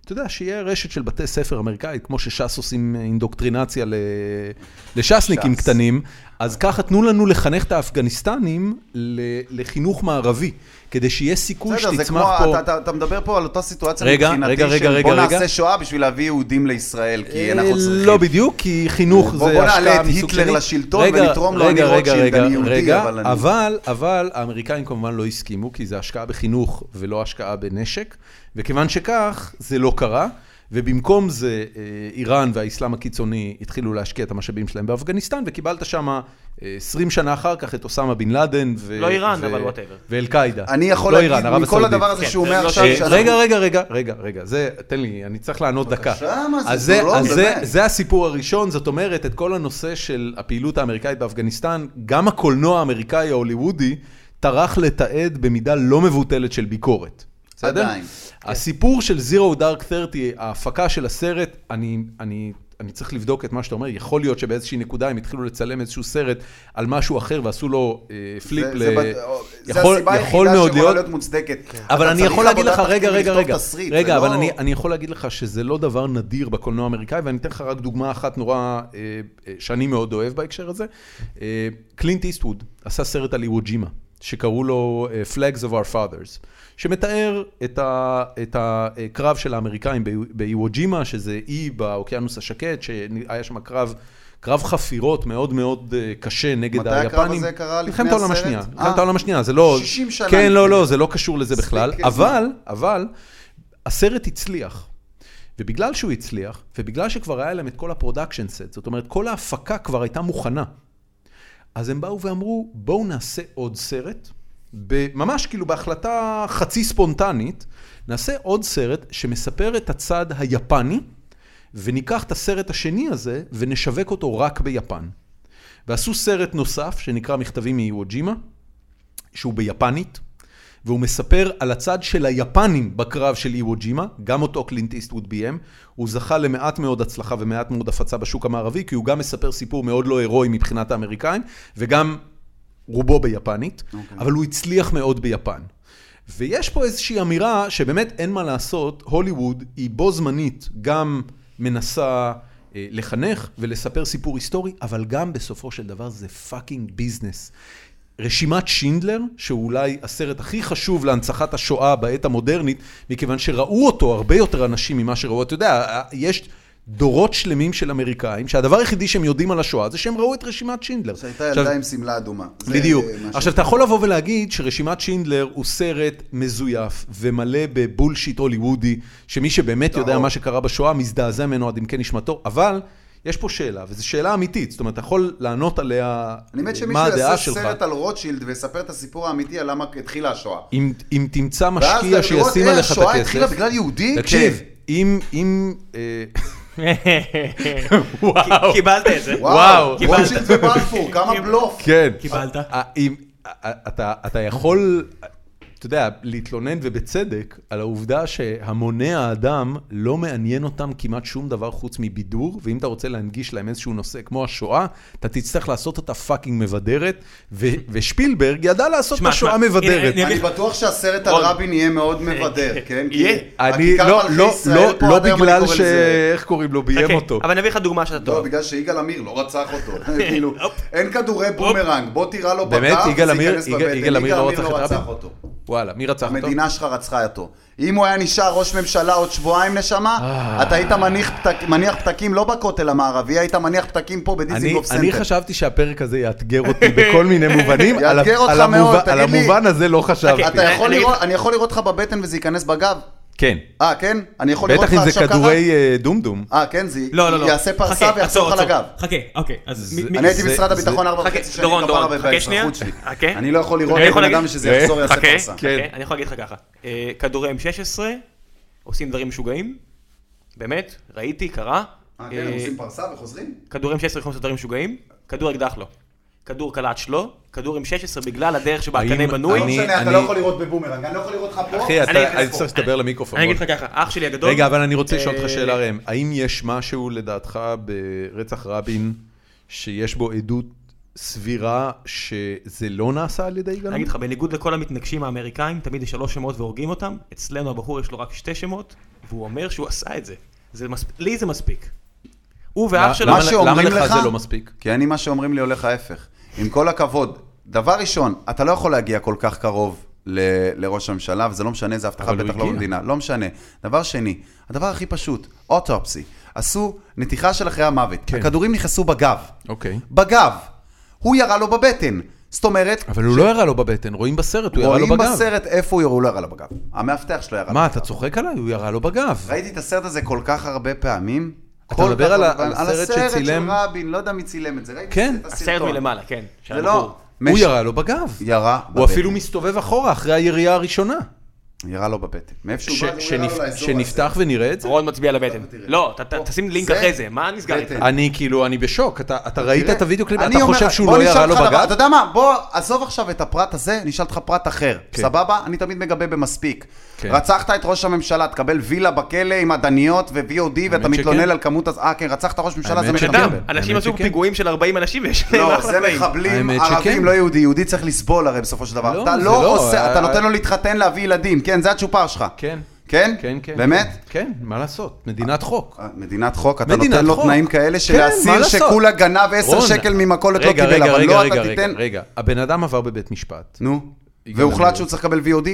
A: אתה יודע, שיהיה רשת של בתי ספר אמריקאית, כמו שש"ס עושים אינדוקטרינציה ל- לש"סניקים
C: ש"ס.
A: קטנים, אז ככה תנו לנו לחנך את האפגניסטנים ל- לחינוך מערבי, כדי שיהיה סיכוי
C: בסדר, זה
A: שתצמח
C: כמו,
A: פה...
C: אתה, אתה, אתה מדבר פה על אותה סיטואציה
A: רגע,
C: מבחינתי,
A: רגע, רגע,
C: של
A: רגע,
C: בוא
A: רגע.
C: נעשה שואה בשביל להביא יהודים לישראל, כי אנחנו
A: אה,
C: צריכים.
A: לא בדיוק, כי חינוך
C: בוא-
A: זה
C: בוא
A: השקעה מסוג שני.
C: נעלה את היטלר לשלטון
A: רגע,
C: ונתרום לו,
A: רגע,
C: אני
A: רגע,
C: רוטשילד,
A: רגע,
C: אני יהודי,
A: רגע,
C: אבל אני-
A: אבל, אבל האמריקאים כמובן לא הסכימו, כי זה השקעה בחינוך ולא השקעה בנשק, וכיוון שכך, זה לא קרה. ובמקום זה, אה, איראן והאסלאם הקיצוני התחילו להשקיע את המשאבים שלהם באפגניסטן, וקיבלת שם אה, 20 שנה אחר כך את אוסמה בן לאדן. ו-
B: לא איראן,
A: ו-
B: אבל whatever.
A: ואל-קאידה.
C: אני יכול
A: לא
C: להגיד,
A: איראן, ערב
C: מכל
A: הסעודית.
C: הדבר הזה
B: כן,
C: שהוא
B: זה
C: אומר
B: לא
C: עכשיו,
B: ש-
C: שאנחנו-
A: רגע, רגע, רגע, רגע, רגע, זה, תן לי, אני צריך לענות דקה.
C: בבקשה, מה זה,
A: אז
C: זה לא,
A: אז זה,
C: באמת.
A: זה הסיפור הראשון, זאת אומרת, את כל הנושא של הפעילות האמריקאית באפגניסטן, גם הקולנוע האמריקאי ההוליוודי טרח לתעד במידה לא מבוטלת של ביקורת. בסדר?
C: עדיין. כן.
A: הסיפור של Zero Dark 30, ההפקה של הסרט, אני, אני, אני צריך לבדוק את מה שאתה אומר, יכול להיות שבאיזושהי נקודה הם התחילו לצלם איזשהו סרט על משהו אחר ועשו לו אה, פליפ
C: זה-
A: ל...
C: זה בת- זה
A: יכול-
C: הסיבה
A: יכול
C: היחידה
A: מאוד כן.
C: שיכולה להיות מוצדקת.
A: אבל
C: אוקיי. אתה
A: אני
C: צריך
A: יכול להגיד לך,
C: עבודת
A: רגע,
C: תחקיר
A: רגע,
C: לכתוב
A: רגע,
C: תסריט,
A: רגע,
C: זה
A: אבל
C: לא-
A: אני, אני יכול להגיד לך שזה לא דבר נדיר בקולנוע האמריקאי, ואני אתן לך רק דוגמה אחת נורא, אה, אה, שאני מאוד אוהב בהקשר הזה. אה, קלינט איסטווד עשה סרט על איוו ג'ימה, שקראו לו אה, Flags of Our Fathers, שמתאר את, ה, את הקרב של האמריקאים באיו- באיוו ג'ימה, שזה אי באוקיינוס השקט, שהיה שם קרב... קרב חפירות מאוד מאוד אה, קשה נגד
C: מתי
A: היפנים.
C: הקרב הזה קרה? לפני
A: מלחמת העולם
C: הסרט?
A: השנייה.
C: אה.
A: מלחמת העולם השנייה, זה לא...
C: 60 שנה
A: כן, לא,
C: לפני.
A: לא, זה לא קשור לזה בכלל.
C: מספיק,
A: אבל, אבל, הסרט הצליח. ובגלל שהוא הצליח, ובגלל שכבר היה להם את כל הפרודקשן סט, זאת אומרת, כל ההפקה כבר הייתה מוכנה. אז הם באו ואמרו, בואו נעשה עוד סרט, ב- ממש כאילו בהחלטה חצי ספונטנית, נעשה עוד סרט שמספר את הצד היפני, וניקח את הסרט השני הזה ונשווק אותו רק ביפן. ועשו סרט נוסף שנקרא מכתבים מאיווג'ימה, שהוא ביפנית, והוא מספר על הצד של היפנים בקרב של איוו ג'ימה, גם אותו קלינט איסטווד ביים. הוא זכה למעט מאוד הצלחה ומעט מאוד הפצה בשוק המערבי, כי הוא גם מספר סיפור מאוד לא הירואי מבחינת האמריקאים, וגם רובו ביפנית,
C: אוקיי.
A: okay. אבל הוא הצליח מאוד ביפן. ויש פה איזושהי אמירה שבאמת אין מה לעשות, הוליווד היא בו זמנית גם מנסה אה, לחנך ולספר סיפור היסטורי, אבל גם בסופו של דבר זה פאקינג ביזנס. רשימת שינדלר, שהוא אולי הסרט הכי חשוב להנצחת השואה בעת המודרנית, מכיוון שראו אותו הרבה יותר אנשים ממה שראו, אתה יודע, אה, יש דורות שלמים של אמריקאים, שהדבר היחידי שהם יודעים על השואה זה שהם ראו את רשימת שינדלר.
C: שהייתה
A: עכשיו,
C: ילדה עם שמלה אדומה. זה,
A: בדיוק.
C: אה, משהו.
A: עכשיו, אתה יכול לבוא ולהגיד שרשימת שינדלר הוא סרט מזויף ומלא בבולשיט הוליוודי, שמי שבאמת יודע
C: טוב.
A: מה שקרה בשואה מזדעזע ממנו עד עמקי נשמתו, אבל יש פה שאלה, וזו שאלה אמיתית, זאת אומרת, אתה יכול לענות עליה אה,
C: אני מת
A: מה
C: שמישהו
A: הדעה
C: יעשה
A: שלך.
C: סרט על רוטשילד ויספר את הסיפור האמיתי על למה התחילה השואה.
A: אם, אם תמצא
C: ואז
A: משקיע
C: לראות,
A: שישים
C: אה,
A: עליך את הכסף...
C: השואה התחילה בגלל יהודי?
A: תקשיב,
C: כן.
A: אם... אם אה,
C: (laughs)
B: (laughs)
D: וואו. קיבלת את זה.
A: וואו,
C: לא- וואו,
D: קיבלת.
C: רוטשילד ובלפור, כמה בלוף.
A: כן.
D: קיבלת.
A: אה, אה, אם- אה, אה, אתה, אתה יכול, אה, אתה יודע, להתלונן ובצדק על העובדה שהמוני האדם לא מעניין אותם כמעט שום דבר חוץ מבידור, ואם אתה רוצה להנגיש להם איזשהו נושא כמו השואה, אתה תצטרך לעשות אותה פאקינג מבדרת, ו- ושפילברג ידע לעשות את
D: שמע,
A: השואה
D: שמע,
A: מבדרת.
D: הנה,
C: אני בטוח שהסרט על רבין יהיה
A: (laughs)
C: מאוד מבדר, כן? כי
B: יהיה.
A: אני,
C: הכיכר
A: לא,
C: מלכי
A: לא,
C: ישראל
A: לא,
C: פה,
A: לא
C: עד היום אני
A: בגלל
C: קורא
A: ש...
C: לזה-
A: איך קוראים לו, ביים
B: אוקיי,
A: אותו.
B: אבל אני אביא לך דוגמה שאתה
C: לא,
B: טועה.
C: בגלל שיגאל עמיר לא רצח אותו.
A: (laughs)
C: (laughs) כאילו, אין כדורי בומרנג, בוא תירה לו
A: באמת,
C: בגב,
A: יגאל
C: זה
A: עמיר-
C: ייכנס
A: יגאל-
C: בבטן.
A: יגאל עמיר לא רצח את
C: רצח
A: רבין?
C: אותו.
A: וואלה, מי רצח אותו?
C: המדינה שלך רצחה אותו. אם הוא היה נשאר ראש ממשלה עוד שבועיים נשמה,
A: אה.
C: אתה היית מניח פתק- מניח פתקים לא בכותל המערבי, היית מניח פתקים פה
A: אני,
C: בדיזינגוף
A: אני
C: סנטר.
A: חשבתי שהפרק הזה יאתגר
C: (laughs)
A: אותי בכל מיני מובנים, על, ה-
C: יאתגר אותך
A: על, המובן,
C: מאוד,
A: על
C: תגיד לי.
A: המובן הזה לא חשבתי.
C: אתה
B: אני-
C: יכול
B: אני-
C: לראות, אני יכול לראות לך בבטן וזה ייכנס בגב?
A: כן.
C: אה, כן? אני יכול לראות
A: בטח אם
C: לך עכשיו
A: זה
C: ככה?
A: כדורי אה, דומדום.
C: אה, כן, זה
D: לא, לא, לא.
C: יעשה פרסה
D: חכה,
C: ויחזור לך
D: עצור, עצור.
C: לגב.
D: חכה, אוקיי. אז
A: זה-
D: מי- מי-
C: אני הייתי
A: זה-
C: במשרד הביטחון
A: זה-
C: ארבע
B: חכה,
C: וחצי שנים,
B: דורון,
C: כפרה
B: דורון, חכה שנייה.
C: באזרחות שלי.
B: חכה.
C: אני לא יכול לראות
B: אני יכול
C: בן אדם
B: להגיד-
C: שזה יחזור יעשה
B: חכה,
C: פרסה.
A: כן.
B: חכה, אני יכול להגיד לך ככה. אה, כדורי M16, עושים דברים משוגעים. באמת, ראיתי, קרה.
C: אה, כן, הם
B: אה,
C: עושים פרסה וחוזרים?
B: כדור M16 יכולים לעשות דברים משוגעים, כדור אקדח לא. כדור קלאץ' לא, כדור M16 בגלל הדרך שבה
A: האם
B: הקנה בנוי.
C: לא
A: אני-
C: משנה, אתה
A: אני-
C: לא יכול לראות בבומרנג, אני לא יכול לראות לך פה.
A: אחי,
B: אני
A: אתה-
B: אגיד
A: אני
B: לך-
A: צריך לדבר למיקרופון.
B: אני אגיד
A: רון.
B: לך ככה, אח שלי הגדול.
A: רגע, אבל אני רוצה לשאול אותך
B: אה,
A: שאלה, ראם. האם יש משהו לדעתך ברצח רבין שיש בו עדות סבירה שזה לא נעשה על ידי יגאל
B: אני אגיד
A: עמיר?
B: לך, בניגוד לכל המתנגשים האמריקאים, תמיד יש שלוש שמות והורגים אותם, אצלנו הבחור יש לו רק שתי שמות, והוא אומר שהוא עשה את זה. זה מספ- לי זה מספיק. הוא ואח שלו...
A: למה-
C: מה שאומרים
A: למה לך
C: לך-
A: זה לא מספיק?
C: כי אני, מה שאומרים לי הולך ההפך. עם כל הכבוד, דבר ראשון, אתה לא יכול להגיע כל כך קרוב ל- לראש הממשלה, וזה לא משנה, זה הבטחה
A: אבל הוא
C: בטח לא
A: הגיע.
C: במדינה, לא משנה. דבר שני, הדבר הכי פשוט, אוטופסי, עשו נתיחה של אחרי המוות,
A: כן.
C: הכדורים נכנסו בגב,
A: אוקיי.
C: בגב, הוא ירה לו בבטן, זאת אומרת,
A: אבל הוא לא ירה לו בבטן, רואים בסרט, הוא ירה לו
C: רואים
A: בגב.
C: בסרט איפה הוא ירה, הוא לא ירה לו בגב, המאבטח שלו ירה לו.
A: מה, אתה צוחק עליי? הוא ירה לו בגב.
C: ראיתי את הסרט הזה כל כך הרבה פעמים.
A: אתה
C: כל
A: מדבר
C: כך
A: על ה-
C: הרבה פעמים.
A: על הסרט שצילם-
C: של רבין, לא יודע מי צילם את זה, ראיתי
A: כן,
C: את
B: הסרט
C: הסרטון.
B: מלמעלה, כן.
C: זה
B: של
C: לא...
B: הבחור.
A: הוא
C: מש-
A: ירה לו בגב.
C: ירה בבטן.
A: הוא אפילו מסתובב אחורה אחרי הירייה הראשונה.
C: ירה לו בבטן. מאיפה
A: ש-
C: שהוא בא, זה הוא ירה לו
A: שנפ-
C: לאזור
A: שנפתח ונראה את זה?
B: רון מצביע על הבטן.
C: תראה.
B: לא, ת- ת- תשים לינק
C: זה-
B: אחרי זה, מה נסגר איתך?
C: בטן.
A: אני כאילו, אני בשוק. אתה אתה ראית
C: אוקיי. תראה,
A: את הוידאו קליפ?
C: אני
A: אתה
C: אומר
A: חושב
C: לך-
A: שהוא
C: בוא
A: לא
C: אני
A: ירה
C: אשאל
A: לו
C: אותך דבר-
A: בגב?
C: אתה יודע מה, בוא, עזוב עכשיו את הפרט הזה, נשאל אותך פרט אחר.
A: כן.
C: סבבה? אני תמיד מגבה במספיק.
A: כן.
C: רצחת את ראש הממשלה, תקבל וילה בכלא עם עדניות ו-VOD, ואתה
A: שכן.
C: מתלונן על כמות... הז- אה, כן, רצחת ראש ממשלה, זה
A: האמת שכן.
B: שדם,
C: מחבל.
B: אנשים
A: האמת
B: עשו
A: שכן.
B: פיגועים של 40 אנשים ויש להם
C: לא,
B: אחלה
C: זה
B: חיים.
C: מחבלים
A: האמת שכן.
C: ערבים, לא יהודי. יהודי צריך לסבול הרי בסופו של דבר.
A: לא,
C: אתה
A: זה
C: לא
A: לא,
C: עושה,
A: אה,
C: אתה נותן לו להתחתן, להביא ילדים. כן, זה הצ'ופר שלך.
A: כן.
C: כן?
A: כן, כן.
C: באמת? אה,
A: כן, מה לעשות? מדינת חוק.
C: מדינת חוק, אתה
A: מדינת
C: נותן לו
A: חוק.
C: תנאים כאלה
A: כן,
C: של
A: מה
C: אסיר
A: לעשות?
C: שכולה גנב 10
A: רון,
C: שקל ממכולת לא
A: רגע,
C: קיבל,
A: רגע,
C: אבל
A: רגע,
C: לא
A: רגע,
C: אתה
A: רגע,
C: תיתן...
A: רגע, הבן אדם עבר בבית משפט.
C: נו,
A: יגאל
C: והוחלט
A: עמיר.
C: שהוא צריך לקבל VOD?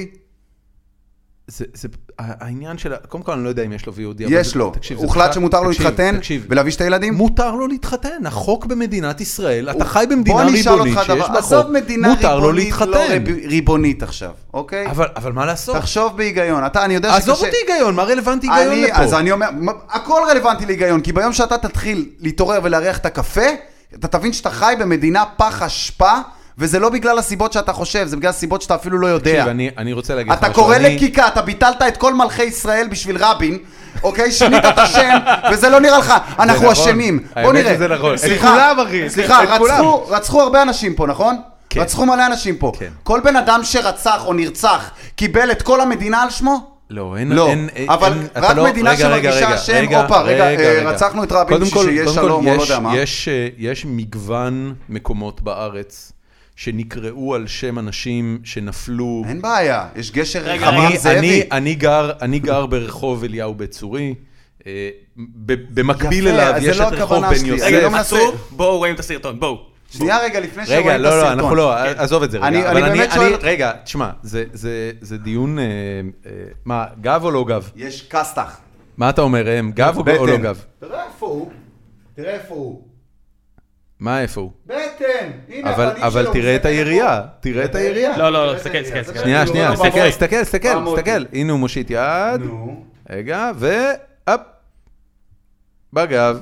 A: זה, זה העניין של, ה- קודם כל אני לא יודע אם יש לו VOD. אבל
C: יש
A: זה-
C: לו.
A: תקשיב, זה
C: הוחלט
A: משחק-
C: שמותר לו
A: תקשיב,
C: להתחתן
A: תקשיב,
C: ולהביא שתי ילדים?
A: מותר לו להתחתן, החוק במדינת ישראל, אתה חי במדינה
C: בוא אני אשאל
A: ריבונית
C: אותך
A: שיש
C: דבר,
A: בה חוק,
C: עזוב מדינה
A: מותר לו
C: ריבונית, לא
A: להתחתן.
C: רב- ריבונית עכשיו, אוקיי?
A: אבל אבל מה לעשות?
C: תחשוב בהיגיון, אתה, אני יודע שקשה...
A: עזוב אותי היגיון, מה רלוונטי היגיון
C: אני, אז
A: לפה?
C: אני אומר, מה- הכל רלוונטי להיגיון, כי ביום שאתה תתחיל להתעורר ולארח את הקפה, אתה תבין שאתה חי במדינה פח אשפה, וזה לא בגלל הסיבות שאתה חושב, זה בגלל הסיבות שאתה אפילו לא יודע.
A: תקשיב, אני- אני רוצה להגיד לך
C: אתה
A: משהו,
C: קורא
A: אני-
C: לקיקה, אתה ביטלת את כל מלכי ישראל בשביל רבין, אוקיי? שינית את
A: (laughs)
C: השם, וזה לא נראה לך, אנחנו
A: נכון.
C: אשמים. בוא
A: האמת
C: נראה.
A: שזה נכון. את
C: סליחה,
A: כולם, אחי.
C: סליחה,
A: את כולם.
C: רצחו, רצחו הרבה אנשים פה, נכון?
A: כן.
C: רצחו מלא אנשים פה.
A: כן.
C: כל בן אדם שרצח או נרצח קיבל את כל המדינה על שמו?
A: לא, אין,
C: לא,
A: אין, אין,
C: אבל
A: אין- אתה
C: רק
A: לא-
C: מדינה
A: רגע, רגע,
C: שמרגישה
A: רגע,
C: אשם, הופה, רגע, אה, רצחנו את רבין
A: קודם
C: בשביל
A: כל-
C: שיהיה
A: קודם
C: שלום,
A: כל,
C: או לא
A: יש-
C: יודע מה.
A: יש, אה, יש מגוון מקומות בארץ שנקראו על שם אנשים שנפלו.
C: אין בעיה, יש גשר
B: רגע,
C: רחבעם
A: אני, אני,
C: זאבי.
A: אני, גר, אני גר ברחוב אליהו בית צורי, אה, ב- במקביל
C: יפה,
A: אליו
C: אז זה
A: יש
C: לא
A: את רחוב
C: הכוונה
A: בן
C: שלי,
A: יוסף.
C: אני לא מנסה-
B: עצור, בואו רואים את הסרטון, בואו.
C: שנייה רגע, לפני שרואים
A: רגע,
C: את
A: לא,
C: הסרטון.
A: לא, אנחנו לא, עזוב את זה רגע.
C: אני-
A: אבל
C: אני באמת שואל-
A: רגע, תשמע, זה- זה- זה דיון, אה, אה, מה, גב או לא גב?
C: יש כסת"ח.
A: מה אתה אומר, ראם? גב או- או לא
C: בטן.
A: גב?
C: תראה איפה הוא, תראה איפה הוא.
A: מה, איפה הוא?
C: בטן! הנה לא
A: אבל, אבל תראה את היריעה, תראה את היריעה.
B: לא, לא, לא, תסתכל, תסתכל, תסתכל.
A: שנייה,
B: כאילו,
A: שנייה,
B: לא,
A: הסתכל,
B: לא,
A: הסתכל, הסתכל,
C: מוטי?
A: הסתכל. הנה הוא מושיט יד,
C: נו,
A: רגע, והפ, בגב.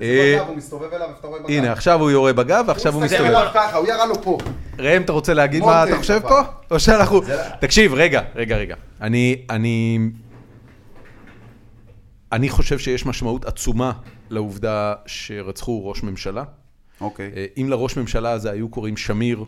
A: אה,
C: בגב, הוא מסתובב אליו, אתה רואה בגב.
A: הנה, עכשיו הוא יורה בגב, ועכשיו הוא
C: הוא מסתכל
A: מסתובב.
C: אליו ככה, הוא ירה לו פה.
A: ראם, אתה רוצה להגיד
C: מוטי,
A: מה אתה חושב פה?
C: הפעם.
A: או שאנחנו...
C: זה-
A: תקשיב, רגע, רגע, רגע. אני... אני... אני חושב שיש משמעות עצומה לעובדה שרצחו ראש ממשלה.
C: אוקיי.
A: אה, אם לראש ממשלה הזה היו קוראים שמיר,
C: לא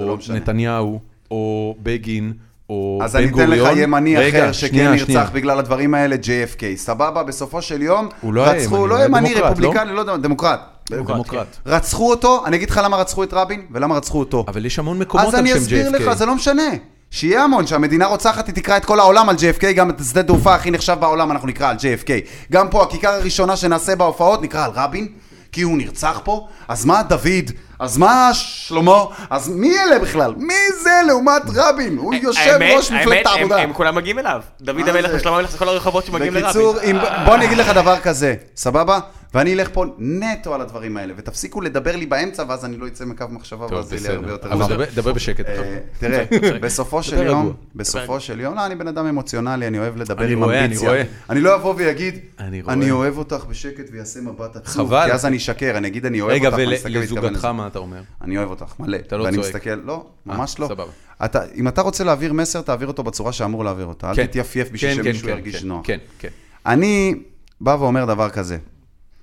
A: או
C: משנה.
A: נתניהו, או בגין, או בן גוריון...
C: אז אני אתן לך ימני
A: רגע,
C: אחר שכן
A: שנייה, שנייה.
C: נרצח בגלל הדברים האלה, JFK. סבבה, בסופו של יום,
A: הוא לא היה
C: רצחו-
A: ימני, הוא
C: לא
A: היה
C: ימני,
A: דמוקרט,
C: רפובליקני, לא יודע, דמוקרט.
A: דמוקרט.
C: רצחו אותו, אני אגיד לך למה רצחו את רבין, ולמה רצחו אותו.
A: אבל יש המון מקומות
C: אז
A: על
C: אני
A: שם JFK.
C: אסביר לך, זה לא משנה. שיהיה המון, שהמדינה רוצחת, היא תקרא את כל העולם על JFK, גם את שדה תעופה הכי נחשב בעולם אנחנו נקרא על JFK. גם פה, הכיכר הראשונה שנעשה בהופעות נקרא על רבין, כי הוא נרצח פה. אז מה דוד? אז מה שלמה? אז מי אלה בכלל? מי זה לעומת רבין? הוא יושב
B: אה, האמת-
C: ראש
B: האמת,
C: מפלגת
B: הם-
C: העבודה.
B: הם כולם מגיעים אליו. דוד
C: מה
B: המלך
C: זה?
B: ושלמה המלך זה כל הרחובות שמגיעים לרבין. אה,
C: בקיצור, אם...
B: לא
C: בוא אני אגיד לך דבר כזה, סבבה? ואני אלך פה נטו על הדברים האלה, ותפסיקו לדבר לי באמצע, ואז אני לא אצא מקו מחשבה,
A: טוב,
C: ואז יהיה לי הרבה
A: בסדר.
C: יותר...
A: אבל
C: נוח.
A: דבר- דבר בשקט.
C: אה, תראה, בסופו של
A: דבר רגוע.
C: יום, בסופו של יום, לא, אני בן אדם אמוציונלי, אני אוהב לדבר
A: אני
C: עם
A: רואה, אני
C: אמביציה.
A: רואה.
C: אני לא אבוא ויגיד,
A: אני רואה.
C: אני אוהב אותך בשקט ויעשה מבט עצוב,
A: חבל.
C: כי אז אני אשקר, אני אגיד אני אוהב
A: רגע,
C: אותך, ואני אסתכל להתכוון
A: ולזוגתך
C: לזה.
A: מה אתה אומר?
C: אני אוהב אותך, מלא.
A: אתה לא
C: ואני
A: צועק.
C: מסתכל, לא, ממש
A: אה,
C: לא.
A: סבבה.
C: אתה, אם אתה רוצה להעביר מסר, תעביר אותו בצורה שאמור להעביר אותה. אל
A: כן.
C: תתייפייף
A: כן,
C: בשביל
A: כן,
C: שמישהו
A: כן,
C: ירגיש
A: כן,
C: נוח.
A: כן, כן.
C: אני בא ואומר דבר כזה,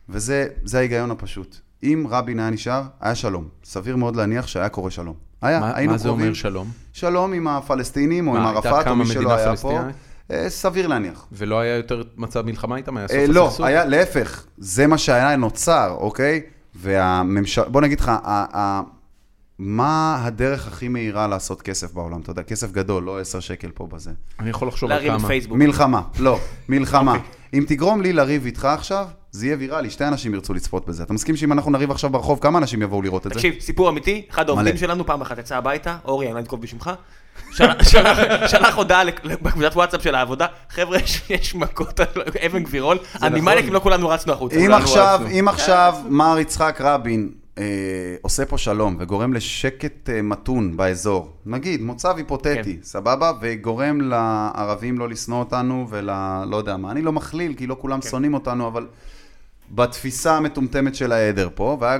C: וזה זה ההיגיון הפשוט. אם רבין היה נשאר, היה שלום. סביר מאוד להניח שהיה קורה שלום. היה,
A: מה-
C: היינו
A: מה זה
C: קרובים.
A: אומר שלום?
C: שלום עם הפלסטינים, או
A: מה,
C: עם
A: הייתה
C: ערפאת, או
A: קמה
C: מי שלא
A: מדינה
C: היה פה.
A: פלסטינאית?
C: אה, סביר להניח.
A: ולא היה יותר מצב מלחמה איתם? היה סוף
C: אה, לא,
A: הסכסוך?
C: היה, להפך, זה מה שהיה נוצר, אוקיי? והממשל... בוא נגיד לך, ה- ה- מה הדרך הכי מהירה לעשות כסף בעולם? אתה יודע, כסף גדול, לא 10 שקל פה בזה.
A: אני יכול לחשוב על
B: להרים
A: כמה. (laughs)
B: פייסבוק.
A: אוקיי.
C: מלחמה, לא, מלחמה. אם תגרום לי לריב איתך עכשיו, זה יהיה ויראלי, שתי אנשים ירצו לצפות בזה. אתה מסכים שאם אנחנו נריב עכשיו ברחוב, כמה אנשים יבואו לראות את זה?
B: תקשיב, סיפור אמיתי, אחד העובדים
C: מלא.
B: שלנו פעם אחת יצא הביתה, אורי, אני לא אנקוב בשמך, שלח- (laughs) שלח- שלח הודעה לק- בקבוצת וואטסאפ של העבודה, חבר'ה, יש- יש מכות על אבן גבירול, אני
A: נכון.
B: מניאק אם לא כולנו רצנו החוצה.
C: אם
A: כולנו
C: עכשיו,
A: רצנו.
C: אם עכשיו מר יצחק רבין אה, עושה פה שלום וגורם לשקט אה, מתון באזור, נגיד, מוצב היפותטי,
A: כן.
C: סבבה? וגורם לערבים לא לשנוא אותנו ול... לא יודע מה. אני לא מכליל, כי לא כולם
A: כן.
C: שונאים אותנו, אבל בתפיסה המטומטמת של העדר פה, והיה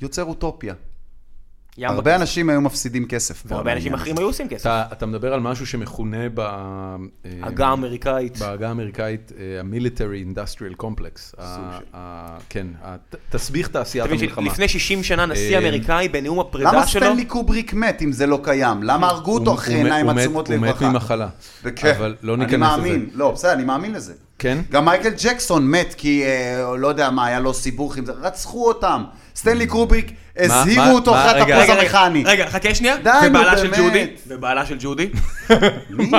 C: יוצר אוטופיה.
B: ים
C: הרבה
B: בכיס.
C: אנשים היו מפסידים כסף. פה על
B: והרבה אנשים
C: העניין
B: אחרים היו עושים כסף.
A: אתה, אתה מדבר על משהו שמכונה ב... אה,
B: הגה האמריקאית.
A: בעגה האמריקאית, אה, ה-Military Industrial Complex. ה- ה- כן, הת- תסביך תעשיית
B: אתה מבין
A: המלחמה.
B: שלפני 60 שנה נשיא
A: אה,
B: אמריקאי בנאום
C: הזה. למה
B: הפרידה שלו,
C: סטנלי קובריק מת אם זה לא קיים? למה הרגו אותו
A: הוא-
C: אחרי
A: הוא מת-
C: עיניים
A: הוא מת-
C: עצומות לרווחה?
A: הוא מת ממחלה.
C: וכן,
A: אבל לא
C: אני
A: ניכנס לזה.
C: מאמין, לא, בסדר, אני מאמין לזה.
A: כן?
C: גם מייקל ג'קסון מת כי, אה, לא יודע מה, היה לו סיבוך עם זה, רצחו אותם. סטנלי קובריק,
A: מה-
C: הזהירו אותו
A: מה-
C: אחרי
A: רגע,
C: התפוז
B: רגע, רגע,
C: המכני.
B: רגע, חכה שנייה.
C: די, נו,
B: ובעלה של
C: באמת.
B: ג'ודי. ובעלה של ג'ודי.
C: מי?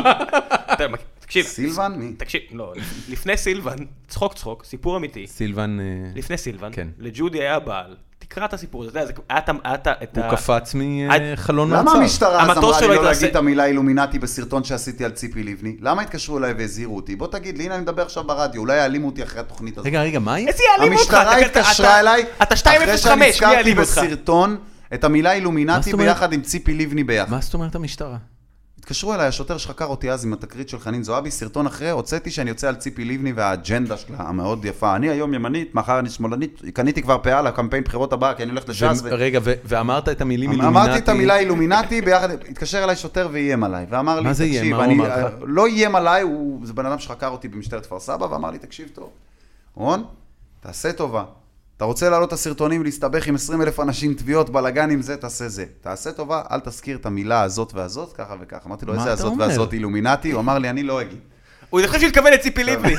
B: אתה מכיר- תקשיב,
C: סילבן? מי?
B: תקשיב, לא, לפני סילבן, צחוק צחוק, סיפור אמיתי.
A: סילבן, אה,
B: לפני סילבן,
A: כן.
B: לג'ודי היה בעל, (laughs) תקרא את הסיפור הזה, אתה יודע, זה- היה את ה- היה את ה- את
A: הוא
B: ה-
A: קפץ
B: אה,
A: מחלון מעצר.
C: למה המשטרה אז
B: המטוס
C: אמרה לי
B: שלו
C: לא
B: התרסק-
C: להגיד את המילה אילומינטי בסרטון שעשיתי על ציפי לבני? למה התקשרו אליי והזהירו אותי? בוא תגיד לי, הנה אני מדבר עכשיו ברדיו, אולי יעלימו אותי אחרי התוכנית הזאת.
A: רגע, רגע, מה היא?
B: איזה יעלים אותך?
C: המשטרה
B: אתה- אתה-
C: התקשרה
B: אתה-
C: אליי,
B: אתה
C: אחרי
B: 2.05,
C: שאני
B: מי
C: הזכרתי
B: יעלים אותך?
C: בסרטון את המילה
A: מה
C: אילומינטי
A: זאת אומרת?
C: ביחד עם ציפי לבני ביחד.
A: מה זאת אומרת המשטרה?
C: התקשרו אליי השוטר שחקר אותי אז עם התקרית של חנין זועבי, סרטון אחרי, הוצאתי שאני יוצא על ציפי לבני והאג'נדה שלה המאוד יפה. אני היום ימנית, מחר אני שמאלנית, קניתי כבר פאה לקמפיין בחירות הבא, כי אני הולך לש"ס.
A: ו-
C: ו- אמ-
A: רגע, ו- ואמרת את המילים אילומינטי.
C: אמרתי את המילה אילומינטי, ביחד, התקשר אליי שוטר ואיים עליי, ואמר לי,
A: מה זה איים?
C: תקשיב,
A: מה הוא
C: אני,
A: אמר לך?
C: אה, לא איים עליי, הוא, זה בן אדם שחקר אותי במשטרת כפר סבא, ואמר לי, תקשיב טוב, רון, תעשה טובה, אתה רוצה להעלות את הסרטונים, להסתבך עם 20 אלף אנשים, תביעות, בלאגן עם זה, תעשה זה. תעשה טובה, אל תזכיר את המילה הזאת והזאת, ככה וככה. אמרתי לו,
A: מה
C: איזה
A: אתה
C: הזאת
A: אומר?"
C: והזאת אילומינטי? הוא אמר לי, אני לא אגיד.
B: הוא חושב שהוא התכוון לציפי
A: לא.
B: לבני.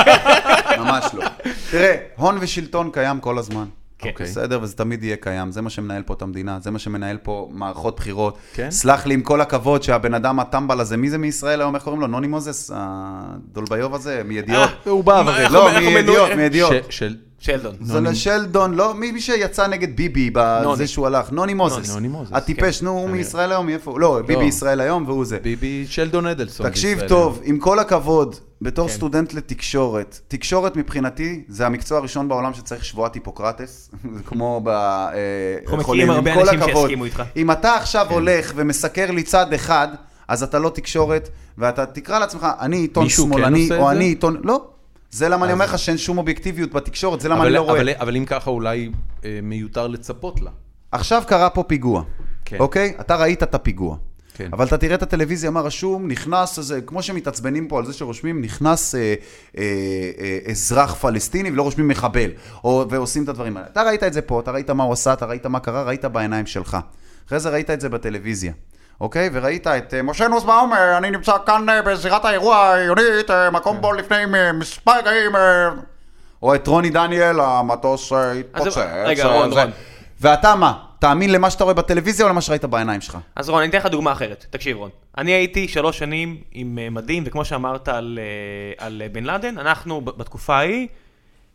B: (laughs)
C: ממש לא. תראה, הון ושלטון קיים כל הזמן.
A: כן. אוקיי.
C: בסדר, וזה תמיד יהיה קיים, זה מה שמנהל פה את המדינה, זה מה שמנהל פה מערכות בחירות.
A: כן.
C: סלח לי, עם כל הכבוד, שהבן אדם הטמבל הזה, מי זה מישראל היום, איך קוראים לו? נוני מוזס? הדולביוב הזה? מידיעות?
B: אה, הוא בא, אבל- אנחנו-
C: לא,
B: אנחנו
C: מידיעות,
B: מנוי-
C: מידיעות.
A: ש- של...
B: שלדון.
C: זה לשלדון, לא, מי מי שיצא נגד ביבי בזה
B: נוני.
C: שהוא הלך, נוני מוזס.
A: נוני מוזס,
C: הטיפש, נו, הוא
A: אני-
C: מישראל היום, מאיפה הוא? לא, ביבי ישראל היום והוא זה.
A: ביבי שלדון אדלסון.
C: תקשיב
A: בישראל. אה? כן.
C: טוב, עם כל הכבוד, בתור סטודנט לתקשורת, תקשורת מבחינתי זה המקצוע הראשון בעולם שצריך שבועת היפוקרטס, (laughs) זה כמו ב... אה,
B: אנחנו
C: חולים.
B: מכירים הרבה
C: עם כל
B: אנשים
C: הכבוד,
B: שיסכימו איתך.
C: אם אתה עכשיו
A: כן.
C: הולך ומסקר לי צד אחד, אז אתה לא תקשורת, ואתה תקרא לעצמך, אני עיתון
A: מישהו כן
C: שמאלני,
A: עושה את
C: או
A: זה?
C: אני עיתון... לא. זה למה אני אומר לך שאין שום אובייקטיביות בתקשורת, זה למה
A: אבל-
C: אני לא רואה.
A: אבל- אבל אם ככה אולי אה, מיותר לצפות לה.
C: עכשיו קרה פה פיגוע,
A: כן.
C: אוקיי? אתה ראית את הפיגוע.
A: כן.
C: אבל אתה תראה את הטלוויזיה, מה רשום, נכנס איזה, כמו שמתעצבנים פה על זה שרושמים, נכנס אה, אה, אה, אזרח פלסטיני ולא רושמים מחבל, או, ועושים את הדברים האלה. אתה ראית את זה פה, אתה ראית מה הוא עשה, אתה ראית מה קרה, ראית בעיניים שלך. אחרי זה ראית את זה בטלוויזיה, אוקיי? וראית את אה, משה נוסבאום, אה, אני נמצא כאן אה, בזירת האירוע העיונית, אה, מקום בו לפני אה, מספר רגעים, אה, או את רוני דניאל, המטוס אה, התפוצץ.
B: רגע,
C: אה,
B: רון,
C: זה-
B: רון.
C: ואתה מה? תאמין למה שאתה רואה בטלוויזיה או למה שראית בעיניים שלך?
B: אז רון, אני אתן לך דוגמה אחרת. תקשיב, רון. אני הייתי שלוש שנים עם אה, מדים, וכמו שאמרת על, אה, על אה, בן לאדן, אנחנו ב- בתקופה ההיא,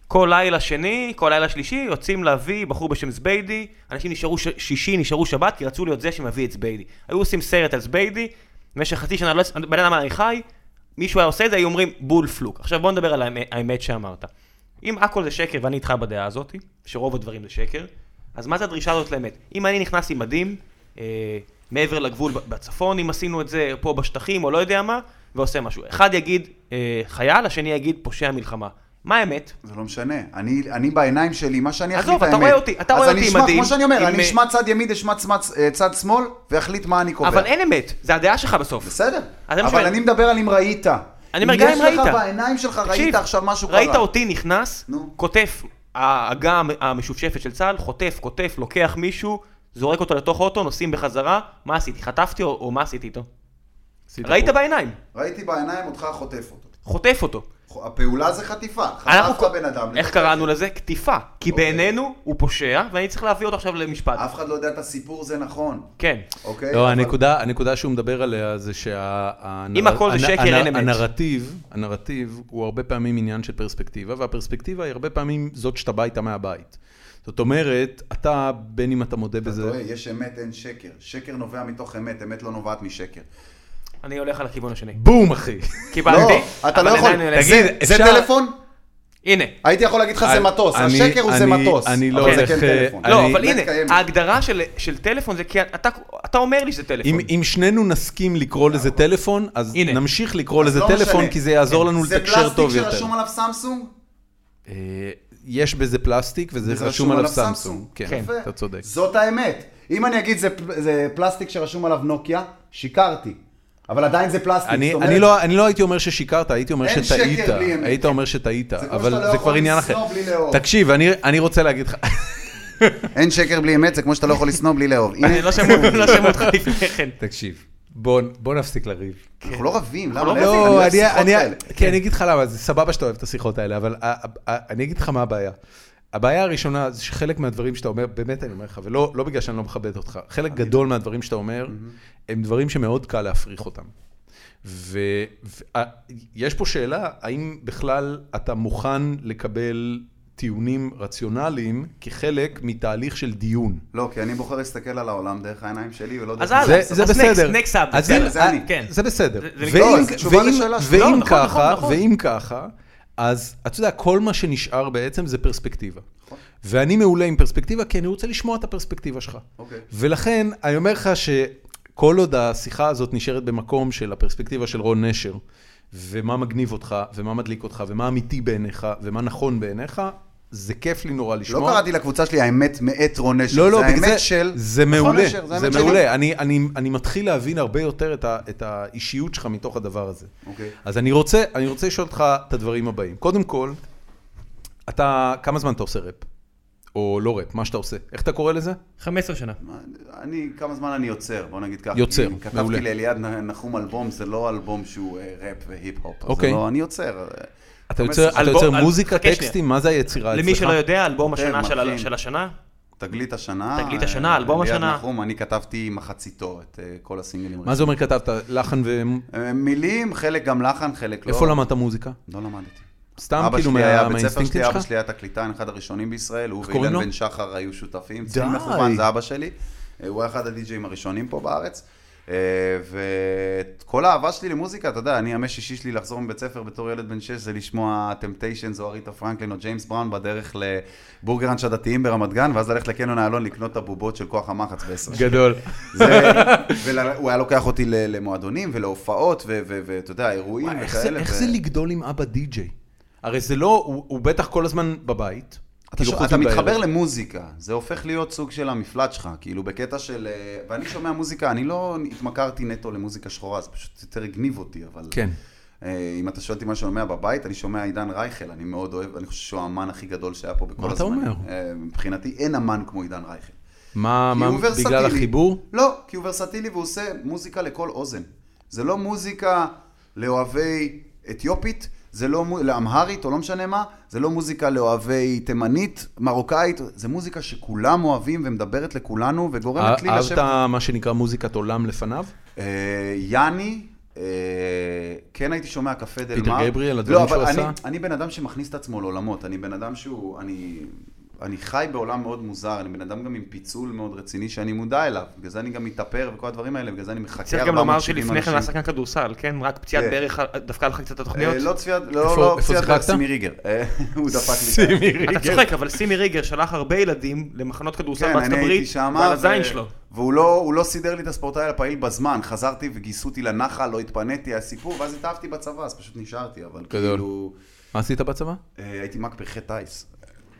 B: כל לילה שני, כל לילה שלישי, יוצאים להביא בחור בשם זביידי, אנשים נשארו ש- שישי, נשארו שבת, כי רצו להיות זה שמביא את זביידי. היו עושים סרט על זביידי, במשך חצי שנה, לא... בן אדם היה חי, מישהו היה עושה את זה, היו אומרים בול פלוק. עכשיו בוא נדבר על האמת, האמת שאמרת. אם הכל זה שקר, ואני איתך בדעה הזאת, שרוב הדברים זה שקר, אז מה זה הדרישה הזאת לאמת? אם אני נכנס עם מדים, אה, מעבר לגבול ב- בצפון, אם עשינו את זה פה בשטחים, או לא יודע מה, ועושה משהו. אחד יגיד אה, חייל, השני יגיד פושע מלחמה. מה האמת?
C: זה לא משנה. אני, אני בעיניים שלי, מה שאני
B: עזוב,
C: אחליט האמת.
B: אתה רואה אותי, אתה רואה
C: אז
B: אותי
C: אני אשמע,
B: מדהים,
C: כמו שאני אומר,
B: עם- אה,
C: אני אשמע צד ימין, אשמע צד, צד שמאל, ואחליט מה אני קובע.
B: אבל אין אמת, זה הדעה שלך בסוף.
C: בסדר.
B: אז זה מה
C: אבל
B: שאני-
C: אני מדבר על אם ראית.
B: אני אומר, גם אם
C: יש לך
B: ראית.
C: בעיניים שלך, ראית
B: תקשיב,
C: עכשיו משהו קרה.
B: ראית אותי נכנס,
C: נו.
B: כותף, העגה המ- המשופשפת של צה"ל, חוטף, כותף, לוקח מישהו, זורק אותו לתוך אוטו, נוסעים בחזרה, מה עשיתי? חטפתי או, או מה עשיתי איתו?
A: עשית
B: ראית
A: פה-
B: בעיניים,
C: ראיתי בעיניים אותך חוטף אותו.
B: חוטף אותו.
C: הפעולה זה חטיפה.
B: אנחנו
C: חטפת בן אדם.
B: איך
C: לבצע
B: קראנו
C: את זה.
B: לזה? קטיפה. כי
C: אוקיי.
B: בעינינו הוא פושע, ואני צריך להביא אותו עכשיו למשפט.
C: אף אחד לא יודע את הסיפור, זה נכון.
B: כן.
C: אוקיי?
A: לא,
C: אבל-
A: הנקודה, הנקודה שהוא מדבר עליה זה שה...
B: אם
A: הנר-
B: הכל זה
A: הנ-
B: שקר,
A: הנ-
B: אין אמת.
A: הנרטיב, הנרטיב הוא הרבה פעמים עניין של פרספקטיבה, והפרספקטיבה היא הרבה פעמים זאת שאתה בא איתה מהבית. זאת אומרת, אתה, בין אם אתה מודה
C: אתה
A: בזה...
C: טועה, יש אמת, אין שקר. שקר נובע מתוך אמת, אמת לא נובעת משקר.
B: אני הולך על הכיוון השני.
A: בום, אחי.
B: קיבלתי,
C: לא, אתה
B: אבל
C: לא יכול.
B: עדיין אני הולך-
A: תגיד,
C: זה- זה
A: אפשר-
C: טלפון?
B: הנה.
C: הייתי יכול להגיד לך זה
A: אני-
C: מטוס,
A: אני-
C: השקר הוא זה
A: אני-
C: מטוס.
A: אני לא
C: אבל זה
A: הולך,
C: כן
A: אה,
C: טלפון.
A: אני-
B: לא, אבל
C: באמת
B: הנה,
C: קיימת.
B: ההגדרה של- של טלפון זה כי אתה- אתה אומר לי שזה טלפון.
A: אם, אם שנינו נסכים לקרוא לזה טלפון, נכון. אז
B: הנה.
A: נמשיך לקרוא
C: אז
A: לזה
C: לא
A: טלפון,
C: משנה. כן.
A: כי זה יעזור לנו
C: זה
A: לתקשר
C: פלסטיק
A: טוב יותר.
C: שרשום עליו סמסונג?
A: אה, יש בזה פלסטיק וזה רשום עליו סמסונג. כן,
C: יפה.
A: אתה צודק.
C: זאת האמת. אם אני אגיד זה פל- זה פלסטיק שרשום עליו נוקיה, שיקרתי. אבל עדיין זה פלסטיק.
A: אני,
C: זאת אומרת,
A: אני, לא, אני לא הייתי אומר ששיקרת, הייתי אומר
C: אין
A: שטעית.
C: שקר בלי אמת.
A: היית אומר שטעית,
C: כמו
A: אבל
C: שאתה לא
A: זה
C: יכול
A: כבר עניין אחר.
C: לשנוא בלי לאהוב.
A: תקשיב, אני, אני רוצה להגיד לך, לא-
C: אין שקר בלי אמת, זה כמו שאתה לא יכול לשנוא בלי לאהוב.
B: (laughs)
C: הנה,
B: אני לא שמעו לא שמעו (laughs) אותך לפני כן.
A: תקשיב, בוא, בוא נפסיק לריב.
C: אנחנו לא רבים, למה?
B: לא
C: להפך,
B: רבים,
C: אני אוהב
A: אני,
C: שיחות
A: אני,
C: כאלה.
A: כן, אני אגיד לך למה, זה סבבה שאתה אוהב את השיחות האלה, אבל ה- ה- ה- אני אגיד לך מה הבעיה. הבעיה הראשונה זה שחלק מהדברים שאתה אומר, באמת אני אומר לך, ולא לא בגלל שאני לא מכבד אותך, חלק גדול מהדברים שאתה אומר, הם דברים שמאוד קל להפריך אותם. ויש פה שאלה, האם בכלל אתה מוכן לקבל טיעונים רציונליים כחלק מתהליך של דיון?
C: לא, כי אני בוחר להסתכל על העולם דרך העיניים שלי ולא
B: אז
C: דרך...
B: הלאה,
A: זה, זה
B: אז
A: בסדר.
B: next- next subject.
A: אז
B: יאללה,
A: אם- אה,
C: זה אני.
B: כן.
A: זה בסדר.
B: זה- זה
A: ואם-
C: לא, זה תשובה
A: ואם-
C: לשאלה שלך.
A: ואם
B: לא, נכון,
A: ככה,
B: נכון, נכון.
A: ואם ככה, אז אתה יודע, כל מה שנשאר בעצם זה פרספקטיבה. ואני מעולה עם פרספקטיבה, כי אני רוצה לשמוע את הפרספקטיבה שלך.
C: אוקיי.
A: ולכן, אני אומר לך שכל עוד השיחה הזאת נשארת במקום של הפרספקטיבה של רון נשר, ומה מגניב אותך, ומה מדליק אותך, ומה אמיתי בעיניך, ומה נכון בעיניך, זה כיף לי נורא
C: לא
A: לשמוע.
C: קראתי לקבוצה שלי האמת מאת רון נשר,
A: לא, לא,
C: זה
A: בגלל
C: האמת
A: זה,
C: של...
A: זה
C: נכון,
A: מעולה,
C: נשר,
A: זה,
C: האמת שלי.
A: מעולה. אני, אני, אני מתחיל להבין הרבה יותר את, ה, את האישיות שלך מתוך הדבר הזה.
C: אוקיי.
A: אז אני רוצה, אני רוצה לשאול אותך את הדברים הבאים. קודם כל, אתה, כמה זמן אתה עושה ראפ? או לא ראפ, מה שאתה עושה. איך אתה קורא לזה?
D: 15 שנה.
C: מה, אני, כמה זמן אני יוצר, בוא נגיד ככה.
A: יוצר,
C: כי
A: מעולה.
C: כתבתי לאליעד נ- נחום אלבום, זה לא אלבום שהוא אה, ראפ והיפ-הופ.
A: אוקיי.
C: אוקיי. לא, אני יוצר. אה,
A: אתה יוצר, אתה
B: אלבום-
A: יוצר
B: אל-
A: מוזיקה,
B: חכה שנייה.
A: טקסטים, מה זה היצירה אצלך?
B: למי שלא יודע, אלבום
C: כותב,
B: השנה של ה-
C: מלחין.
B: של השנה,
C: תגלית השנה.
B: תגלית
C: אה,
B: השנה, אלבום השנה.
C: אליעד נחום, אני כתבתי מחציתו את אה, כל הסינגלים.
A: מה זה אומר כתבת? לחן ו...
C: אה, מילים, חלק גם לחן, חלק לא.
A: איפה למדת מוזיקה?
C: לא למדתי.
A: סתם
C: אבא
A: כאילו
C: שלי היה
A: מה-
C: בית ספר
A: מהאינסטינקטים
C: שלי, אבא
A: שלך?
C: שלי היה תקליטן, אחד הראשונים בישראל, הוא
A: קוראים
C: ואילן
A: לו?
C: בן שחר היו שותפים,
A: די.
C: צבי מכוון זה אבא שלי, אה, הוא היה אחד הדי-ג'אים הראשונים פה בארץ, אה, וכל האהבה שלי למוזיקה, אתה יודע, אני ימי שישי שלי לחזור מבית ספר בתור ילד בן שש, זה לשמוע טמפטיישנס או אריתה פרנקלין או ג'יימס בראון בדרך לבורגראנץ' הדתיים ברמת גן, ואז ללכת לקניון איילון לקנות את הבובות של כוח המחץ בעשר שקל.
A: גדול.
C: זה- והוא היה לוקח אותי ל- למועדונים ולהופעות, ו- ו- ואתה יודע, אירועים
A: וואי,
C: וכאלה.
A: איך זה- איך
C: ו-
A: זה לגדול עם אבא די-ג'יי? הרי זה לא, הוא הוא בטח כל הזמן בבית.
C: אתה,
A: כאילו,
C: ש...
A: חוץ
C: אתה
A: מבערב.
C: מתחבר למוזיקה, זה הופך להיות סוג של המפלט שלך, כאילו בקטע של... אה, ואני שומע מוזיקה, אני לא התמכרתי נטו למוזיקה שחורה, זה פשוט יותר הגניב אותי, אבל...
A: כן.
C: אה, אם אתה שואל אותי מה שאני שומע בבית, אני שומע עידן רייכל, אני מאוד אוהב, אני חושב שהוא האמן הכי גדול שהיה פה בכל
A: מה אתה
C: הזמנים.
A: אומר?
C: אה, מבחינתי אין אמן כמו עידן רייכל.
A: מה,
C: כי
A: מה,
C: הוא ורסטילי.
A: בגלל החיבור?
C: לא, כי הוא ורסטילי והוא עושה מוזיקה לכל אוזן. זה לא מוזיקה לאוהבי אתיופית, זה לא מו- לאמהרית או לא משנה מה, זה לא מוזיקה לאוהבי תימנית, מרוקאית, זה מוזיקה שכולם אוהבים ומדברת לכולנו וגורמת לי
A: אה-
C: לשבת...
A: אהבת מה שנקרא מוזיקת עולם לפניו?
C: אה, יאני, אה, כן הייתי שומע קפה דל
A: פיטר
C: מר.
A: גבריאל, הדברים שהוא
C: לא, אבל
A: עשה?
C: אני- אני בן אדם שמכניס את עצמו לעולמות, אני בן אדם שהוא, אני... אני חי בעולם מאוד מוזר, אני בן אדם גם עם פיצול מאוד רציני שאני מודע אליו, בגלל זה אני גם מתאפר וכל הדברים האלה, בגלל זה אני מחכה 470 אנשים.
B: צריך גם לומר שלפני כן הוא היה שחקן כדורסל, כן? רק פציעת
C: כן.
B: ברך דווקא לך קצת התוכניות.
C: אה, לא צפיית, לא,
A: איפה-
C: לא,
A: איפה
C: לא, צפיית
A: שיחקת?
C: סימי ריגר. (laughs) אה, הוא דפק לי.
A: סימי ריגר.
B: אתה צוחק, אבל סימי ריגר שלח הרבה ילדים למחנות כדורסל
C: כן,
B: בארצות
C: אני הייתי
B: הברית,
C: שם.
B: ועל
C: ו-
B: הזין שלו.
C: והוא לא, הוא לא סידר לי את הספורטאי הפעיל בזמן, חזרתי וגייסו אותי לנחל, לא התפניתי, היה סיפור, ואז התאהבתי בצבא, אז פשוט נשארתי, אבל
A: גדול.
C: כאילו...
A: מה עשית בצבא?
C: אה, הייתי מ"כ פרחי טיס.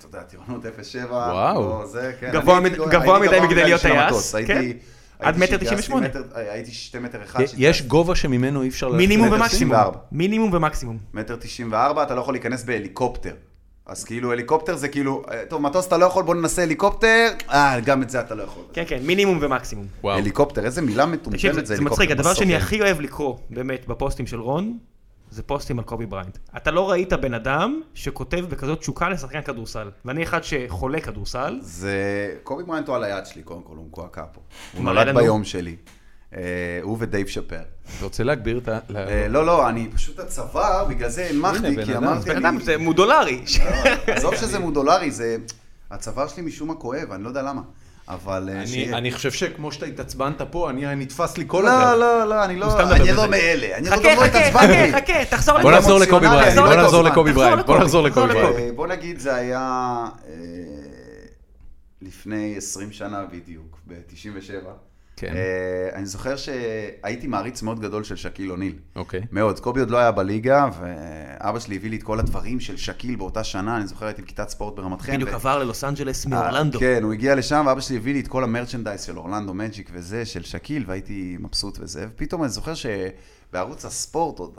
C: אתה יודע, טירונות 07.
A: וואו.
C: לא, זה, כן.
B: גבוה
C: אני
B: מד-
C: הייתי
B: גבוה
C: הייתי
B: מדי מגדליות
C: של
B: טייס,
C: המטוס, הייתי-
B: כן.
C: הייתי
B: עד מטר
C: שהתגייסתי
B: 98.
C: מטר- הייתי שתי מטר אחד.
A: יש גובה שממנו אי אפשר ללכת
B: מינימום
A: לטקסים?
B: ומקסימום.
C: 94.
B: מינימום ומקסימום.
C: מטר 94, אתה לא יכול להיכנס בהליקופטר. אז כאילו הליקופטר זה כאילו, אה, טוב, מטוס אתה לא יכול, בוא ננסה הליקופטר, אה, גם את זה אתה לא יכול.
B: כן, כן, מינימום ומקסימום.
A: וואו.
C: הליקופטר, איזה מילה
B: תקשיב,
C: מטומטמת
B: זה
C: זה
B: מצחיק,
C: הליקופטר.
B: הדבר שאני
C: בסוף.
B: הכי אוהב לקרוא, באמת, בפוסטים של רון,
D: זה פוסטים על קובי בריינט. אתה לא ראית בן אדם שכותב בכזאת תשוקה לשחקן כדורסל. ואני אחד שחולה כדורסל.
C: זה... קובי בריינט הוא על היד שלי, קודם כל, הוא מקועקע פה. הוא
D: מראה
C: נולד
D: לנו.
C: ביום שלי. אה, הוא ודייב שאפר.
A: אתה רוצה להגביר את ה... ל-
C: אה, לא, לא, אני פשוט הצוואר, בגלל זה
A: הנה,
C: הנמכתי,
A: בן
C: כי
A: אדם.
C: אמרתי...
D: בן
C: אני- לא,
D: אדם זה מודולרי.
C: עזוב שזה מודולרי, זה... הצוואר שלי משום מה כואב, אני לא יודע למה. אבל... אה,
A: אני
C: שיהיה.
A: אני חושב שכמו שאתה התעצבנת פה, אני נתפס לי כל
C: לא,
A: הדרך.
C: לא, לא, אני
D: אוקיי. סתם מדבר
C: לא... אני
D: בזה.
C: לא מאלה. אני עוד
D: חכה,
C: לא
D: חכה,
C: התעצבנתי.
D: חכה, חכה, תחזור
A: בוא
D: לזה.
A: נחזור לקובי
C: אמוציונלי,
A: בריינט,
C: אני
A: בוא
C: לא
A: נחזור
C: בטוח.
A: לקובי
D: תחזור
A: בריינט, בוא
D: לקובי,
A: נחזור
D: תחזור
A: לקובי
D: לקובי.
A: בריינט.
C: אה, בוא נגיד זה היה אה, לפני 20 שנה בדיוק, ב-97.
A: כן.
C: אה, אני זוכר שהייתי מעריץ מאוד גדול של שקיל אוניל.
A: אוקיי.
C: מאוד. קובי עוד לא היה בליגה, ואבא שלי הביא לי את כל הדברים של שקיל באותה שנה, אני זוכר הייתי בכיתת ספורט ברמת חן.
D: בדיוק
C: כן, ו-
D: עבר ללוס אנג'לס
C: אה,
D: מאורלנדו.
C: כן, הוא הגיע לשם, ואבא שלי הביא לי את כל המרצ'נדייז של אורלנדו מג'יק וזה, של שקיל, והייתי מבסוט וזה, ופתאום אני זוכר שבערוץ הספורט, עוד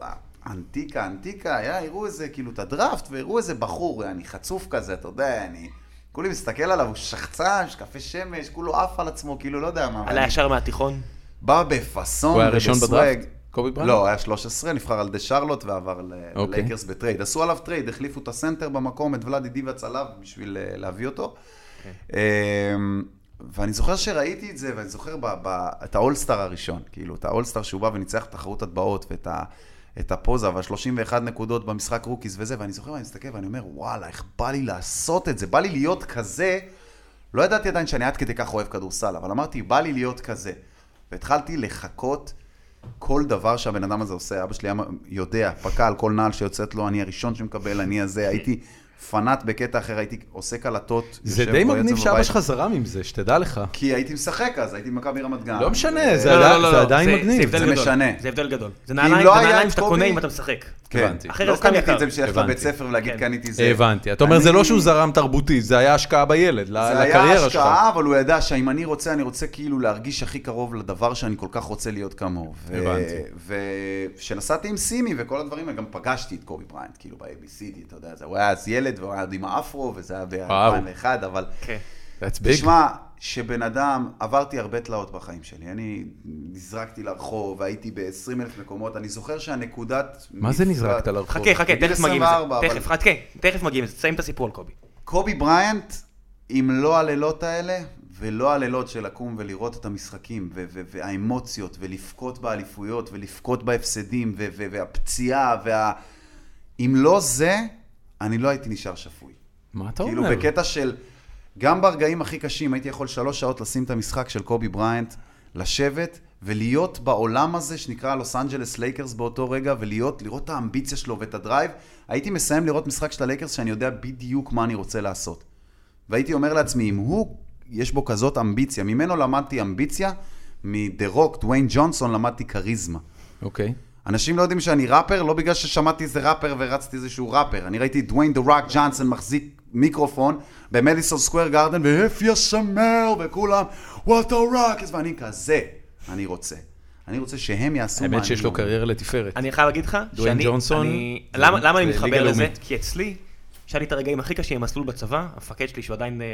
C: אנטיקה, אנטיקה, היה, הראו איזה, כאילו, את הדראפט, והראו איזה בחור, אני חצוף כזה, אתה יודע, אני... כולי מסתכל עליו, הוא שחצן, שקפה שמש, כולו עף על עצמו, כאילו, לא יודע מה.
D: עלה
C: ואני
D: ישר מהתיכון.
C: בא בפאסון
A: הוא היה ראשון
C: ובסוואג.
A: בדראפט? קובי בריינט?
C: לא, היה 13, נבחר על ידי שרלוט ועבר ל-
A: אוקיי.
C: ללייקרס בטרייד. עשו עליו טרייד, החליפו את הסנטר במקום, את ולאדי דיב הצלב בשביל אה, להביא אותו.
A: אוקיי.
C: אמ, ואני זוכר שראיתי את זה, ואני זוכר ב- ב- את האולסטאר הראשון, כאילו, את האולסטאר שהוא בא וניצח את תחרות הטבעות ואת ה... את הפוזה וה-31 נקודות במשחק רוקיס וזה, ואני זוכר, ואני מסתכל ואני אומר, וואלה, איך בא לי לעשות את זה? בא לי להיות כזה. לא ידעתי עדיין שאני עד כדי כך אוהב כדורסל, אבל אמרתי, בא לי להיות כזה. והתחלתי לחכות כל דבר שהבן אדם הזה עושה. אבא שלי היה יודע, פקע על כל נעל שיוצאת לו, אני הראשון שמקבל, אני
D: כן.
C: הזה, הייתי פנאט בקטע אחר, הייתי עושה קלטות.
A: זה
C: יושב,
A: די
C: רואה את
A: מגניב
C: זה
A: שאבא
C: בבית. אה.
A: שלך זרם עם זה, שתדע לך.
C: כי הייתי משחק אז, הייתי במכבי רמת גן.
A: לא משנה, זה
C: אה,
A: עדיין-
D: לא, לא,
A: זה
D: לא,
A: עדיין מגניב.
C: זה
D: גדול.
C: משנה.
D: זה הבדל גדול. זה
C: אם
D: נעליים
C: לא
D: זה
C: היה
D: נעליים
C: את
D: שאתה
C: קובי-
D: קונה אם אתה משחק.
C: כן,
A: הבנתי.
D: אחרת
C: לא
D: סתם
C: קניתי
D: יקר.
C: את זה בשביל ללכת
A: הבנתי.
C: לבית ספר ולהגיד
D: כן.
C: קניתי זה.
A: הבנתי. אתה אומר, זה
C: אני-
A: לא שהוא זרם תרבותי, זה היה השקעה בילד, ל-
C: זה היה
A: לקריירה שלך.
C: השקעה, אבל הוא ידע שאם אני רוצה, אני רוצה כאילו להרגיש הכי קרוב לדבר שאני כל כך רוצה להיות כמוהו.
A: הבנתי.
C: וכשנסעתי עם סימי וכל הדברים, אני גם פגשתי את קובי בריינט, כאילו ב-ABCD, אתה יודע, זה- הוא היה אז ילד והוא היה עוד עם האפרו, וזה היה ב-2001, אבל...
D: כן.
A: That's big.
C: תשמע, שבן אדם, עברתי הרבה תלאות בחיים שלי. אני נזרקתי לרחוב, הייתי ב-20 אלף מקומות, אני זוכר שהנקודת...
A: מה זה
C: מפרט-
A: נזרקת לרחוב?
D: חכה, חכה,
C: בגיל
D: תכף מגיעים לזה.
C: 24, אבל-
D: תכף, חכה, תכף מגיעים לזה. תסיים את הסיפור על קובי.
C: קובי בריינט, אם לא הלילות האלה, ולא הלילות של לקום ולראות את המשחקים, ו- ו- והאמוציות, ולבכות באליפויות, ולבכות בהפסדים, ו- ו- והפציעה, וה... אם לא זה, אני לא הייתי נשאר שפוי.
A: מה אתה
C: כאילו
A: אומר?
C: בקטע של, גם ברגעים הכי קשים הייתי יכול שלוש שעות לשים את המשחק של קובי בריינט, לשבת ולהיות בעולם הזה שנקרא לוס אנג'לס לייקרס באותו רגע, ולהיות, לראות את האמביציה שלו ואת הדרייב. הייתי מסיים לראות משחק של הלייקרס שאני יודע בדיוק מה אני רוצה לעשות. והייתי אומר לעצמי, אם הוא, יש בו כזאת אמביציה, ממנו למדתי אמביציה, מדה רוק, דוויין ג'ונסון, למדתי כריזמה.
A: אוקיי.
C: אנשים לא יודעים שאני ראפר, לא בגלל ששמעתי איזה ראפר ורצתי איזשהו ראפר. אני ראיתי את דוויין דה ראק ג'אנסון מחזיק מיקרופון במדיסון סקוויר גארדן, ו-If you smell, וכולם, what the rock is, ואני כזה, אני רוצה. אני רוצה שהם יעשו מה אני
A: האמת שיש לו
C: אומר.
A: קריירה לתפארת.
D: אני חייב להגיד לך,
A: דואן
D: שאני-
A: ג'ונסון,
D: אני-
A: זה-
D: למה למה
A: זה
D: אני
A: ליגה
D: מתחבר לזה?
A: לאומית.
D: כי אצלי, שהיה לי את הרגעים הכי קשים במסלול בצבא, המפקד שלי שהוא עדיין אה,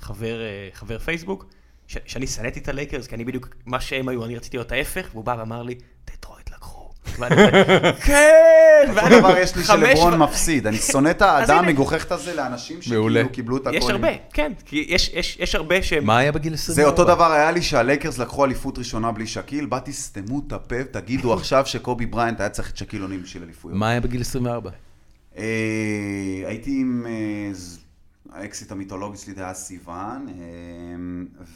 D: חבר, אה, חבר פייסבוק, ש- שאני שנאתי את הלייקרס, כי אני בדיוק, מה שהם היו, אני רציתי להיות ההפך, והוא בא ואמר לי, דטרויט לקחו. (laughs) ואני כזה, כן!
C: כל דבר יש
D: (laughs)
C: לי
D: חמש
C: שלברון
D: ו-
C: מפסיד. אני שונא
D: (laughs)
C: את האדם
D: הנה.
C: המגוחכת הזה לאנשים
A: מעולה.
C: שכאילו קיבלו את הכל.
D: יש
C: עם-
D: הרבה, כן, כי יש- יש יש הרבה שהם...
A: מה היה בגיל 24?
C: זה אותו דבר היה לי שהלייקרס לקחו אליפות ראשונה בלי שקיל, באתי סתמו את הפה, תגידו עכשיו שקובי בריינט היה צריך את שקיל אונים בשביל אליפויות.
A: מה היה בגיל
C: (laughs)
A: 24?
C: אה, הייתי עם אה, ז- האקסיט המיתולוגי שלי, זה היה סיוון, אה,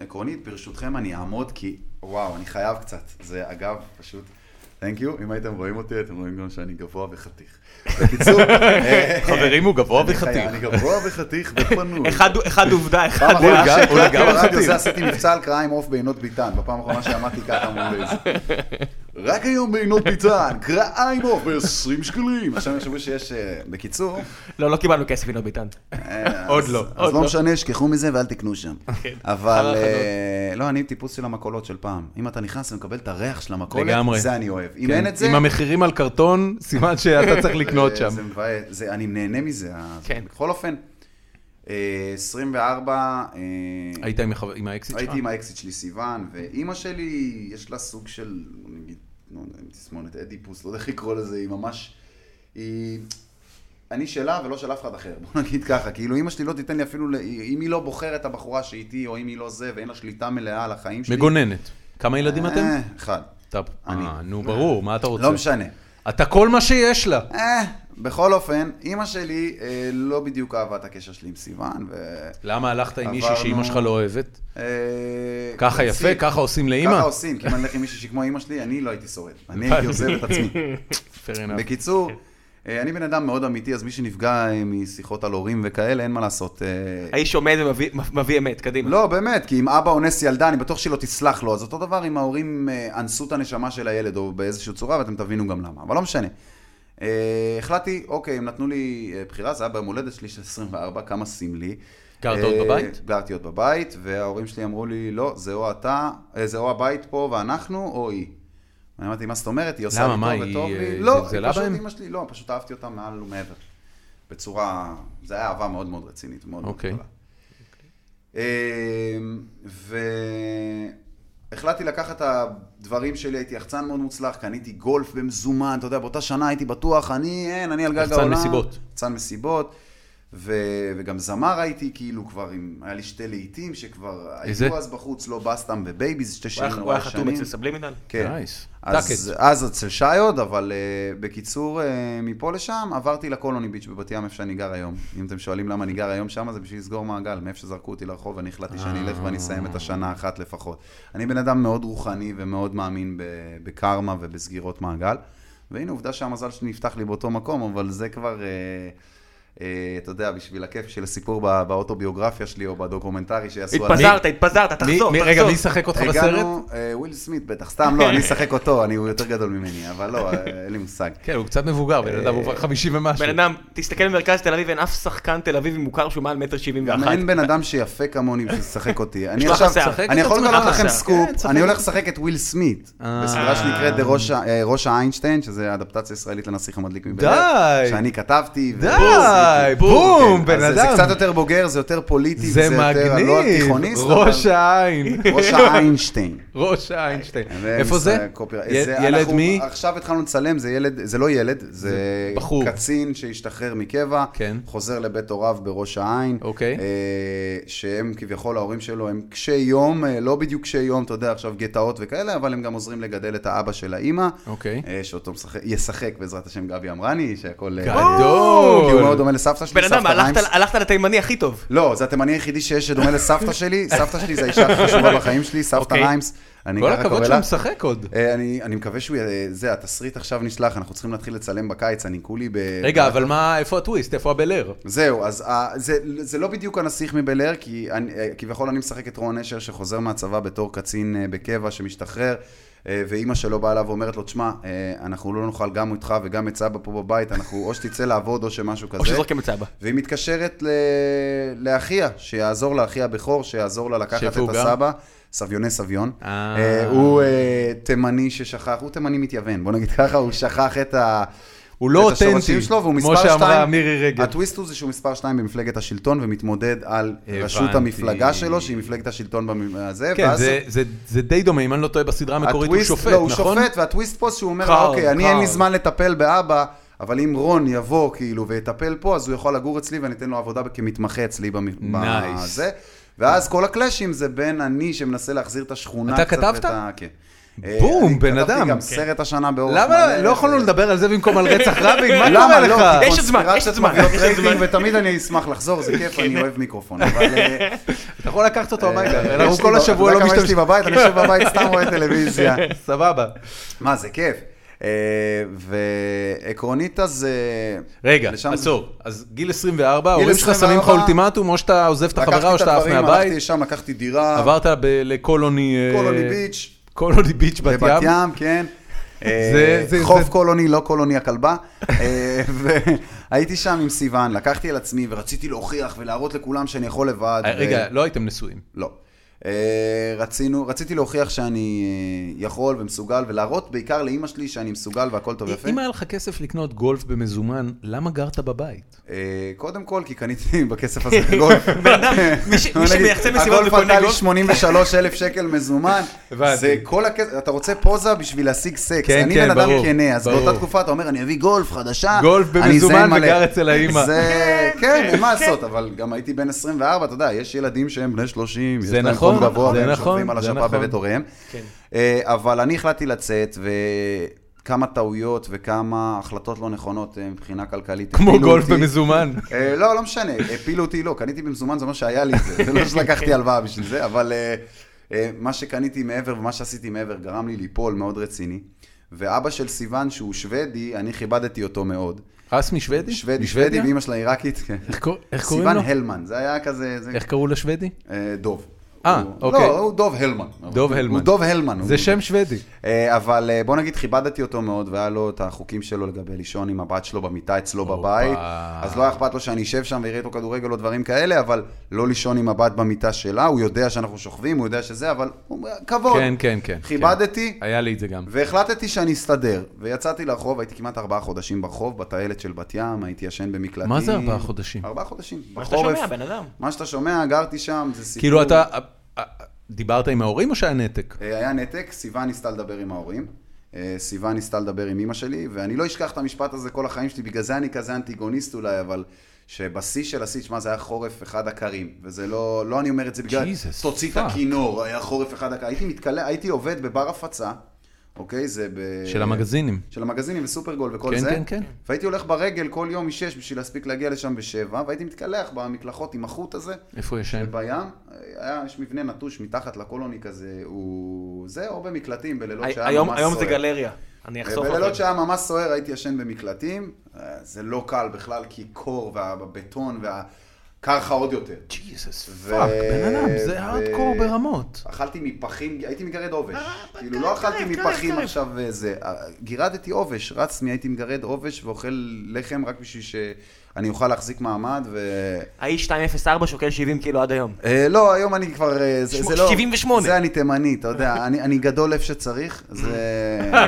C: ועקרונית, ברשותכם אני אעמוד כי, וואו, אני חייב קצת. זה אגב, פשוט, תן קיו, אם הייתם רואים אותי, אתם רואים גם שאני גבוה וחתיך.
A: (laughs)
C: בקיצור, אה,
A: חברים, הוא גבוה
C: אני חי-
A: וחתיך.
C: אני גבוה וחתיך ופנוי.
D: אחד- אחד עובדה, אחד...
C: פעם
A: הוא
C: אחרונה
A: גם- הוא
C: שהקלטתי
A: גם
C: ברדיו
A: חתיך.
C: זה עשיתי מבצע על קראה עם עוף בעינות ביטן, בפעם האחרונה שאמרתי ככה מול לייז. רק היום בעינות ביטן, קראה עם עוף ב-20 שקלים. עכשיו יחשבו שיש... אה, בקיצור...
D: לא, לא קיבלנו כסף, ינון ביטן.
C: אה,
A: עוד
C: אז-
A: לא,
C: אז
A: עוד
C: לא
A: לא. אוקיי.
C: משנה, שכחו מזה ואל תקנו שם.
D: אחר
C: אבל
D: החנות.
C: אה, לא, אני טיפוס של המכולות של פעם. אם אתה נכנס ומקבל את הריח של המכולת,
A: לגמרי.
C: זה אני אוהב. אם
A: כן,
C: אין את זה...
A: עם המחירים על קרטון, סימן
C: (laughs)
A: שאתה צריך לקנות
C: זה-
A: שם.
C: זה מבאס, זה- אני נהנה מזה. אז-
D: כן.
C: בכל אופן, אה, 24... אה,
A: היית עם החבר- עם האקסיט שלך?
C: הייתי עם האקסיט שלי סיוון, ואימא שלי, יש לה סוג של, נגיד, לא יודע אם תסמונת אדיפוס, לא יודע איך לקרוא לזה, היא ממש... היא... אני שלה ולא של אף אחד אחר, בוא נגיד ככה, כאילו אמא שלי לא תיתן לי אפילו, ל- אם היא לא בוחרת את הבחורה שאיתי, או אם היא לא זה, ואין לה שליטה מלאה על החיים שלי.
A: מגוננת. כמה ילדים אתם?
C: אה, אחד.
A: אתה...
C: אני.
A: אה, נו, ברור, מה אתה רוצה?
C: לא משנה.
A: אתה כל מה שיש לה.
C: אה, בכל אופן, אימא שלי אה, לא בדיוק אהבה את הקשר שלי עם סיוון, ו...
A: למה הלכת עם מישהי
C: עברנו-
A: שאימא שלך לא אוהבת?
C: אה,
A: ככה
C: עושים.
A: יפה, ככה עושים לאימא?
C: ככה עושים, כי אם אני אלך עם מישהי שכמו אימא שלי, אני לא הייתי שורד. אני הייתי עוזב את עצמי.
A: Fair enough.
C: בקיצור, אה, אני בן אדם מאוד אמיתי, אז מי שנפגע אה, משיחות על הורים וכאלה, אין מה לעשות. אה,
D: האיש עומד ומביא אמת, קדימה.
C: לא, באמת, כי אם אבא אונס ילדה, אני בטוח שהיא לא תסלח לו, אז אותו דבר אם ההורים אה, אנסו את הנשמה של הילד, או באיזושהי צורה, ואתם תבינו גם למה, אבל לא משנה. אה, החלטתי, אוקיי, הם נתנו לי אה, בחירה, זה היה ביום הולדת שלי של 24, כמה סמלי.
A: גרת עוד
C: אה,
A: בבית?
C: גרתי עוד בבית, וההורים שלי אמרו לי, לא, זה או אתה, אה, זה או הבית פה ואנחנו, או היא. אני אמרתי, מה זאת אומרת? היא עושה
A: למה?
C: לי
A: מה,
C: טוב
A: היא,
C: וטוב
A: אה,
C: לי. לא,
A: זלזלה
C: היא פשוט
A: בהם?
C: אימא שלי, לא, פשוט אהבתי אותה מעל ומעבר. בצורה, זה היה אהבה מאוד מאוד רצינית, מאוד מאוד
A: אוקיי.
C: גדולה. אמ, והחלטתי לקחת את הדברים שלי, הייתי יחצן מאוד מוצלח, קניתי גולף במזומן, אתה יודע, באותה שנה הייתי בטוח, אני אין, אני על גג
A: יחצן
C: העולם.
A: מסיבות.
C: יחצן מסיבות. ו... וגם זמר הייתי, כאילו כבר עם... היה לי שתי להיטים שכבר
A: איזה?
C: היו אז בחוץ, לא בסטם ובייביז, שתי
D: הוא
C: שירים
D: היה- הוא
C: נורא
D: היה חתום
C: ישנים.
D: אצל סבלימינל?
C: כן.
A: Nice.
C: אז,
A: טאקט.
C: אז אצל שיוד, אבל uh, בקיצור, uh, מפה לשם עברתי לקולוני ביץ' בבת ים, איפה שאני גר היום. אם אתם שואלים למה אני גר היום שם, זה בשביל לסגור מעגל. מאיפה שזרקו אותי לרחוב, אני החלטתי שאני אלך ואני אסיים את השנה אחת לפחות. אני בן אדם מאוד רוחני ומאוד מאמין ב- בקרמה ובסגירות מעגל. והנה עובדה שהמזל שלי נפתח לי באותו מקום, אבל זה כבר, אה, אה, אתה יודע, בשביל הכיף של הסיפור בא- באוטוביוגרפיה שלי או בדוקומנטרי שיעשו עליי.
D: התפזרת, התפזרת,
A: מי-
D: תחזור,
A: מי- רגע,
D: תחזור.
A: מי ישחק אותך בסרט?
C: הגענו, אה, וויל סמית בטח, סתם לא, אני אשחק אותו, אני, הוא יותר גדול ממני, אבל לא, אה, אין לי מושג.
A: כן, הוא קצת מבוגר, בן
C: אה,
A: אדם הוא כבר 50 ומשהו.
D: בן אדם, תסתכל במרכז תל אביב, אין אף שחקן תל אביבי מוכר שהוא מעל מטר שבעים
C: גם
D: ואחת.
C: אין בן אדם שיפה כמוני בשביל לשחק אותי. אני
D: יש לך
C: עכשיו,
D: שיער.
A: שחק
C: אני
A: את
C: יכול
A: עצמך,
C: לגלות לכם
D: שיער.
C: סקופ,
A: כן, שחק
C: אני
A: את-
C: הולך לשחק את וויל סמית,
A: אה.
C: בסדרה שנקראת "The ראש ה- אה, ראש האיינשטיין, שזה אדפטציה ישראלית לנסיך המדליק מבאר,
A: די.
C: שאני כתבתי. ו-
A: די,
C: כן.
A: בום,
C: כן,
A: בן
C: אז
A: אדם.
C: זה קצת יותר בוגר, זה יותר פוליטי,
A: זה
C: יותר לא
A: מגניב,
C: תיכוניסט,
A: ראש
C: אבל-
A: העין, (laughs)
C: ראש האיינשטיין.
A: ראש האיינשטיין.
C: זה
A: איפה זה?
C: משחק קופי-
A: י-
C: אה, זה-
A: ילד
C: אנחנו-
A: מי?
C: עכשיו התחלנו לצלם, זה ילד, זה לא ילד, זה
A: בחור.
C: קצין שהשתחרר מקבע,
A: כן.
C: חוזר לבית הוריו בראש העין,
A: אוקיי.
C: אה, שהם כביכול, ההורים שלו הם קשי יום, אה, לא בדיוק קשי יום, אתה יודע, עכשיו גטאות וכאלה, אבל הם גם עוזרים לגדל את האבא של האימא,
A: אוקיי.
C: אה, שאותו משחק- ישחק בעזרת השם גבי אמרני, שהכל... אה,
A: גדול.
C: כי הוא מאוד דומה לסבתא שלי,
D: בן אדם,
C: סבתא
D: הלכת-
C: ריימס.
D: הלכת לתימני הכי טוב.
C: לא, זה התימני היחידי שיש שדומה לסבתא שלי, סבתא שלי זה האישה הכי חשובה בחיים שלי, סבתא
D: אוקיי.
C: ריימס. אני
A: כל
C: ככה
A: הכבוד
C: קורא
A: שאתה
C: לה.
A: משחק עוד.
C: אה, אני, אני מקווה שהוא, י- זה, התסריט עכשיו נשלח, אנחנו צריכים להתחיל לצלם בקיץ, אני כולי ב...
A: רגע, אבל מה, איפה הטוויסט? איפה הבלר?
C: זהו, כן, אז אה, זה, זה לא בדיוק הנסיך מבל אר, כי אני, אה, כביכול אני משחק את רון אשר שחוזר מהצבא בתור קצין אה, בקבע שמשתחרר, אה, ואימא שלו באה אליו ואומרת לו, תשמע, אה, אנחנו לא נאכל גם אותך וגם את סבא פה בבית, אנחנו או שתצא לעבוד או שמשהו כזה.
D: או שזורקים את סבא.
C: והיא מתקשרת ל... לאחיה, שיעזור לאחיה הבכור, שיעזור לה לקחת את
A: שאיפה הוא גר?
C: הסבא, סביוני סביון.
A: אה.
C: אה, הוא אה, תימני ששכח, הוא תימני מתייוון, בוא נגיד ככה, הוא שכח את ה...
A: הוא לא
C: את השורשים
A: אותנטי,
C: שלו, והוא
A: כמו
C: מספר
A: שאמרה
C: שתיים.
A: מירי רגב.
C: הטוויסט הוא זה שהוא מספר 2 במפלגת השלטון ומתמודד על
A: הבנתי.
C: ראשות המפלגה שלו, שהיא מפלגת השלטון בזה.
A: כן, זה- זה- זה די דומה, אם אני לא טועה, בסדרה המקורית הוא שופט,
C: לא, הוא
A: נכון?
C: שופט, והטוויסט פה שהוא אומר,
D: קארל,
C: אוקיי, אני אין
D: קארל."
C: לי זמן לטפל באבא, אבל אם רון יבוא כאילו ויטפל פה, אז הוא יכול לגור אצלי ואני אתן לו עבודה כמתמחה אצלי במ-
A: Nice.
C: בזה. ואז כל הקלאשים זה בין אני שמנסה להחזיר את השכונה
A: אתה
C: קצת. ואת
A: כתבת?
C: ה- כן. אה,
A: בום,
C: אני
A: בן אדם.
C: כתבתי
A: כן.
C: גם סרט השנה באורך
A: למה
C: מלא,
A: לא
C: ו-
A: יכולנו לדבר על זה במקום על רצח רבין? מה
C: למה
A: קורה לך?
C: לא?
D: יש עוד זמן, יש עוד זמן,
A: (laughs)
C: קונספירציות
D: יש עוד
C: מביאות רייטינג,
D: זמן.
C: ותמיד אני אשמח לחזור, זה כיף,
A: כן.
C: אני אוהב מיקרופון. אבל אה,
A: אתה יכול לקחת אותו
C: אה,
A: הביתה, אנחנו
C: יש לי
A: כל
C: ב-
A: השבוע
C: אתה
A: לא
C: יודע כמה יש לי
A: משתמשים.
C: בבית, אני יושב בבית, סתם רואה טלוויזיה.
A: (laughs) סבבה.
C: מה, זה כיף. אה, ועקרונית אז... אה,
A: רגע,
C: לשם-
A: עצור. אז גיל 24, ההורים שלך
C: 24,
A: שמים לך אולטימטום, או שאתה עוזב את החברה או
C: לקחתי את
A: שאתה עף
C: הדברים, הלכתי
A: מהבית.
C: לשם, לקחתי דירה,
A: עברת ב- לקולוני... אה,
C: קולוני ביץ',
A: קולוני ביץ' בת
C: בבת
A: ים.
C: ים, כן. אה,
A: זה- זה-
C: חוף
A: זה-
C: קולוני, לא קולוני הכלבה. אה, והייתי שם עם סיוון, לקחתי על עצמי ורציתי להוכיח ולהראות לכולם שאני יכול לבד.
A: אה, רגע,
C: ו-
A: לא הייתם נשואים.
C: לא. אה, רצינו, רציתי להוכיח שאני אה, יכול ומסוגל, ולהראות בעיקר לאימא שלי שאני מסוגל והכל טוב ויפה.
A: אם היה לך כסף לקנות גולף במזומן, למה גרת בבית?
C: אה, קודם כל, כי קניתי (laughs)
D: (laughs)
C: בכסף הזה גולף.
D: מי ש- מי
C: נגיד,
D: שמייחצן מסיבות
C: הגולף
D: וקונה
C: עלה לי
D: גולף,
C: 83 אלף שקל מזומן.
A: (laughs) הבנתי.
C: זה כל הכסף, אתה רוצה פוזה בשביל להשיג סקס.
A: כן,
C: אני
A: כן,
C: בן אדם
A: ברור,
C: כנה, אז
A: ברור.
C: באותה תקופה אתה אומר, אני אביא גולף חדשה.
A: גולף
C: אני
A: במזומן
C: אזיין מלא."
A: וגר אצל האמא.
C: זה, כן, אין מה לעשות, אבל גם הייתי בן 24, אתה יודע, יש ילדים שהם בני 30, יש
A: זה
C: להם
A: נכון,
C: חום גבוה,
A: זה
C: והם
A: נכון,
C: שוכבים על
A: זה
C: השפה
A: נכון.
C: בבית הוריהם. אה, אבל אני החלטתי לצאת, וכמה טעויות וכמה החלטות לא נכונות אה, מבחינה כלכלית.
A: כמו
C: הפילו
A: גולף
C: אותי.
A: במזומן.
C: אה, לא, לא משנה, הפילו אותי, לא, קניתי במזומן, זה מה שהיה לי, זה זה לא
A: (laughs)
C: שלקחתי הלוואה בשביל זה, אבל אה, אה, מה שקניתי מעבר ומה שעשיתי מעבר גרם לי ליפול מאוד רציני. ואבא של סיוון, שהוא שוודי, אני כיבדתי אותו מאוד.
A: רסמי שוודי?
C: שוודי, שוודי,
A: משוודיה?
C: ואימא שלה עיראקית, כן.
A: אה, איך קור- איך קוראים
C: סיוון
A: לו?
C: הלמן, זה היה כזה, זה-
A: איך קראו לשוודי?
C: אה, דוב.
A: אה,
C: הוא-
A: אוקיי.
C: לא, הוא דוב הלמן.
A: דוב
C: הוא
A: הלמן.
C: דוב הלמן.
A: זה
C: הוא-
A: שם שוודי.
C: אה, אבל אה, בוא נגיד, כיבדתי אותו מאוד, והיה לו את החוקים שלו לגבי לישון עם הבת שלו במיטה אצלו בבית, אז לא היה אכפת לו שאני אשב שם ואראה איתו כדורגל או דברים כאלה, אבל לא לישון עם הבת במיטה שלה, הוא יודע שאנחנו שוכבים, הוא יודע שזה, אבל הוא- כבוד.
A: כן, כן, כן.
C: כיבדתי,
A: כן. היה לי את זה גם.
C: והחלטתי שאני אסתדר, ויצאתי לרחוב, הייתי כמעט ארבעה חודשים ברחוב, בטיילת של בת ים, הייתי ישן במקלטים.
A: מה זה ארבעה חודשים?
C: ארבעה חודשים, בחורף.
D: מה שאתה שומע, בן אדם.
C: מה שאתה שומע, גרתי שם, זה סיפור.
A: כאילו אתה, אה, אה, דיברת עם ההורים או שהיה נתק?
C: אה, היה נתק, סיוון ניסתה לדבר עם ההורים. אה, סיוון ניסתה לדבר עם אימא שלי, ואני לא אשכח את המשפט הזה כל החיים שלי, בגלל זה אני כזה אנטיגוניסט אולי, אבל שבשיא של השיא, שמע, זה היה חורף אחד הקרים, וזה לא, לא אני אומר את זה בגלל,
A: Jesus,
C: תוציא את
A: fuck.
C: הכינור, היה חורף אחד הקרים, הייתי מתקלע, הייתי עובד בבר הפצה, אוקיי? זה ב...
A: של המגזינים.
C: של המגזינים וסופרגול וכל
A: כן,
C: זה.
A: כן, כן.
C: והייתי הולך ברגל כל יום משש בשביל להספיק להגיע לשם בשבע, והייתי מתקלח במקלחות עם החוט הזה,
A: איפה יש שם?
C: בים, היה, יש מבנה נטוש מתחת לקולוני כזה, הוא... זה, או במקלטים, בלילות שהיה
D: היום
C: ממש
D: היום
C: סוער.
D: זה גלריה. אני אחשוף
C: בלילות
D: אותך.
C: שהיה ממש סוער הייתי ישן במקלטים, אה, זה לא קל בכלל, כי קור והבטון והקר לך עוד יותר.
A: ג'יזוס,
C: ו-
A: פאק, בן אדם,
C: ו-
A: זה הארדקור ברמות.
C: אכלתי מפחים, הייתי מגרד עובש. כאילו, לא אכלתי מפחים עכשיו אה, זה. אה, גירדתי עובש, רצמי, הייתי מגרד עובש ואוכל לחם רק בשביל שאני אוכל להחזיק מעמד, ו...
D: האיש 204 שוקל 70 קילו עד היום.
C: אה, לא, היום אני כבר... אה, זה,
D: שמ-
C: זה לא...
D: 78.
C: זה אני תימני, אתה יודע, אני, אני גדול איפה שצריך,
A: (laughs)
C: זה...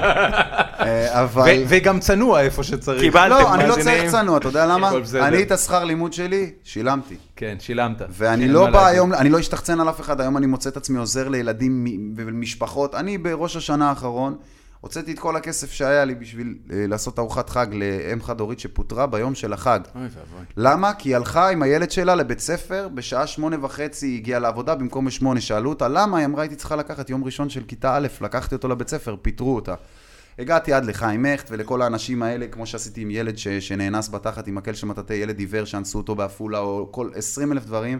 C: אה, אבל...
A: ו- וגם צנוע איפה שצריך.
D: קיבלתם,
C: לא, אני לא
D: מאזינים.
C: צריך צנוע, אתה יודע למה?
A: הכל בסדר.
C: אני את השכר לימוד שלי, שילמתי.
A: כן, שילמת.
C: ואני
A: אין
C: לא
A: מה
C: בא
A: להגיד.
C: היום, אני לא אשתחצן על אף אחד, היום אני מוצא את עצמי עוזר לילדים מ- ולמשפחות. אני בראש השנה האחרון, הוצאתי את כל הכסף שהיה לי בשביל אה, לעשות ארוחת חג לאם חד-הורית שפוטרה ביום של החג.
A: אוי ואבוי.
C: למה? כי היא הלכה עם הילד שלה לבית ספר, בשעה שמונה וחצי היא הגיעה לעבודה במקום בשמונה. שאלו אותה למה, היא אמרה, הייתי צריכה לקחת יום ראשון של כיתה א', לקחתי אותו לבית ספר, פיטרו אותה. הגעתי עד לחיים הכט ולכל האנשים האלה, כמו שעשיתי עם ילד ש... שנאנס בתחת עם מקל של מטאטא, ילד עיוור שאנסו אותו בעפולה, או כל עשרים אלף דברים.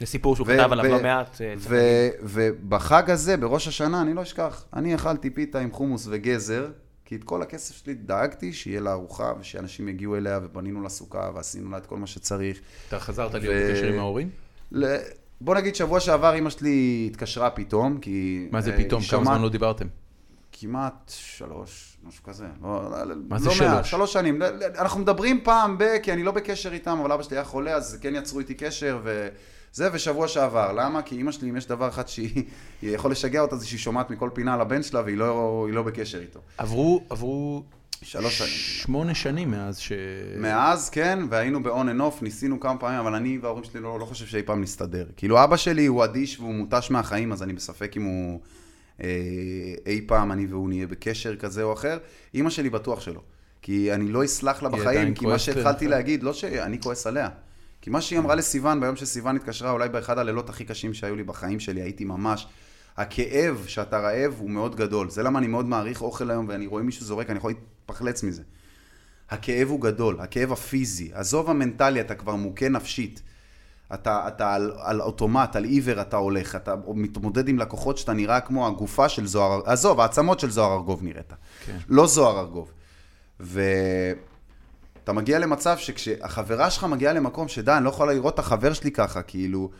D: זה סיפור שהוא
C: ו-
D: כתב עליו
C: ו-
D: לא מעט. אה, צריך
C: ו- ובחג הזה, בראש השנה, אני לא אשכח, אני אכלתי פיתה עם חומוס וגזר, כי את כל הכסף שלי דאגתי שיהיה לה ארוחה, ושאנשים יגיעו אליה, ובנינו לה סוכה, ועשינו לה את כל מה שצריך.
A: אתה חזרת להיות
C: ו-
A: בקשר עם ההורים?
C: ל... בוא נגיד שבוע שעבר אימא שלי התקשרה פתאום, כי...
A: מה זה
C: אה,
A: פתאום?
C: היא
A: כמה
C: שומעת-
A: זמן לא דיברתם?
C: כמעט שלוש, משהו כזה. לא,
A: מה
C: לא
A: זה
C: מעט,
A: שלוש?
C: שלוש שנים. לא- לא- אנחנו מדברים פעם ב... כי אני לא בקשר איתם, אבל אבא שלי היה חולה, אז כן יצרו איתי קשר, וזה, ושבוע שעבר. למה? כי אימא שלי, אם יש דבר אחד שהיא היא יכול לשגע אותה, זה שהיא שומעת מכל פינה על הבן שלה, והיא לא, היא לא בקשר איתו.
A: עברו, עברו
C: שלוש שנים.
A: שמונה שנים מאז ש...
C: מאז, כן, והיינו ב-on and off, ניסינו כמה פעמים, אבל אני וההורים שלי לא, לא חושב שאי פעם נסתדר. כאילו, אבא שלי הוא אדיש והוא מותש מהחיים, אז אני בספק אם הוא אה, אי פעם אני והוא נהיה בקשר כזה או אחר. אימא שלי בטוח שלא. כי אני לא אסלח לה
A: היא
C: בחיים,
A: עדיין
C: כי מה
A: כועסת
C: שהתחלתי
A: עליך.
C: להגיד, לא שאני כועס עליה. כי מה שהיא אמרה לסיוון, ביום שסיוון התקשרה, אולי באחד הלילות הכי קשים שהיו לי בחיים שלי, הייתי ממש... הכאב שאתה רעב הוא מאוד גדול. זה למה אני מאוד מעריך אוכל היום, ואני רואה מישהו זורק, אני יכול להתפחלץ מזה. הכאב הוא גדול, הכאב הפיזי. עזוב המנטלי, אתה כבר מוכה נפשית. אתה, אתה על, על אוטומט, על עיוור אתה הולך, אתה מתמודד עם לקוחות שאתה נראה כמו הגופה של זוהר, עזוב, העצמות של זוהר ארגוב נראית.
A: כן.
C: לא זוהר ארגוב. ואתה מגיע למצב שכשהחברה שלך מגיעה למקום שדי, אני לא יכולה לראות את החבר שלי ככה, כאילו,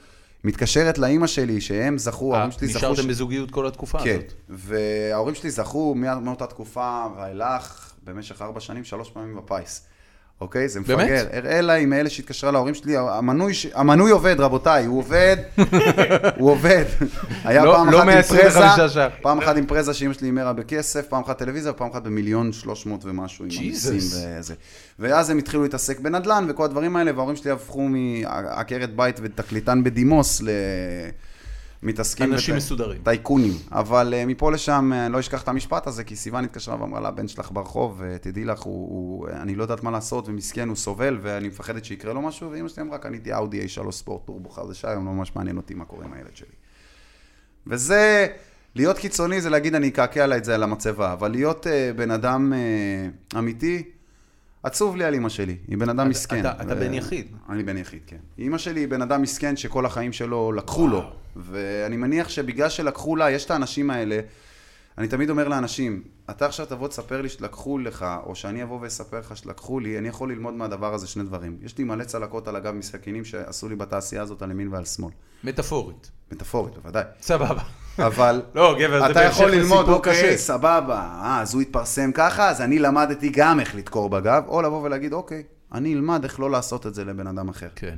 C: מתקשרת לאימא שלי, שהם זכו,
A: אה,
C: ההורים שלי זכו...
A: נשארתם בזוגיות כל התקופה
C: כן,
A: הזאת.
C: וההורים שלי זכו מא- מאותה תקופה ואילך במשך ארבע שנים, שלוש פעמים בפיס. אוקיי? זה
A: באמת?
C: מפגר. אראה לה עם אלה שהתקשרה להורים שלי, המנוי, ש... המנוי עובד, רבותיי, הוא עובד, הוא
A: (laughs)
C: עובד. היה
A: לא-
C: פעם
A: לא
C: אחת עם
A: 125
C: פרזה,
A: ש"ח.
C: פעם אחת עם פרזה שאימא שלי הימרה בכסף, פעם אחת טלוויזיה, פעם אחת במיליון שלוש מאות ומשהו עם
A: Jesus.
C: המיסים וזה. ואז הם התחילו להתעסק בנדלן וכל הדברים האלה, וההורים שלי הפכו מעקרת בית ותקליטן בדימוס ל... מתעסקים...
A: אנשים
C: בט-
A: מסודרים.
C: טייקונים. אבל אה, מפה לשם אה, לא אשכח את המשפט הזה, כי סיוון התקשרה ואמרה לה, הבן שלך ברחוב, אה, תדעי לך, הוא, הוא, אה, אני לא יודעת מה לעשות, ומסכן, הוא סובל, ואני מפחדת שיקרה לו משהו, ואימא שלי אמרה, קניתי אאודי A3 ספורט טורבו חדשה, היום לא ממש מעניין אותי מה קורה עם הילד שלי. וזה, להיות קיצוני זה להגיד, אני אקעקע לה את זה על המצבה, אבל להיות אה, בן אדם אה, אמיתי, עצוב לי על אימא שלי, היא בן אדם מסכן.
A: אתה- אתה בן יחיד.
C: אני בן יחיד, כן. אימא שלי היא בן אדם מסכן שכל החיים שלו לקחו לו, ואני מניח שבגלל שלקחו לה, יש את האנשים האלה, אני תמיד אומר לאנשים, אתה עכשיו תבוא תספר לי שלקחו לך, או שאני אבוא ואספר לך שלקחו לי, אני יכול ללמוד מהדבר הזה שני דברים. יש לי מלא צלקות על הגב מסכינים שעשו לי בתעשייה הזאת על ימין ועל שמאל.
A: מטאפורית.
C: מטאפורית,
A: (laughs)
C: בוודאי.
A: סבבה.
C: אבל...
A: לא, גבר, זה
C: אתה
A: בהמשך
C: יכול ללמוד,
A: לסיפור
C: אוקיי,
A: קשה.
C: סבבה, אה, אז הוא התפרסם ככה, אז אני למדתי גם איך לדקור בגב, או לבוא ולהגיד, אוקיי, אני אלמד איך לא לעשות את זה לבן אדם אחר.
A: כן.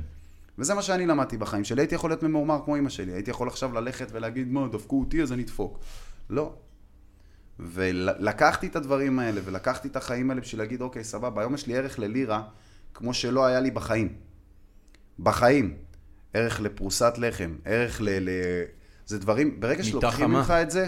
C: וזה מה שאני למדתי בחיים שלי, הייתי יכול להיות ממורמר כמו אמא שלי, הייתי יכול עכשיו ללכת ולהגיד, מה, דפקו אותי אז אני אדפוק. לא. ולקחתי את הדברים האלה, ולקחתי את החיים האלה בשביל להגיד, אוקיי, סבבה, היום יש לי ערך ללירה, כמו שלא היה לי בחיים. בחיים. ערך לפרוסת לחם, ערך ל... ל... זה דברים, ברגע
A: מיטה
C: שלוקחים
A: חמה.
C: ממך את זה,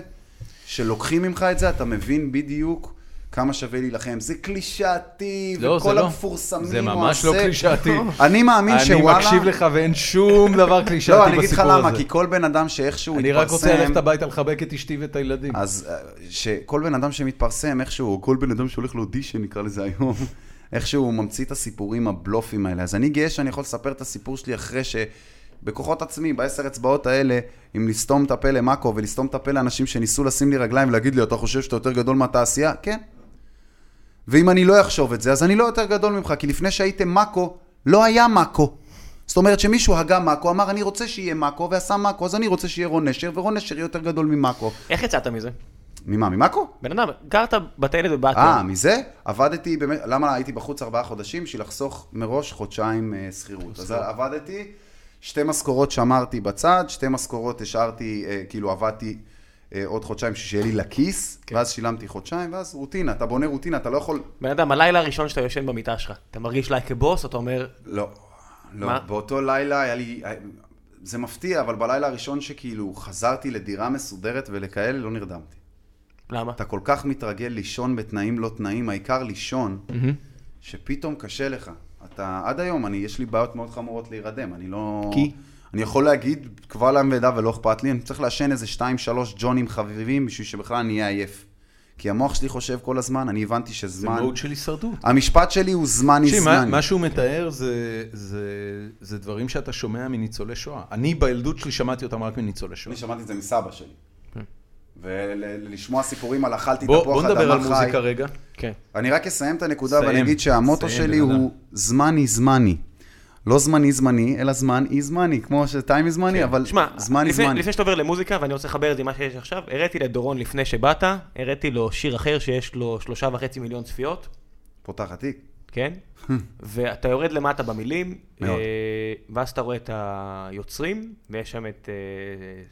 C: שלוקחים ממך את זה, אתה מבין בדיוק כמה שווה להילחם. זה קלישאתי,
A: לא, זה
C: וכל
A: לא.
C: המפורסמים,
A: זה
C: או
A: ממש לא
C: הזה.
A: קלישאתי.
C: (laughs) אני מאמין שוואלה...
A: אני מקשיב לך ואין שום דבר קלישאתי בסיפור
C: לא,
A: הזה.
C: אני אגיד לך למה, כי כל בן אדם שאיכשהו
A: אני
C: התפרסם...
A: רק רוצה ללכת הביתה לחבק את אשתי ואת הילדים.
C: אז אה, שכל בן אדם שמתפרסם איכשהו, כל בן אדם שהולך לאודישן נקרא לזה היום, (laughs) איכשהו הוא ממציא את הסיפורים הבלופים האלה. אז אני גאה שאני יכול לספר את הסיפור שלי אחרי ש... בכוחות עצמי, בעשר אצבעות האלה, אם לסתום את הפה למאקו ולסתום את הפה לאנשים שניסו לשים לי רגליים ולהגיד לי, אתה חושב שאתה יותר גדול מהתעשייה? כן. ואם אני לא אחשוב את זה, אז אני לא יותר גדול ממך, כי לפני שהייתם מאקו, לא היה מאקו. זאת אומרת שמישהו הגה מאקו, אמר אני רוצה שיהיה מאקו, ועשה מאקו, אז אני רוצה שיהיה רון נשר, ורון נשר יהיה יותר גדול ממאקו.
D: איך יצאת מזה?
C: ממה, ממאקו?
D: בן אדם, גרת בטיילת בבת.
C: אה, מזה? עבדתי, באמת, למה הייתי בחוץ ארבעה חודשים? בשביל לחסוך מראש חודשיים אה, שכירות. אז עבדתי, שתי משכורות שמרתי בצד, שתי משכורות השארתי, אה, כאילו עבדתי אה, עוד חודשיים שיהיה לי לכיס, ואז שילמתי חודשיים, ואז רוטינה, אתה בונה רוטינה, אתה לא יכול...
D: בן אדם, הלילה הראשון שאתה יושן במיטה שלך, אתה מרגיש לייק הבוס, אתה אומר,
C: לא, לא.
D: מה?
C: באותו לילה היה לי... אה, זה מפתיע, אבל בלילה הראשון שכאילו חזרתי לדירה מסודרת ולכאלה, לא נרדמתי.
D: למה?
C: אתה כל כך מתרגל לישון בתנאים לא תנאים, העיקר לישון, שפתאום קשה לך. אתה, עד היום, אני, יש לי בעיות מאוד חמורות להירדם, אני לא...
D: כי?
C: אני יכול להגיד קבל עם ועדה ולא אכפת לי, אני צריך לעשן איזה 2-3 ג'ונים חביבים בשביל שבכלל אני אהיה עייף. כי המוח שלי חושב כל הזמן, אני הבנתי
A: זה
C: שזמן...
A: מוד של הישרדות.
C: המשפט שלי הוא זמני
A: תקשיב, מה-
C: זמני.
A: מה שהוא מתאר זה- זה- זה דברים שאתה שומע מניצולי שואה. אני בילדות שלי שמעתי אותם רק מניצולי שואה.
C: אני שמעתי את זה מסבא שלי. ולשמוע סיפורים על אכלתי
A: בוא בוא
C: תפוח
A: נדבר על
C: אדמה חי.
A: מוזיקה
C: (laughs)
A: רגע.
D: כן.
C: אני רק אסיים את הנקודה
A: סיים,
C: ואני אגיד שהמוטו
A: סיים,
C: שלי
A: בן אדם.
C: הוא זמני זמני. לא זמני זמני, אלא זמן אי זמני, כמו שטיים אי
A: כן.
C: זמני, אבל
D: שמע,
C: זמני
D: לפני-
C: זמני.
D: לפני שאתה עובר למוזיקה, ואני רוצה לחבר את זה עם מה שיש עכשיו, הראתי לדורון לפני שבאת, הראתי לו שיר אחר שיש לו שלושה וחצי מיליון צפיות,
C: פותחת תיק.
D: כן? ואתה יורד למטה במילים,
C: מאוד.
D: אה, ואז אתה רואה את היוצרים, ויש שם את אה,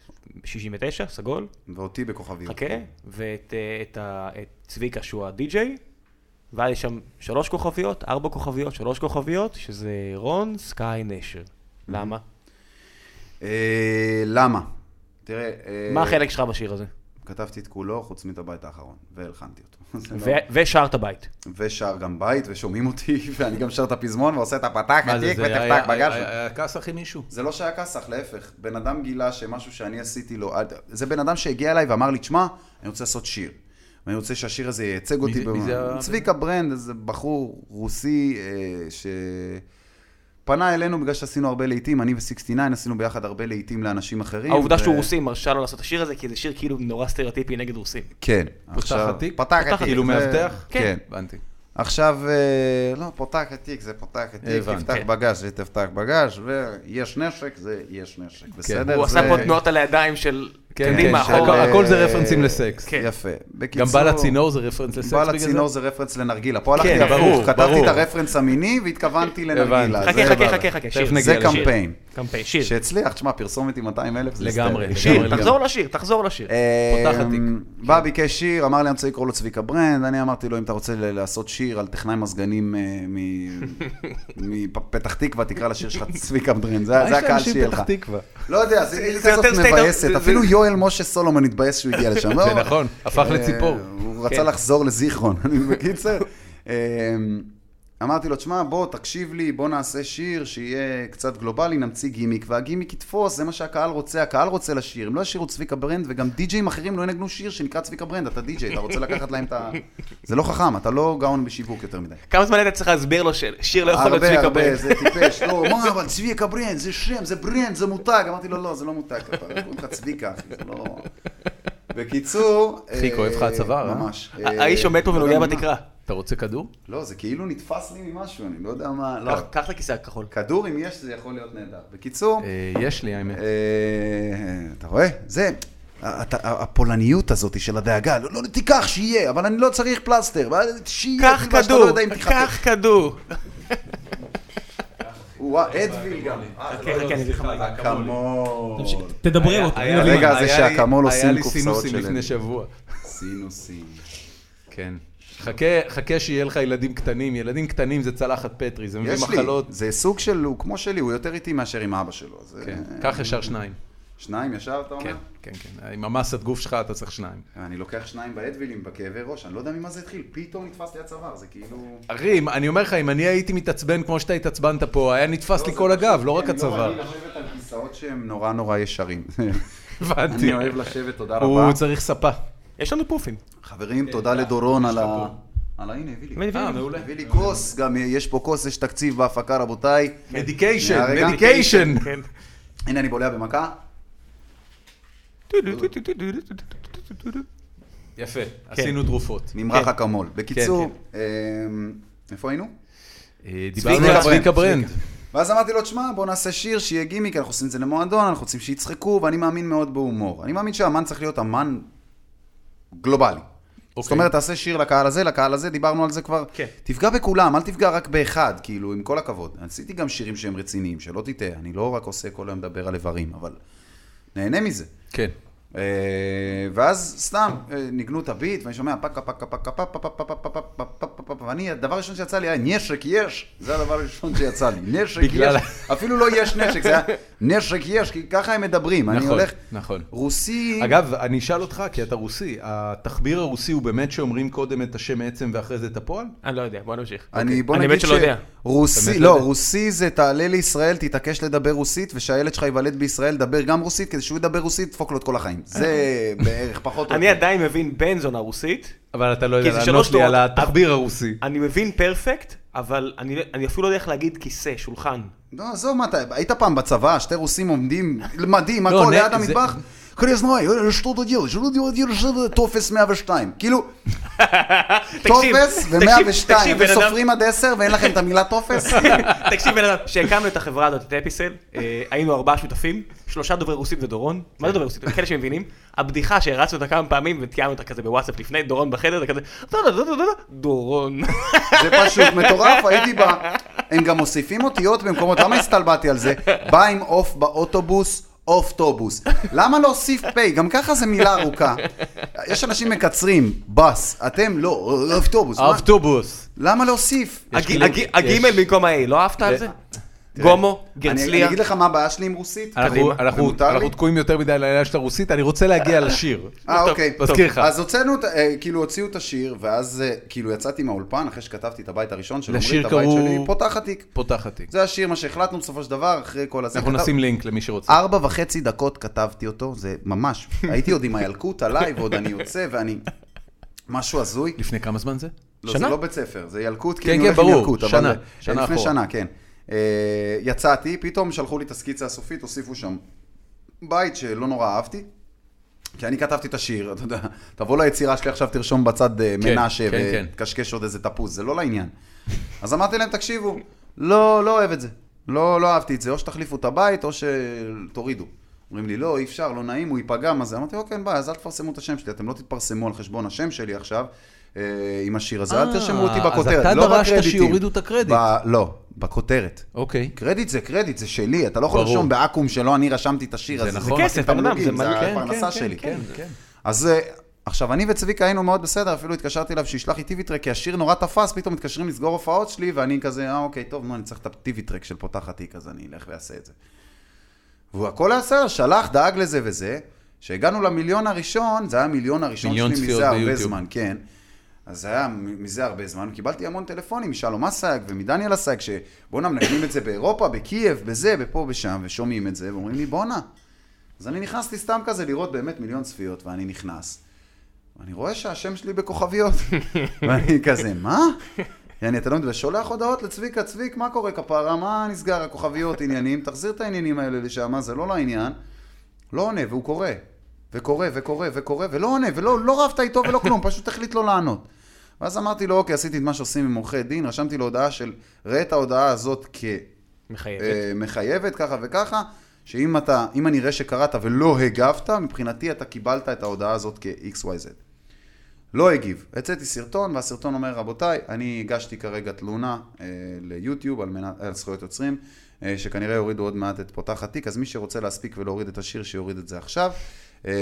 D: 69, סגול,
C: ואותי בכוכביות.
D: חכה, ואת אה, את ה- את צביקה שהוא הדי-ג'יי, ואז יש שם שלוש כוכביות, ארבע כוכביות, שלוש כוכביות, שזה רון סקאי
C: Mm-hmm.
D: נשר. למה?
C: אה, למה? תראה, אה,
D: מה החלק שלך בשיר הזה?
C: כתבתי את כולו, חוץ מאת הבית האחרון, והלחנתי אותו. זה לא-
D: ו- ושרת בית.
C: (laughs) ושר גם בית, ושומעים אותי, (laughs) ואני גם שר את הפזמון, ועושה את הפתח,
A: מה זה,
C: התיק,
A: זה
C: ותפתח
A: היה-
C: בגש.
A: היה היה כעס אחי מישהו?
C: זה לא שהיה כסח, להפך. בן אדם גילה שמשהו שאני עשיתי לו, עד- זה בן אדם שהגיע אליי ואמר לי, תשמע, אני רוצה לעשות שיר. ואני רוצה שהשיר הזה ייצג אותי.
A: זה- מי
C: במה."
A: זה ה-
C: צביקה ברנד, איזה בחור רוסי אה, ש... פנה אלינו בגלל שעשינו הרבה לעיתים, אני ו-69 עשינו ביחד הרבה לעיתים לאנשים אחרים.
D: העובדה
C: ו-
D: שהוא רוסי מרשה לו לעשות את השיר הזה, כי זה שיר כאילו נורא סטריאוטיפי נגד רוסים.
C: כן.
A: פותח
C: עכשיו-
A: התיק?
C: פתח
D: פותח
C: התיק.
A: כאילו
C: זה-
A: מאבטח?
C: כן.
A: הבנתי.
C: עכשיו, אה, לא, פותח התיק, זה פותח התיק,
A: הבנתי.
C: תפתח
D: כן.
C: בגז, זה תפתח בגז, ויש נשק, זה יש נשק, בסדר?
D: הוא עשה
C: זה-
D: פה תנועות על הידיים של
A: כן,
B: יודעים
A: כן,
B: מה,
A: שהכל- אה,
B: אחורה.
A: הכל זה רפרנסים לסקס.
B: כן.
C: יפה. בקיצור,
A: גם בעל הצינור זה רפרנס לסקס
C: בעל
A: בגלל זה?
C: הצינור זה רפרנס לנרגילה. פה
A: כן,
C: הלכתי
A: ברור,
C: הפוך, כתבתי
A: ברור.
C: את הרפרנס המיני והתכוונתי לנרגילה.
A: הבנתי.
C: אה, זה-
D: חכה, חכה, חכה,
A: תכף
D: חכה, שיר.
A: נגיע
C: זה
A: לשיר.
C: קמפיין.
D: קמפיין, שיר.
C: שהצליח, תשמע, פרסומת עם 200 אלף זה
A: לגמרי,
C: היסטרי.
A: לגמרי,
D: שיר,
A: לגמרי.
D: תחזור לשיר, תחזור לשיר.
A: פותח
C: אמ,
A: התיק.
C: בא, ביקש שיר, אמר לי, אני רוצה לקרוא לו צביקה ברנד, אני אמרתי לו, אם אתה רוצה ל- לעשות שיר על טכנאי מזגנים אה,
A: (laughs)
C: מ- מפתח תקווה, תקרא לשיר שלך צביקה ברנד, זה
A: מה
C: זה
A: יש
C: הקהל
A: לאנשים
C: שיהיה
A: פתח
C: לך.
A: תקווה?
C: לא יודע, זה
B: זה
C: אליסה
B: יותר
C: הזאת
B: state of-
C: מבאסת,
B: זה-
C: אפילו
B: זה-
C: יואל משה סולומון התבאס שהוא הגיע לשם.
A: זה
C: לא,
A: נכון, הפך
C: אה,
A: לציפור.
C: הוא
A: כן.
C: רצה לחזור לזיכרון, (laughs) אני בקיצר. אמ, אמרתי לו, תשמע, בוא, תקשיב לי, בוא נעשה שיר שיהיה קצת גלובלי, נמציא גימיק, והגימיק יתפוס, זה מה שהקהל רוצה, הקהל רוצה לשיר. הם לא ישירו צביקה ברנד, וגם די-ג'אים אחרים לא ינגנו שיר שנקרא צביקה ברנד, אתה די-ג'יי, אתה רוצה לקחת להם את ה... זה לא חכם, אתה לא גאון בשיווק יותר מדי.
D: כמה זמן היית צריך להסביר לו ששיר לא יכול להיות
C: הרבה,
D: צביקה
C: הרבה,
D: ברנד? (laughs)
C: זה טיפש. לא, מה, אבל צביקה ברנד, זה שם, זה ברנד, זה מותג. אמרתי לו, לא, זה לא מותג, כפרה, קוראים לך צביקה, אחי, זה לא... בקיצור...
A: חיק,
C: אה,
A: אוהב לך הצוואר, אה?
C: ממש. אה,
D: האיש עומד פה
C: לא
D: ונוגע
C: יודע מה.
D: בתקרה.
A: אתה רוצה כדור?
C: לא, זה כאילו נתפס לי ממשהו, אני לא יודע מה... לא.
D: קח- קח את הכיסא הכחול.
C: כדור, אם יש, זה יכול להיות נהדר. בקיצור...
A: אה, יש לי, האמת.
C: אה, אתה רואה? זה, הת- הפולניות הזאת של הדאגה, לא, לא, תיקח, שיהיה, אבל אני לא צריך פלסטר, אבל שיהיה,
D: קח
C: סיבה שאתה לא
D: כדור,
C: יודע אם תחטף.
D: קח כדור.
C: וואה, אדוויל גם.
D: חכה, חכה, לא אני אגיד לך מה זה.
A: אה,
C: אקמול.
E: תדברי אותו,
A: היה-
E: אני
A: היה-
E: אבין.
C: הרגע הזה
A: היה לי-
C: שהאקמול עושים
A: היה לי
C: קופסאות
A: סינוסים
C: של
A: לפני
C: אלה.
A: שבוע.
C: סינוסים.
A: כן. חכה- חכה שיהיה לך ילדים קטנים. ילדים קטנים זה צלחת פטרי, זה מביא
C: יש לי,
A: מחלות.
C: זה סוג של, הוא כמו שלי, הוא יותר איטי מאשר עם אבא שלו. אז,
A: כן.
C: אה,
A: קח ישר שניים.
C: שניים ישר, אתה אומר?
A: כן, כן, כן. עם המסת גוף שלך אתה צריך שניים.
C: אני לוקח שניים באדווילים, בכאבי ראש, אני לא יודע ממה זה התחיל, פתאום נתפס לי הצוואר, זה כאילו...
A: אחי, אם- אני אומר לך, אם אני הייתי מתעצבן כמו שאתה התעצבנת פה, היה נתפס לי
C: זה
A: כל
C: פשוט-
A: הגב, לא רק
C: כן, אני אני
A: הצוואר.
C: אוהב לשבת על כיסאות שהם נורא
A: (laughs)
C: נורא ישרים.
A: הבנתי.
C: אני אוהב לשבת, תודה
A: הוא
C: רבה.
A: צריך ספה.
D: יש לנו פופים.
C: חברים, כן, תודה לדורון על ה... על ה... הנה, הביא לי.
A: אה, מעולה.
C: הביא לי כוס, גם יש פה כוס, יש תקציב בהפקה, רבותיי.
A: מדיקיישן,
C: שנייה, רגע.
A: מדיקיישן.
D: כן.
C: הנה, אני בולע במכה.
A: יפה, עשינו תרופות.
C: נמרח
D: כן.
C: אקמול. בקיצור,
A: כן.
C: אמ, איפה היינו?
A: אה, דיברנו על צביקה ברנד.
C: ואז אמרתי לו, תשמע, בוא נעשה שיר שיהיה גימיק, אנחנו עושים את זה למועדון, אנחנו רוצים שיצחקו, ואני מאמין מאוד בהומור. אני מאמין שהאמן צריך להיות אמן גלובלי.
A: אוקיי.
C: זאת אומרת, תעשה שיר לקהל הזה, לקהל הזה, דיברנו על זה כבר.
D: כן.
C: תפגע בכולם, אל תפגע רק באחד, כאילו, עם כל הכבוד. עשיתי גם שירים שהם רציניים, שלא תטעה, אני לא רק עושה כל היום מדבר על איברים, אבל נהנה מזה.
A: כן.
C: אה, ואז סתם אה, ניגנו את הביט, ואני שומע פקה פקה פקה פקה פקה פקה פקה פקה פקה פקה ואני, הדבר הראשון שיצא לי היה נשק יש, זה הדבר הראשון שיצא
A: (laughs)
C: לי, נשק
A: בגלל-
C: יש, אפילו לא יש
A: (laughs)
C: נשק, זה היה נשק יש, כי ככה הם מדברים, אני
A: נכון,
C: הולך,
A: נכון.
C: רוסי,
A: אגב, אני אשאל אותך, כי אתה רוסי, התחביר הרוסי הוא באמת שאומרים קודם את השם עצם ואחרי זה את הפועל?
D: אני לא יודע, בוא נמשיך. אוקיי.
C: אני
A: אוקיי,
C: בוא
D: אני
C: נגיד
D: באמת שלא יודע.
C: רוסי,
A: באמת לא
C: לא,
A: יודע.
C: רוסי זה תעלה לישראל, תתעקש לדבר רוסית, ושהילד שלך ייוולד בישראל, דבר גם רוסית, כדי שהוא ידבר רוסית, תדפוק לו את כל החיים. זה
A: (laughs)
C: בערך פחות או
D: אני
C: יותר.
D: עדיין מבין בנזונה רוסית,
A: אבל אתה לא יודע
D: כי זה
A: לענות
D: שלוש
A: לי
D: דורות.
A: על התחביר הרוסי.
D: אני מבין פרפקט, אבל אני אני אפילו לא יודע איך להגיד כיסא, שולחן.
C: לא, עזוב, מה אתה, היית פעם בצבא, שתי רוסים עומדים, מדהים,
A: לא,
C: הכל
A: נה-
C: ליד
A: זה-
C: המטבח? "אה, חרזנאי, что ты делаешь? что ты делаешь? что ты- טופס 102. כאילו,
D: תקשיב,
C: טופס
D: תקשיב,
C: ו-102,
D: תקשיב, בן אדם-
C: וסופרים עד 10 ואין לכם את המילה טופס?
D: (laughs) תקשיב, בן אדם, כשהקמנו את החברה הזאת, את אפיסל, אה, היינו ארבעה שותפים, שלושה דוברי רוסית ודורון, מה זה דוברי רוסית? כאלה שמבינים, הבדיחה שהרצנו אותה כמה פעמים ותיאמנו אותה כזה בוואטסאפ לפני, דורון בחדר, זה כזה, "דו, דו, דו, דו, דו, דו, דורון.
C: זה פשוט מטורף, הייתי בה. הם גם מוסיפים אותיות במקומות, למה הסתלבטתי על זה? בא עם עוף באוטובוס. אופטובוס. למה להוסיף פ'? גם ככה זו מילה ארוכה. יש אנשים מקצרים, בס, אתם לא, אופטובוס. מה?
A: אבטובוס.
C: למה להוסיף?
A: יש
D: הג-
A: כלי-
D: הג- הגימל
A: יש.
D: במקום ה-A, לא אהבת על זה?
A: תראה,
D: גומו,
C: אני, אני
D: גרצליה.
C: אגיד לך מה הבעיה שלי עם רוסית.
A: כן, אנחנו-
C: קדימה.
A: אנחנו
C: ומותר לי?
A: אנחנו תקועים יותר מדי על העניין של הרוסית, אני רוצה להגיע לשיר.
C: אה,
D: טוב,
C: אוקיי.
A: טוב. מזכיר לך.
C: אז הוצאנו, את ה- אה, כאילו הוציאו את השיר, ואז אה, כאילו יצאתי מהאולפן, אחרי שכתבתי את הבית הראשון של עמרי,
A: לשיר
C: את הבית
A: קראו-
C: שלי, פותח התיק.
A: פותחת תיק.
C: זה השיר, מה שהחלטנו בסופו של דבר, אחרי כל הזה.
A: אנחנו
C: כתב- אה.
A: נשים לינק למי שרוצה.
C: ארבע וחצי דקות כתבתי אותו, זה ממש, הייתי עוד עם הילקוט עליי, ועוד אני יוצא, ואני... משהו הזוי.
A: לפני כמה זמן זה?
C: לא,
A: שנה?
C: זה לא בית ספר, זה ילקוט, כי
A: כן,
C: אני
A: כן,
C: הולך עם
A: ברור,
C: ילקוט, אבל...
A: שנה,
C: אה,
A: שנה
C: לפני
A: אחורה.
C: שנה, כן. אה, יצאתי, פתאום שלחו לי את הסקיצה הסופית, הוסיפו שם בית שלא נורא אהבתי, כי אני כתבתי את השיר, (laughs) אתה יודע, תבוא ליצירה שלי עכשיו, תרשום בצד אה,
A: כן,
C: מנשה
A: כן, כן.
C: ותקשקש עוד איזה תפוז, זה לא לעניין. אז אמרתי להם, תקשיבו, לא, לא אוהב את זה. לא, לא אהבתי את זה, או שתחליפו את הבית, או שתורידו. אומרים לי, לא, אי אפשר, לא נעים, הוא ייפגע, מה זה? אמרתי, אוקיי, אין בעיה, אז אל תפרסמו את השם שלי, אתם לא תתפרסמו על חשבון השם שלי עכשיו אה, עם השיר הזה, אל
A: אה,
C: תרשמו אותי
A: אז
C: בכותרת,
A: אתה
C: לא
A: דרשת
C: בקרדיטים.
A: שיורידו את הקרדיט.
C: ב- לא, בכותרת.
A: אוקיי.
C: קרדיט זה קרדיט, זה שלי, אתה לא יכול
A: ברור.
C: לרשום בעכו"ם שלא אני רשמתי את השיר
A: זה
C: הזה, זה
A: נכון,
C: כסף,
D: אתה בן אדם,
C: תמלוגים,
D: זה
C: זה
D: מלא-
A: כן,
C: הפרנסה
A: כן,
C: שלי.
A: כן, כן.
C: אז אה, עכשיו, אני וצביקה היינו מאוד בסדר, אפילו התקשרתי אליו שישלח לי טיווי טרק, כי השיר נורא תפס, פתאום מתקשרים לסגור הופעות שלי, ואני כזה, אה, אוקיי, טוב, נו, אני צריך את הטיווי טרק של פותחת תיק, אז אני אלך ואעשה את זה. והוא הכל היה בסדר, שלח, דאג לזה וזה. כשהגענו למיליון הראשון, זה היה המיליון הראשון
A: מיליון
C: שלי
A: צפיות
C: מזה הרבה
A: ביוטיוב.
C: זמן, כן. אז זה היה מ- מזה הרבה זמן, קיבלתי המון טלפונים משלום אסייג ומדניאל אסייג, שבואנה מנגנים את זה באירופה, בקייב, בזה, בפה, בשם, ושומעים את זה, ואומרים לי בואנה. אז אני נכנסתי סתם כזה לראות באמת מיליון צפיות, ואני נכנס. ואני רואה שהשם שלי בכוכביות. ואני כזה, מה? יעני, אתה לא מבין, ושולח הודעות לצביקה, צביק, מה קורה כפרה, מה נסגר, הכוכביות, עניינים, תחזיר את העניינים האלה לשם, זה לא לעניין. לא עונה, והוא קורא. וקורא, וקורא, וקורא, ולא עונה, ולא לא רבת איתו ולא כלום, פשוט החליט לא לענות. ואז אמרתי לו, אוקיי, עשיתי את מה שעושים עם עורכי דין, רשמתי לו הודעה של, ראה את ההודעה הזאת כ...
D: מחייבת.
C: מחייבת. אה, מחייבת ככה וככה, שאם אתה, אם אני אראה שקראת ולא הגבת, מבחינתי אתה קיבלת את ההודעה הזאת כ-XYZ. לא הגיב. הצאתי סרטון, והסרטון אומר, רבותיי, אני הגשתי כרגע תלונה אה, ליוטיוב על, מנת, על זכויות יוצרים, אה, שכנראה יורידו עוד מעט את פותח התיק, אז מי שרוצה להספיק ולהוריד את השיר, שיוריד את זה עכשיו, אה,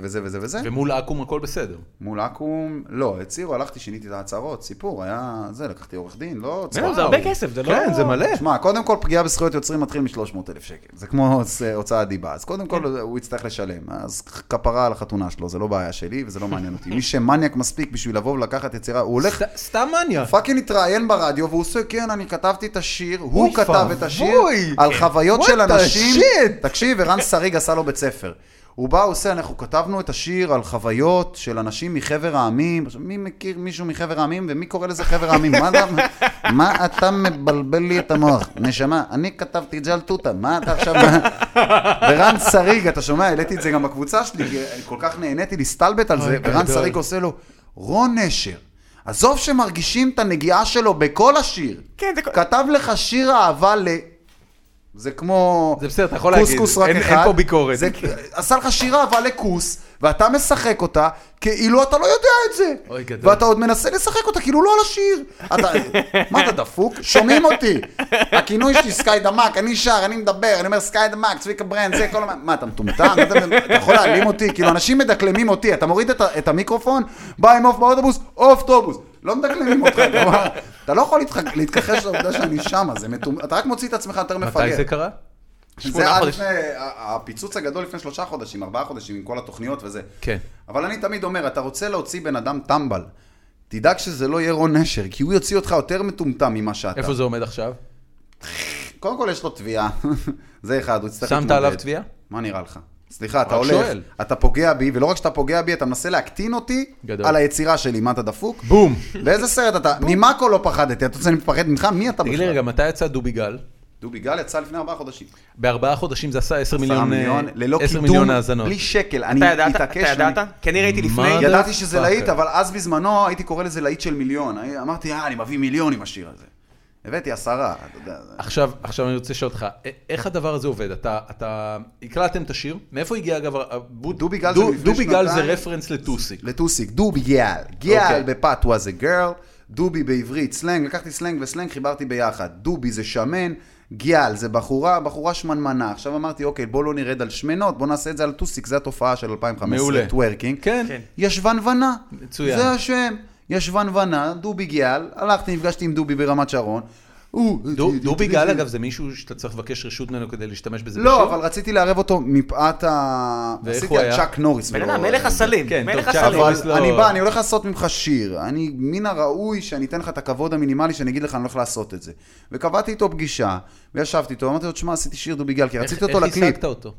C: וזה וזה וזה.
A: ומול עכו"ם הכל בסדר.
C: מול אקו"ם, לא, הצהירו, הלכתי, שיניתי את ההצהרות, סיפור, היה זה, לקחתי עורך דין, לא... צהר.
D: לא, זה הרבה כסף, זה לא...
A: כן, זה מלא.
C: שמע, קודם כל פגיעה בזכויות יוצרים מתחיל מ-300,000 שקל. זה כמו ס- הוצאת דיבה. אז קודם
A: כן.
C: כל הוא יצטרך לשלם. אז כפרה על החתונה שלו, זה לא בעיה שלי וזה לא מעניין אותי. מי שמניאק מספיק בשביל לבוא ולקחת יצירה, הוא הולך...
A: סת- סתם מניה.
C: פאקינג התראיין ברדיו והוא עושה, כן, אני כתבתי את השיר, הוא כתב את השיר,
A: פאבוי.
C: על חוויות
A: What
C: של
A: the
C: אנשים.
A: shit?
C: תקשיב, ערן שריג עשה לו בית ספר. הוא בא, הוא עושה, אנחנו כתבנו את השיר על חוויות של אנשים מחבר העמים. עכשיו, מי מכיר מישהו מחבר העמים ומי קורא לזה חבר העמים? מה, אתה, מה אתה מבלבל לי את המוח? נשמה, אני כתבתי את זה על תותה, מה אתה עכשיו... ורן שריג, אתה שומע? העליתי את זה גם בקבוצה שלי, כי אני כל כך נהניתי להסתלבט על זה,
A: אוי,
C: ורן
A: גדול.
C: שריג עושה לו, רון נשר. עזוב שמרגישים את הנגיעה שלו בכל השיר.
D: כן, זה כל-
C: כתב לך שיר אהבה ל... זה כמו...
A: זה בסדר, אתה יכול להגיד.
C: קוסקוס רק
A: אין-
C: אחד.
A: אין פה ביקורת. כן.
C: זה... עשה לך שיר אהבה לכוס, ואתה משחק אותה כאילו אתה לא יודע את זה.
A: אוי, גדול.
C: ואתה עוד מנסה לשחק אותה כאילו לא על השיר. אתה... מה, אתה דפוק? שומעים אותי. הכינוי שלי סקאי דמק, אני שר, אני מדבר, אני אומר סקאי דמק, צביקה ברנד, זה, כל הזמן. מה, אתה מטומטם? מה אתה אתה יכול להעלים אותי? כאילו, אנשים מדקלמים אותי, אתה מוריד את, ה- את המיקרופון, בא עם עוף באוטובוס, עוף טובוס. לא מדקלמים אותך, כלומר, אתה לא יכול להתח- להתכחש לעובדה שאני שמה, זה מטומ... אתה רק מוציא את עצמך יותר מפגר.
A: מתי זה קרה?
C: זה
D: שמונה
C: היה
D: חודשים.
C: לפני, ה- הפיצוץ הגדול לפני שלושה חודשים, ארבעה חודשים, עם כל התוכניות וזה.
A: כן.
C: אבל אני תמיד אומר, אתה רוצה להוציא בן אדם טמבל, תדאג שזה לא יהיה רון נשר, כי הוא יוציא אותך יותר מטומטם ממה שאתה.
A: איפה זה עומד עכשיו?
C: קודם כל יש לו תביעה, (laughs) זה אחד, הוא יצטרך
A: שמת עליו תביעה?
C: מה נראה לך? סליחה, אתה
A: רק
C: הולך,
A: שואל.
C: אתה פוגע בי, ולא רק שאתה פוגע בי, אתה מנסה להקטין אותי
A: גדול.
C: על היצירה שלי, מה אתה דפוק?
A: בום.
C: באיזה סרט אתה? ממאקו לא פחדתי, אתה רוצה שאני מפחד ממך? מי אתה
A: תגיד לי
C: בכלל?
A: רגע, מתי יצא דובי גל?
C: דובי גל יצא לפני ארבעה חודשים.
A: בארבעה חודשים זה עשה 10
C: עשרה
A: מיליון, אה,
C: ללא
A: 10
C: קידום,
A: מיליון האזנות. אה,
C: בלי שקל. אני
D: אתה ידעת? אתה
C: התעקש, אני-
D: ידעת? כי אני ראיתי לפני...
A: מה?
C: ידעתי שזה
A: Motherfucker.
C: להיט, אבל אז בזמנו הייתי קורא לזה להיט של מיליון. הי- אמרתי, אה, אני מביא מיליון עם השיר הזה. הבאתי עשרה, אתה יודע. זה-
A: עכשיו, עכשיו אני רוצה לשאול אותך, א- איך הדבר הזה עובד? אתה, אתה, הקלטתם את השיר, מאיפה הגיע אגב, הבוד-
C: דובי גל
A: דו-
C: זה לפני
A: דובי גל זה
C: שנתיים.
A: רפרנס לטוסיק.
C: לטוסיק, דובי גיאל. גיאל
A: אוקיי.
C: בפת was a girl, דובי בעברית סלנג, לקחתי סלנג וסלנג, חיברתי ביחד. דובי זה שמן, גיאל זה בחורה, בחורה שמנמנה. עכשיו אמרתי, אוקיי, בוא לא נרד על שמנות, בוא נעשה את זה על טוסיק, זה התופעה של 2015,
A: מעולה.
C: טוורקינג.
A: כן.
D: כן.
C: ישבנבנה.
A: מצוין.
C: זה השם. ישבנבנה, דובי גיאל, הלכתי, נפגשתי עם דובי ברמת שרון. הוא-
A: דו- דובי גל אגב זה מישהו שאתה צריך לבקש רשות ממנו כדי להשתמש בזה בשיר?
C: לא, אבל רציתי לערב אותו מפאת ה...
A: ואיך
C: עשיתי
A: הוא
C: על
A: היה?
C: צ'אק נוריס.
D: בן
C: ולא-
D: אדם, מלך הסלים.
A: כן,
D: מלך
A: טוב,
D: הסלים.
A: נוריס
C: לא, אבל
A: לא-
C: אני בא, אני הולך לעשות ממך שיר. אני, מן הראוי שאני אתן לך את הכבוד המינימלי שאני אגיד לך, אני הולך לעשות את זה. וקבעתי איתו פגישה, וישבתי איתו, אמרתי לו, תשמע, עשיתי שיר דובי גל, כי
A: איך-
C: רציתי אותו
A: איך
C: לקליפ.
A: השגת אותו?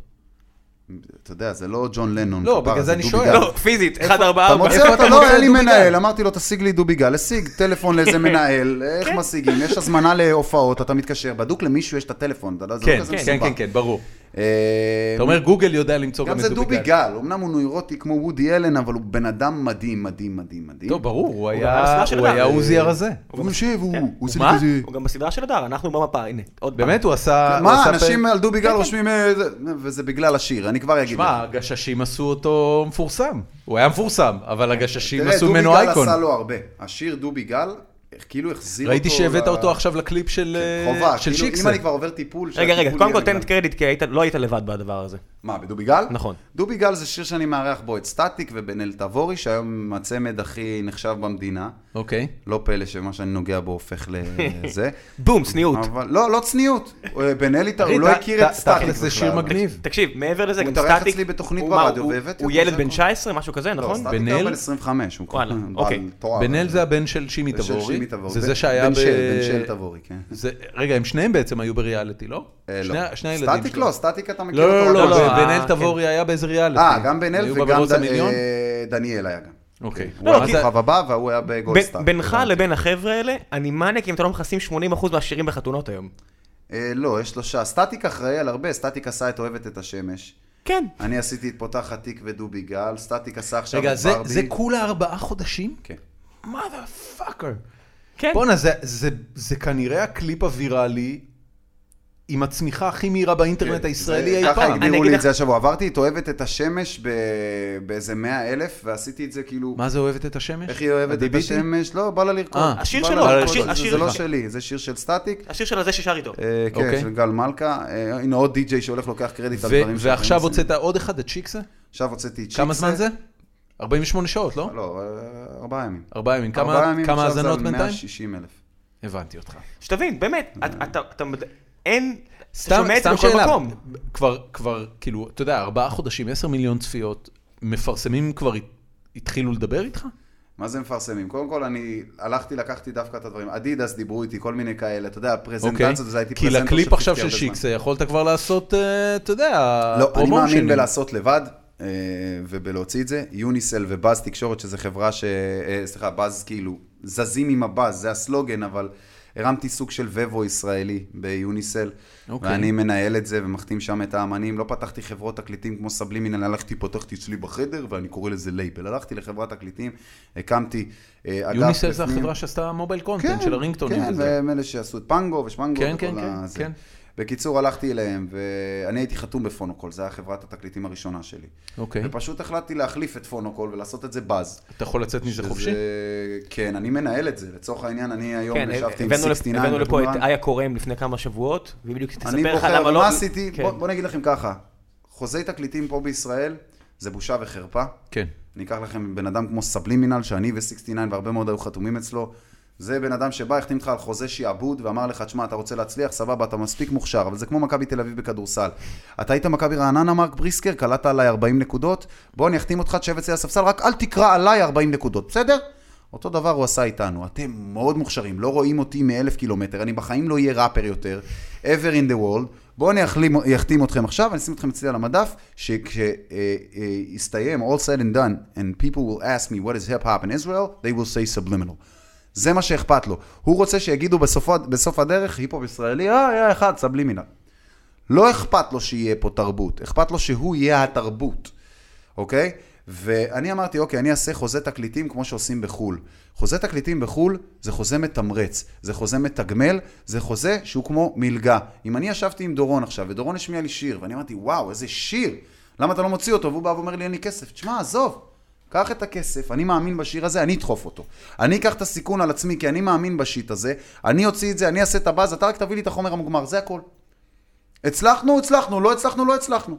C: אתה יודע, זה לא ג'ון לנון.
A: לא,
C: כפרה,
A: בגלל זה אני
C: דובי
A: שואל.
C: גל.
D: לא, פיזית, 1-4-4.
C: אתה מוצא
A: אתה
C: אותו, לא,
A: מוצא
C: אין לי
A: דובי גל? כן.
C: מנהל. אמרתי לו, תשיג לי דובי גל. השיג טלפון לאיזה
A: (laughs)
C: מנהל, איך משיגים? יש הזמנה להופעות, אתה מתקשר, בדוק למישהו יש את הטלפון, אתה לא, זה
A: כן,
C: לא כזה
A: כן,
C: מסובך. אה,
A: כן, כן, ברור. אתה אומר, גוגל יודע למצוא גם
C: גם
A: את
C: זה
A: דובי
C: דובי
A: גל.
C: גל, אמנם הוא נוירוטי כמו וודי אלן, אבל הוא בן אדם מדהים, מדהים, מדהים, מדהים.
A: טוב, ברור, הוא
B: גם
A: היה
B: הסדרה של
A: הוא
B: אדם.
A: היה עוזי הרזה.
C: הוא יושב, הוא
B: כן.
C: הוא אוקיי. עושה
A: מה?
C: לי כזה...
D: הוא גם בסדרה של הדר, אנחנו במפה, הנה, עוד פעם.
A: באמת, הוא עשה... הוא
C: מה,
A: עשה
C: אנשים
A: פרק-
C: על דובי גל רושמים... אה, זה- וזה בגלל השיר, אני כבר אגיד לך.
A: כן, שמע, הגששים עשו אותו מפורסם. הוא היה מפורסם, אבל הגששים
C: כן. תראה,
A: עשו
C: דובי
A: ממנו
C: גל
A: אייקון.
C: עשה לו הרבה. השיר דובי גל, כאילו החזיר אותו...
A: ראיתי שהבאת
C: ל-
A: אותו עכשיו לקליפ של אה,
C: חובה,
A: של
C: כאילו, אם
A: שיקסה.
C: אני כבר עובר טיפול...
D: רגע, רגע,
C: שהטיפול
D: קודם כל
C: יהיה
D: תן
C: בגלל-
D: את קרדיט, כי היית- לא היית לבד בדבר הזה.
C: מה, בדובי גל?
D: נכון.
C: דובי גל זה שיר שאני מארח בו את סטטיק ובן אל תבורי, שהיום הם הצמד הכי נחשב במדינה.
A: אוקיי.
C: לא פלא שמה שאני נוגע בו הופך
A: (laughs)
C: לזה.
D: בום, צניעות.
C: אבל לא, לא צניעות. אה, בן אלי, תבורי, הוא לא
A: ת- ת-
C: הכיר את סטטיק בכלל.
A: תכלס זה שיר מגניב.
D: תקשיב, מעבר לזה,
C: הוא
D: גם
C: התארח
D: סטטיק...
C: אצלי בתוכנית
D: הוא- מה,
C: ברדיו,
D: הוא-
C: והבאתי
D: הוא
C: אותו,
D: ילד
C: זה
D: בן
C: הכל.
D: 19, משהו כזה,
C: לא,
D: נכון?
C: סטטיק
A: בן
C: היה
A: אל?
C: בן 25, הוא
D: וואלה,
C: בעל
D: אוקיי.
C: תואר.
A: בן אל זה הבן של שימי
C: של
A: תבורי.
C: שימי תבורי.
A: זה
C: בן-
A: זה שהיה
C: בן
A: ב...
C: של, בן של תבורי, כן.
A: זה- רגע, הם שניהם בעצם היו בריאליטי, לא?
C: אה,
A: שני
C: לא.
A: ה- שני הילדים
C: סטטיק
A: שלו.
C: לא, סטטיק אתה מכיר
A: לא,
C: אותו.
A: לא,
C: רק
A: לא,
D: לא,
A: לא,
D: אה,
A: בן אל
D: כן.
A: תבורי היה באיזה ריאליטי.
C: אה, גם בן אל
A: היו
C: וגם
A: בברוץ
C: ד-
A: המיליון?
C: אה, דניאל היה גם.
A: אוקיי.
C: הוא היה
A: אז-
C: בכוכב הבא והוא היה בגולדסטאר.
D: בין- בינך לבין החבר'ה האלה, אני מניאק אם אתם לא מכסים 80% מהשירים בחתונות היום.
C: אה, לא, יש שלושה. סטטיק אחראי על הרבה, סטטיק עשה את אוהבת את השמש.
D: כן.
C: אני עשיתי את פותחת תיק ודובי גל, סטטיק עשה עכשיו
A: רגע,
C: את
A: זה-
C: ברבי.
A: זה כולה ארבעה חודשים?
C: כן.
A: מה פאקר?
D: כן.
A: (laughs) בואנה, זה, זה, זה כנראה הקליפ הוויראלי עם הצמיחה הכי מהירה באינטרנט הישראלי
C: כן, זה-
A: אי
C: אה, ככה
A: פעם.
D: הגדיר-
C: הגדירו
D: אגיד
C: לי את
D: לך-
C: זה השבוע. עברתי את אוהבת את השמש ב- באיזה מאה אלף, ועשיתי את זה כאילו...
A: מה זה אוהבת את השמש?
C: איך היא אוהבת את
A: הדיביטי?
C: השמש? לא, בא לה לרקוד.
A: אה,
D: השיר
C: בא לה
D: שלו,
C: לרקוד.
A: השיר-
C: זה-
D: השיר
C: זה לא
D: שלך.
C: שלי, זה שיר של סטטיק.
D: השיר של הזה ששר איתו.
C: אה, כן,
A: אוקיי.
C: של גל מלכה. אה, הנה עוד די-ג'יי שהולך לוקח קרדיט על
A: ו-
C: דברים שאחרים
A: ועכשיו
C: עושים.
A: הוצאת עוד אחד, את שיקסה?
C: עכשיו הוצאתי את שיקסה.
A: כמה זמן זה? 48 שעות, לא?
C: לא, אה, ארבעה ימים.
A: ארבעה ימים. כמה-
C: ארבעה ימים
A: כמה
C: עכשיו זה על
A: האזנות בינתיים?
C: 160 אלף.
A: הבנתי אותך.
D: שתבין, באמת,
C: אה.
D: את- אתה, אתה, מד- אין, אתה
A: סתם,
D: שומע את זה
A: סתם
D: בכל
A: שאלה,
D: מקום.
A: כבר, כבר, כאילו, אתה יודע, ארבעה חודשים, עשר מיליון צפיות, מפרסמים כבר הת- התחילו לדבר איתך?
C: מה זה מפרסמים? קודם כל, אני הלכתי, לקחתי דווקא את הדברים. אדידס דיברו איתי, כל מיני כאלה, אתה יודע,
A: אוקיי.
C: הפרזנטציות, וזה הייתי
A: כי
C: פרזנטור
A: לקליפ עכשיו של
C: פיפטי הרבה
A: שיקסה יכולת כבר לעשות, אה, אתה יודע,
C: זמן. לא, אני מאמין
A: פרומושנים.
C: בלעשות לבד. אה, ובלהוציא את זה, יוניסל ובאז תקשורת, שזה חברה ש... אה, סליחה, באז כאילו, זזים עם הבאז, זה הסלוגן, אבל הרמתי סוג של ווו ישראלי ביוניסל,
A: אוקיי.
C: ואני מנהל את זה ומחתים שם את האמנים. לא פתחתי חברות תקליטים כמו סבלימינל, הלכתי, פתחתי אצלי בחדר, ואני קורא לזה לייבל. הלכתי לחברת תקליטים, הקמתי אה, אגף...
A: יוניסל זה
C: בפנים.
A: החברה שעשתה מובייל קונטנט של הרינגטונים
C: כן,
A: וזה.
C: והם אלה שעשו את פנגו ושמנגו
A: כן,
C: וכל
A: כן, כן,
C: הזה.
A: כן.
C: בקיצור, הלכתי אליהם, ואני הייתי חתום בפונוקול, זו הייתה חברת התקליטים הראשונה שלי.
A: אוקיי.
C: ופשוט החלטתי להחליף את פונוקול ולעשות את זה באז.
A: אתה יכול לצאת מזה חופשי?
C: כן, אני מנהל את זה. לצורך העניין, אני היום
D: כן,
C: ישבתי עם
D: הבאנו לפ-
C: 69.
D: הבאנו לפה את
C: וכמובן-
D: איה קורם לפני כמה שבועות, והיא בדיוק
C: אני
D: תספר לך
C: בוחר,
D: למה לא...
C: מה עשיתי?
D: כן.
C: בוא- בוא נגיד לכם ככה, חוזי תקליטים פה בישראל, זה בושה וחרפה.
A: כן.
C: אני אקח לכם בן אדם כמו סבלימינל, שאני ו-69 והרבה מאוד היו חתומים אצלו. זה בן אדם שבא, החתים אותך על חוזה שיעבוד, ואמר לך, תשמע, אתה רוצה להצליח, סבבה, אתה מספיק מוכשר, אבל זה כמו מכבי תל אביב בכדורסל. אתה היית מכבי רעננה, מרק בריסקר, קלעת עליי 40 נקודות, בוא, אני אחתים אותך, תשב אצלי על הספסל, רק אל תקרא עליי 40 נקודות, בסדר? אותו דבר הוא עשה איתנו, אתם מאוד מוכשרים, לא רואים אותי מאלף קילומטר, אני בחיים לא אהיה ראפר יותר, ever in the world, בואו אני אחלים- אחתים אתכם עכשיו, אני אשים אתכם אצלי על המדף, שכשיסתיים, all said and done, and people will ask me what is hip hop in Israel, they will say subliminal. זה מה שאכפת לו. הוא רוצה שיגידו בסופו, בסוף הדרך, היפ-הופ ישראלי, אה, היה אחד, סבלימינל. לא אכפת לו שיהיה פה תרבות, אכפת לו שהוא יהיה התרבות, אוקיי? ואני אמרתי, אוקיי, אני אעשה חוזה תקליטים כמו שעושים בחו"ל. חוזה תקליטים בחו"ל זה חוזה מתמרץ, זה חוזה מתגמל, זה חוזה שהוא כמו מלגה. אם אני ישבתי עם דורון עכשיו, ודורון השמיע לי שיר, ואני אמרתי, וואו, איזה שיר, למה אתה לא מוציא אותו? והוא בא ואומר לי, אין לי כסף. תשמע, עזוב, קח את הכסף, אני מאמין בשיר הזה, אני אדחוף אותו. אני אקח את הסיכון על עצמי, כי אני מאמין בשיט הזה, אני אוציא את זה, אני אעשה את הבאז, אתה רק תביא לי את החומר המוגמר, זה הכל. הצלחנו, הצלחנו, לא הצלחנו, לא הצלחנו.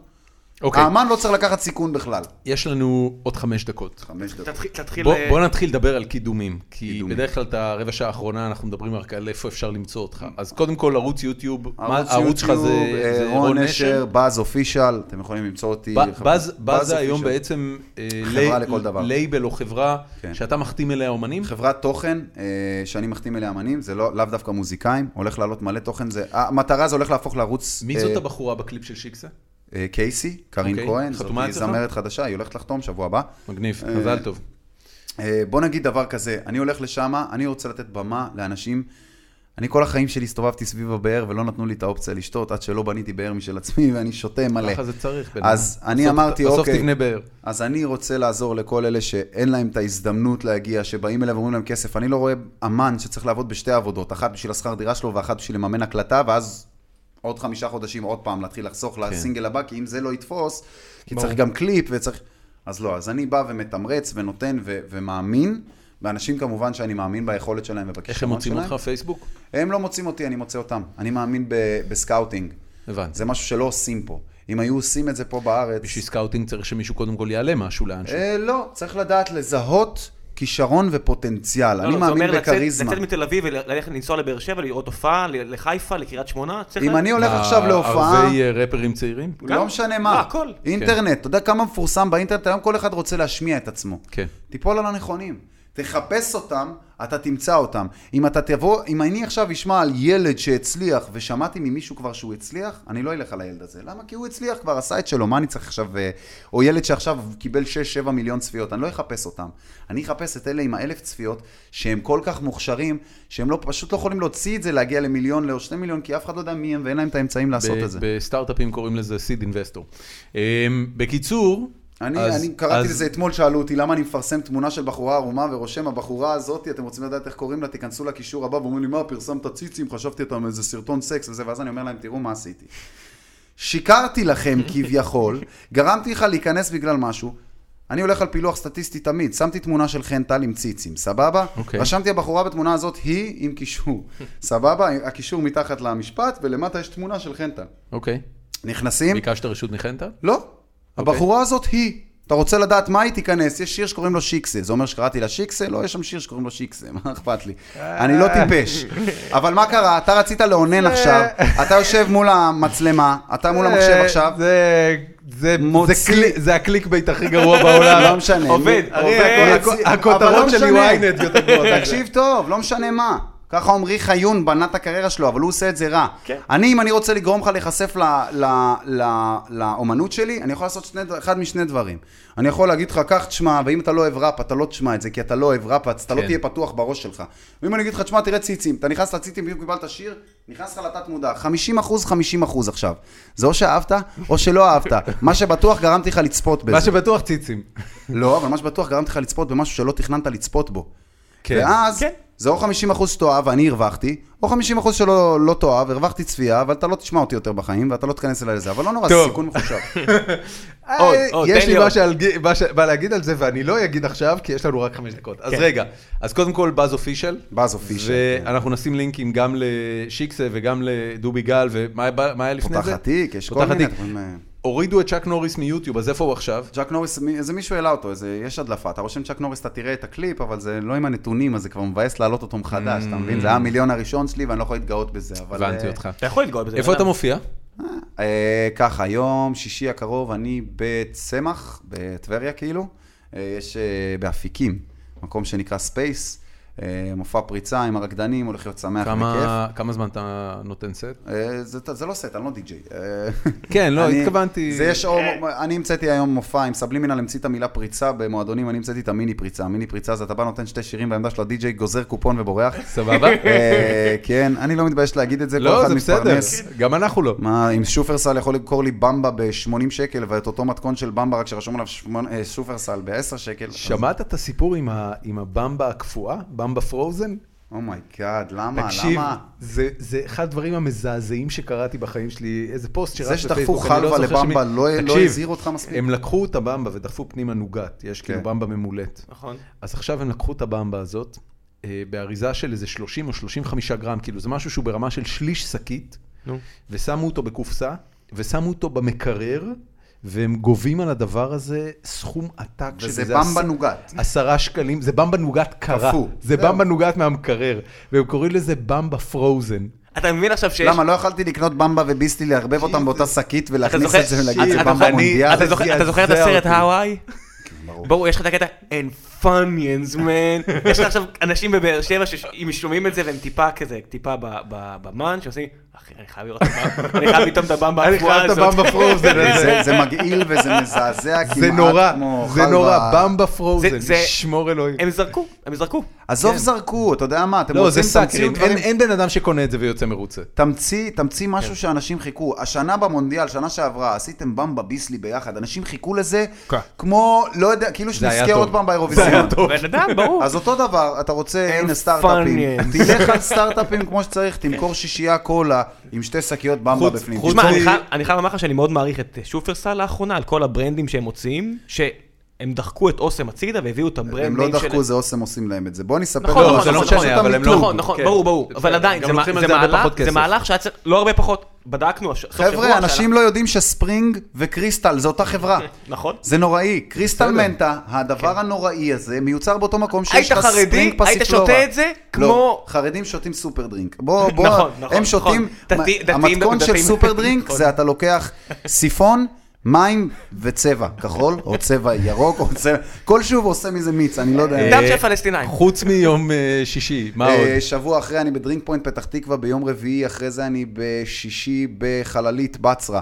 A: אוקיי,
C: האמן לא צריך לקחת סיכון בכלל.
A: יש לנו עוד חמש דקות.
C: חמש דקות.
D: תתחיל- תתחיל...
A: בוא-
D: אה,
A: בוא נתחיל לדבר על קידומים, כי
C: קידומים.
A: בדרך כלל את הרבע שעה האחרונה אנחנו מדברים רק על איפה אפשר למצוא אותך. אז קודם כל ערוץ יוטיוב, מה- הערוץ שלך
C: יוטיוב,
A: זה
C: אה,
A: זה
C: רון נשר, באז אופישל, אתם יכולים למצוא אותי.
A: ב-
C: חבר-
A: באז- באז זה היום
C: אופישל.
A: בעצם אה,
C: חברה
A: לי-
C: לכל דבר.
A: לייבל או חברה
C: כן.
A: שאתה מחתים אליה אומנים?
C: חברת תוכן אה, שאני מחתים אליה אמנים, זה לא- לאו דווקא מוזיקאים, הולך לעלות מלא תוכן, זה- המטרה זה הולך להפוך לערוץ...
A: מי
C: אה,
A: זאת הבחורה בקליפ של שיקסה?
C: אה, קייסי, קארין
A: אוקיי,
C: כהן,
A: חתומה
C: זאת
A: אצלך?
C: זמרת חדשה, היא הולכת לחתום שבוע הבא.
A: מגניב,
C: אה,
A: מזל טוב.
C: אה, בוא נגיד דבר כזה, אני הולך לשם, אני רוצה לתת במה לאנשים, אני כל החיים שלי הסתובבתי סביב הבאר ולא נתנו לי את האופציה לשתות עד שלא בניתי באר משל עצמי ואני שותה מלא.
A: ככה זה צריך. בן
C: אז
A: אדם.
C: אני
A: בסוף-
C: אמרתי,
A: בסוף
C: אוקיי.
A: תבנה באר.
C: אז אני רוצה לעזור לכל אלה שאין להם את ההזדמנות להגיע, שבאים אליהם ואומרים להם כסף. אני לא רואה אמן שצריך לעבוד בשתי עבודות, אחת בשביל השכר דירה שלו ואחת בשביל לממן הקלטה, ואז עוד חמישה חודשים עוד פעם להתחיל לחסוך
A: כן.
C: לסינגל הבא, כי אם זה לא יתפוס, כי צריך גם קליפ וצריך... אז לא, אז אני בא ומתמרץ ונותן ו- ומאמין, באנשים כמובן שאני מאמין ביכולת שלהם ובכישרון שלהם.
A: איך הם מוצאים אותך פייסבוק?
C: הם לא מוצאים אותי, אני מוצא אותם. אני מאמין ב- בסקאוטינג.
A: הבנתי.
C: זה משהו שלא עושים פה. אם היו עושים את זה פה בארץ...
A: בשביל סקאוטינג צריך שמישהו קודם כל יעלה משהו לאנשהו.
C: אה, לא, צריך לדעת לזהות כישרון ופוטנציאל. אני
D: לא, לא, זה
C: מאמין
D: אומר לצאת-
C: בכריזמה.
D: לצאת מתל אביב וללכת לנסוע לבאר שבע, לראות הופעה, ל- לחיפה, לקריית שמונה, צריך...
C: אם
D: ל-
C: אני הולך עכשיו להופעה,
A: ערבי אה, ראפרים צעירים?
C: לא
D: גם?
C: משנה
D: לא,
C: מה,
D: הכל.
C: אינטרנט, אתה יודע כמה מפורסם באינטרנט, היום כל אחד רוצה להשמיע את עצמו.
A: כן.
C: תיפול על הנכונים. תחפש אותם, אתה תמצא אותם. אם אתה תבוא, אם אני עכשיו אשמע על ילד שהצליח, ושמעתי ממישהו כבר שהוא הצליח, אני לא אלך על הילד הזה. למה? כי הוא הצליח כבר, עשה את שלו, מה אני צריך עכשיו... אה, או ילד שעכשיו קיבל 6-7 מיליון צפיות, אני לא אחפש אותם. אני אחפש את אלה עם האלף צפיות, שהם כל כך מוכשרים, שהם לא, פשוט לא יכולים להוציא את זה, להגיע למיליון או שני מיליון, כי אף אחד לא יודע מי הם ואין להם את האמצעים לעשות
A: ב-
C: את זה.
A: בסטארט-אפים קוראים לזה סיד אינבסטור. אמ, בקיצור,
C: אני,
A: אז-
C: אז, אני קראתי
A: אז-
C: אז... לזה אתמול, שאלו אותי למה אני מפרסם תמונה של בחורה ערומה ורושם, הבחורה הזאת, אתם רוצים לדעת איך קוראים לה, תיכנסו לקישור הבא, ואומרים לי, מה, פרסמת ציצים, חשבתי אתה מאיזה סרטון סקס וזה, ואז אני אומר להם, תראו מה עשיתי. שיקרתי לכם
A: (laughs)
C: כביכול, גרמתי לך להיכנס בגלל משהו. אני הולך על פילוח סטטיסטי תמיד, שמתי תמונה של חן טל עם ציצים, סבבה?
A: אוקיי.
C: רשמתי הבחורה בתמונה הזאת, היא עם
A: (laughs)
C: קישור, סבבה? הקישור מתחת למשפט, ולמטה יש תמונה של חן טל.
A: אוקיי.
C: נכנסים,
A: ביקשת רשות ניחנת?
C: לא. הבחורה הזאת היא. אתה רוצה לדעת מה היא תיכנס, יש שיר שקוראים לו שיקסה, זה אומר שקראתי לה שיקסה? לא, יש שם שיר שקוראים לו שיקסה, (laughs) מה אכפת לי? אני לא
A: (laughs)
C: טיפש. אבל מה קרה, אתה רצית לאונן עכשיו, אתה יושב מול המצלמה, אתה מול המחשב עכשיו,
A: אה, זה... זה,
C: מוציא-
A: קלי- זה הקליק בייט הכי
C: (laughs)
A: גרוע בעולם.
C: לא משנה.
A: עובד,
C: מי-
A: עובד.
C: הכל-
A: הכ-
C: אבל
A: הכותרות
C: לא
A: של
C: משנה.
A: ynet יותר גרועות.
C: תקשיב טוב, לא משנה מה. ככה עמרי חיון בנה את הקריירה שלו, אבל הוא עושה את זה רע.
D: כן.
C: אני, אם אני רוצה לגרום לך להיחשף ל- ל- ל- לאומנות שלי, אני יכול לעשות שני, דבר- אחד משני דברים. אני יכול להגיד לך, קח תשמע, ואם אתה לא אוהב ראפ, אתה לא תשמע את זה, כי אתה לא אוהב ראפ, אז אתה לא
A: כן.
C: תהיה פתוח בראש שלך. ואם אני אגיד לך, תשמע, תראה ציצים, אתה נכנס לציצים, בדיוק קיבלת שיר, נכנס לך לתת מודע. 50 אחוז, 50 אחוז עכשיו. זה או שאהבת, או שלא אהבת. מה שבטוח, גרמתי לך לצפות בזה.
A: מה שבטוח ציצים.
C: לא, אבל מה שבטוח גרמתי לך לצפות במשהו שלא תכננת לצפות בו.
A: כן.
C: כן. ואז,
D: כן.
C: כן. זה או 50% שתאהב ואני הרווחתי, או 50% שלא לא תאהב, הרווחתי צפייה, אבל אתה לא תשמע אותי יותר בחיים, ואתה לא תיכנס אליי לזה, אבל לא נורא, זה
A: טוב.
C: סיכון מחושב.
A: עוד, עוד,
D: תן
A: אה, יש
D: לי
A: לי מה
D: עוד.
A: שעל- מה שבא להגיד על זה, ואני לא אגיד עכשיו, כי יש לנו רק חמש דקות. אז
D: כן.
A: רגע, אז קודם כל, באז אופישל.
C: Buzz Official,
A: ואנחנו נשים לינקים גם לשיקסה וגם לדובי גל, ומה היה- מה היה (laughs) לפני זה?
C: פותח התיק, יש כל
A: פותח
C: מיני...
A: התיק.
C: דברים, אה,
A: הורידו את צ'אק נוריס מיוטיוב, אז איפה הוא עכשיו?
C: ג'אק נוריס, מי- איזה מישהו העלה אותו, איזה, יש הדלפה, אתה רושם צ'אק נוריס, אתה תראה את הקליפ, אבל זה לא עם הנתונים, אז זה כבר מבאס להעלות אותו מחדש, אתה מבין? זה היה המיליון הראשון שלי ואני לא יכול להתגאות בזה, אבל...
A: Mm. הבנתי
C: אה,
A: אותך.
D: אתה יכול להתגאות בזה.
A: איפה
D: בן
A: אתה
D: אדם.
A: מופיע?
C: אה, ככה, יום שישי הקרוב, אני בצמח, בטבריה כאילו. אה, יש אה, באפיקים, מקום שנקרא ספייס. אה, מופע פריצה עם הרקדנים, הולך להיות שמח וכיף.
A: כמה כמה זמן אתה נותן סט?
C: אה, זה, זה לא סט, אני לא די-ג'יי.
A: (laughs) כן, לא, התכוונתי-
C: זה יש, או, אני המצאתי היום מופע עם סבלימינל, המציא את המילה פריצה במועדונים, אני המצאתי את המיני פריצה. המיני פריצה זה אתה בא, נותן שתי שירים בעמדה של הדי-ג'יי, גוזר
A: (laughs)
C: קופון ובורח.
A: סבבה?
C: אה, כן, אני לא מתבייש להגיד את זה, כל
A: לא,
C: אחד
A: זה בסדר,
C: מתפרנס.
A: גם אנחנו לא.
C: מה, אם שופרסל יכול למכור לי במבה ב-80 שקל, ואת אותו מתכון של במבה, רק שרשום עליו שמונ- אה, שופרסל ב-10 שקל.
A: שמעת את הסיפור עם ה- עם הבמבה הקפואה? במבה פרוזן?
C: אומייגאד, Oh למה?
A: תקשיב,
C: למה?
A: זה, זה אחד הדברים המזעזעים שקראתי בחיים שלי, איזה פוסט שרץ
C: זה
A: בפייסבוק.
C: שדחפו
A: אני
C: חלבה
A: זוכר
C: לבמבה
A: שמי-
C: לא- לא
A: תקשיב,
C: הזהיר אותך מספיק?
A: הם לקחו את הבמבה ודחפו פנימה נוגת, יש כאילו
C: כן.
A: במבה ממולאת.
D: נכון.
A: אז עכשיו הם לקחו את הבמבה הזאת, אה, באריזה של איזה 30 או 35 גרם, כאילו זה משהו שהוא ברמה של שליש שקית,
D: נו.
A: ושמו אותו בקופסה, ושמו אותו במקרר, והם גובים על הדבר הזה סכום עתק.
C: וזה
A: שזה
C: במבה
A: עש-
C: נוגת.
A: עשרה שקלים, זה במבה נוגת קרה,
C: קפוא.
A: זה
C: זהו.
A: במבה נוגת מהמקרר, והם קוראים לזה במבה פרוזן.
D: אתה מבין עכשיו שיש...
C: למה, לא יכלתי לקנות במבה וביסלי, לערבב אותם באותה שקית ולהכניס את זה ולהגיד
D: אתה-
C: זה
D: אתה
C: במבה
D: זוכר-
C: מונדיאל?
D: אתה זוכר- אתה זוכר את
A: זעזע
D: הסרט
A: אותי.
D: הוואי?
C: ברור.
D: ברור, יש לך את הקטע אין פאניאנס מן.
A: (laughs)
D: יש לך עכשיו אנשים בבאר שבע שאם שומעים את זה והם טיפה כזה, טיפה ב- ב- במן, שעושים, אחי, אני חייב לראות את הבמבה, אני חייב לטעום את הבמבה
A: אני
D: הקבועה
A: חייב את
D: הזאת.
A: הבמבה פרוזן
C: (laughs) זה-
A: הזה.
C: זה מגעיל וזה מזעזע כמעט כמו...
A: זה נורא, זה
C: חלבה.
A: נורא, במבה
B: זה-
A: פרוזן,
B: זה-
A: שמור אלוהים.
B: הם זרקו, הם זרקו.
C: עזוב זרקו, אתה יודע מה, אתם
A: כן. לא,
C: רוצים
A: זה
C: תמציאו
A: סאקרים,
C: דברים...
A: אין- אין בן אדם שקונה את זה ויוצא מרוצה.
C: תמציא, תמציא
A: כן.
C: משהו שאנשים חיכו. השנה במונדיאל, שנה שעברה, עשיתם במבה ביסלי ביחד, אנשים חיכו לזה
A: כן.
C: כמו, לא יודע, כאילו
A: היה
C: שנזכה
A: טוב.
C: עוד פעם
A: זה
C: באירוויזיון.
A: היה
D: (laughs)
A: טוב.
D: בן אדם, ברור.
C: אז אותו דבר, אתה רוצה,
B: אין
C: הנה סטארט-אפים,
B: פאנינג.
C: תלך על סטארט-אפים כמו שצריך, תמכור שישייה קולה עם שתי שקיות במבה
A: חוץ-
C: בפנים.
A: חוץ
D: תשמע,
A: מ-
D: אני חייב- אני חייב לומר לך שאני מאוד מעריך את אה, שופרסל לאחרונה, על כל הברנדים שהם מוציאים, שהם דחקו את אוסם הצידה והביאו את הברנד
C: הם לא
D: name של-
C: דחקו, זה אוסם עושים להם את זה. בוא אני אספר
D: נכון,
C: לך
D: נכון,
C: משהו
D: זה לא
C: שאתה
A: משנה, אבל הם לא-
C: מתלונן.
D: נכון, נכון,
A: כן.
D: ברור, ברור. אבל עדיין,
A: גם
D: זה מה-
A: לוקחים על
D: זה
A: זה הרבה
D: מהלך-
A: פחות
D: זה
A: כסף.
D: מהלך שהיה צריך, לא הרבה פחות, בדקנו. הש- סוף שבוע
C: חבר'ה,
A: נכון,
C: אנשים
D: שהלך-
C: לא יודעים שספרינג וקריסטל זה אותה חברה.
A: (laughs)
D: נכון.
C: זה נוראי. קריסטל
A: בסדר.
C: מנטה, הדבר הנוראי הזה, מיוצר באותו מקום שיש
D: כן. היית
C: לך
D: חרדי,
C: ספרינג
D: היית
C: פסיפלורה.
D: שותה את זה
C: לא,
D: כמו...
C: חרדים שותים סופר דרינק.
D: (laughs)
C: בוא, בוא,
D: נכון, נכון,
C: הם שותים,
D: נכון. דתי-
C: מה-
D: דתיים-
C: המתכון של
D: דתיים. (laughs)
C: סופר דרינק
D: נכון.
C: זה אתה לוקח סיפון, מים וצבע כחול,
D: (laughs)
C: או צבע ירוק, או צבע, כלשהו ועושה מזה מיץ, אני לא יודע.
D: דם של
A: אה,
D: פלסטינאים.
A: חוץ מיום אה, שישי, מה עוד?
C: אה, שבוע אחרי אני בדרינק פוינט פתח תקווה, ביום רביעי אחרי זה אני בשישי בחללית בצרה.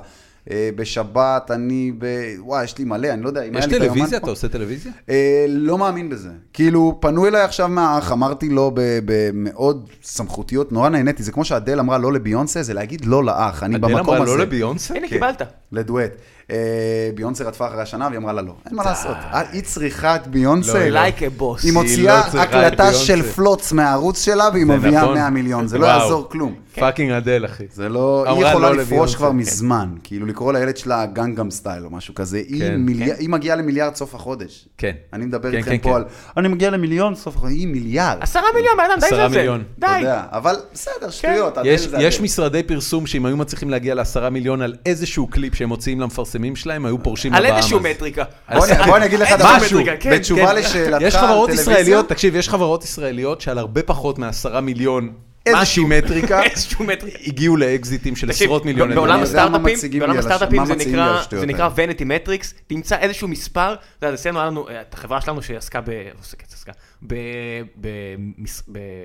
C: אה, בשבת אני ב... וואי, יש לי מלא, אני לא יודע אם היה
A: יש
C: לי את היומן
A: טלוויזיה?
C: פה.
A: אתה עושה טלוויזיה?
C: אה, לא מאמין בזה. כאילו, פנו אליי עכשיו מהאח, אמרתי לו ב- במאוד סמכותיות, נורא נהניתי, זה כמו שאדל אמרה לא לביונסה, זה להגיד לא לאח, אני
A: אדל
C: במקום
A: אמרה
C: הזה.
A: לא לביונסה?
D: הנה,
C: כן.
D: קיבלת.
C: לדואט. אה, ביונסה רדפה אחרי השנה והיא אמרה לה לא, אין מה לעשות. אה, היא צריכה את ביונסה.
A: לא, לא.
D: Like a boss.
C: היא
A: לא
C: מוציאה
A: צריכה את
C: הקלטה
A: ביונסה.
C: של פלוץ מהערוץ שלה והיא
A: זה
C: מביאה
A: נכון.
C: 100 מיליון, זה לא
A: וואו.
C: יעזור כלום.
A: פאקינג אדל, אחי.
C: זה לא, היא
A: אמרה
C: יכולה
A: לא
C: לפרוש
A: לביונסה,
C: כבר
A: כן.
C: מזמן, כאילו לקרוא לילד שלה גנגאם סטייל או משהו כזה, היא
A: כן.
C: מיליאר- היא מגיעה למיליארד סוף החודש.
A: כן.
C: אני מדבר
A: כן,
C: איתכם
A: כן,
C: פה
A: כן.
C: על, אני מגיע למיליון סוף החודש, היא מיליארד.
D: עשרה מיליון, בן אדם, די
A: עשרה
D: זה זה.
A: מיליון.
D: די.
C: אתה יודע, אבל בסדר, שטויות, אדל
A: כן. יש,
C: זה אדל.
A: יש משרדי פרסום שאם היו מצליחים להגיע לעשרה מיליון על איזשהו קליפ שהם מוציאים למפרסמים שלהם, היו פורשים
D: על
A: לבאמה.
D: איזשהו מטריקה.
C: בוא אני- בוא אני אגיד לך
D: איזשהו
C: דבר.
A: משהו,
D: מטריקה, כן,
C: בתשובה
D: כן.
C: לשאלתך
A: יש
C: על
A: חברות
C: טלוויזיה?
A: ישראליות, תקשיב, יש חברות ישראליות שעל הרבה פחות מעשרה מיליון איזושהי מטריקה,
D: איזשהו מטריקה.
A: (laughs) הגיעו לאקזיטים של
D: תקשיב,
A: עשרות מיליוני
D: בעולם
A: דולרים.
C: אני יודע מה
D: הסטארט-אפים,
C: מציגים
D: בעולם
C: לי על הש-
D: הסטארט-אפים
C: מה
D: זה
C: מציגים לי על
D: נקרא,
C: השטויות
D: זה נקרא
C: האלה.
D: ונטי מטריקס, תמצא איזשהו מספר, אתה יודע, אז אצלנו היה לנו, אה, את החברה שלנו שעסקה ב... עוסקת, עסקה,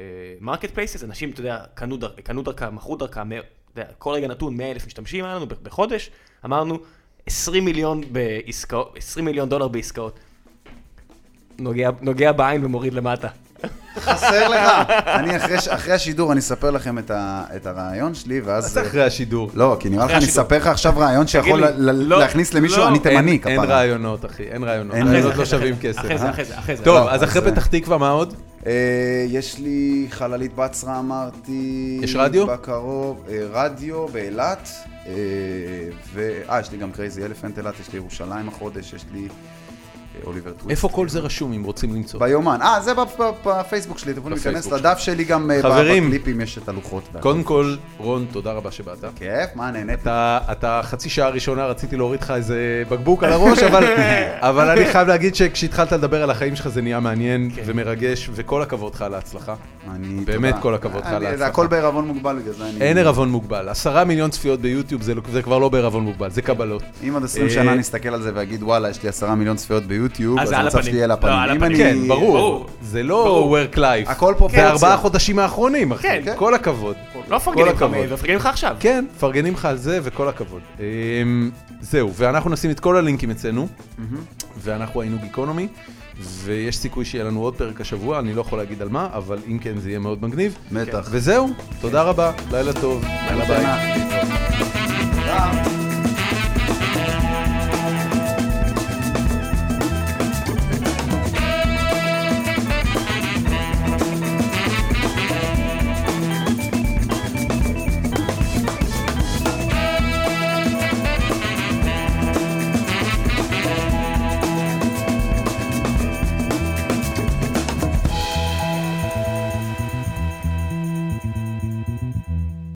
D: במרקט פלייסס, אנשים, אתה יודע, קנו דר- קנו דרכה, מכרו דרכה, מאה- אתה יודע, כל רגע נתון 100 אלף משתמשים היה לנו ב- בחודש, אמרנו 20 מיליון בעסקאות, 20 מיליון דולר בעסקאות. נוגע- נוגע בעין ומוריד למטה.
C: חסר לך. אני אחרי ש- אחרי השידור, אני אספר לכם את ה- את הרעיון שלי, ואז...
A: זה אחרי השידור.
C: לא, כי נראה לך אני
D: השידור.
C: אספר לך עכשיו רעיון שיכול
D: לי,
C: ל- ל-
D: לא,
C: להכניס למישהו,
D: לא.
C: אני
A: אין-
C: תימני,
A: אין
C: כפרה.
A: רעיונות, אחי, אין רעיונות.
C: אין
A: רעיונות
C: רעיונות.
A: לא שווים כסף.
D: אחרי זה, אחרי זה, אחרי זה.
A: טוב,
C: לא,
A: אז
C: אז
A: אחרי
C: זה-
A: פתח תקווה, מה עוד?
C: אה, יש לי חללית בצרה, אמרתי.
A: יש רדיו?
C: בקרוב, אה, רדיו באילת. אה, ו... אה, יש לי גם קרייזי אלפנט אילת, יש לי ירושלים החודש, יש לי אה, אוליבר טוויסט.
A: איפה כל זה רשום אם רוצים למצוא?
C: ביומן. אה, זה בפ- בפ- בפייסבוק שלי, אתם יכולים להיכנס
A: בפייסבוק
C: לדף שלי גם אה,
A: חברים.
C: בקליפים יש את הלוחות. והכל.
A: קודם כל, רון, תודה רבה שבאת.
C: כיף, מה נהניתי?
A: אתה, אתה חצי שעה ראשונה רציתי להוריד לך איזה בקבוק על הראש,
D: (laughs)
A: אבל, אבל אני חייב להגיד שכשהתחלת לדבר על החיים שלך זה נהיה מעניין כן. ומרגש, וכל הכבוד לך על ההצלחה.
D: Mm.
C: אני-
A: באמת
C: תודה.
A: כל הכבוד לך
C: אני-
A: על
C: זה
A: ההצלחה.
C: הכל בעירבון מוגבל בגלל זה. אני-
A: אין עירבון מוגבל, עשרה מיליון צפיות ביוטיוב זה, לא- זה כבר לא בעירבון מוגבל, זה קבלות.
C: אם עוד 20
A: אה,
C: שנה נסתכל על זה ואגיד וואלה, יש לי עשרה מיליון צפיות ביוטיוב,
D: אז
C: אז
D: זה על
C: המצב
D: הפנים.
C: שלי על
D: לא,
C: הפנים.
D: על
C: אם
D: הפנים.
C: אני-
A: כן, ברור.
D: ברור.
A: זה לא
D: ברור.
A: work life.
C: הכל פרופורציה.
A: זה ארבעה חודשים האחרונים, אחי.
D: כן.
A: כל הכבוד.
D: לא מפרגנים לך,
A: הכבוד.
D: מפרגנים לך עכשיו.
A: כן, מפרגנים לך על זה, וכל הכבוד. אמ, זהו, ואנחנו נשים את כל הלינקים אצלנו, ואנחנו היינו גיקונומי, ויש סיכוי שיהיה לנו עוד פרק השבוע, אני לא יכול להגיד על מה, אבל אם כן זה יהיה מאוד מגניב.
C: בטח.
A: וזהו, תודה רבה, לילה טוב, יאללה ביי.
C: ביי.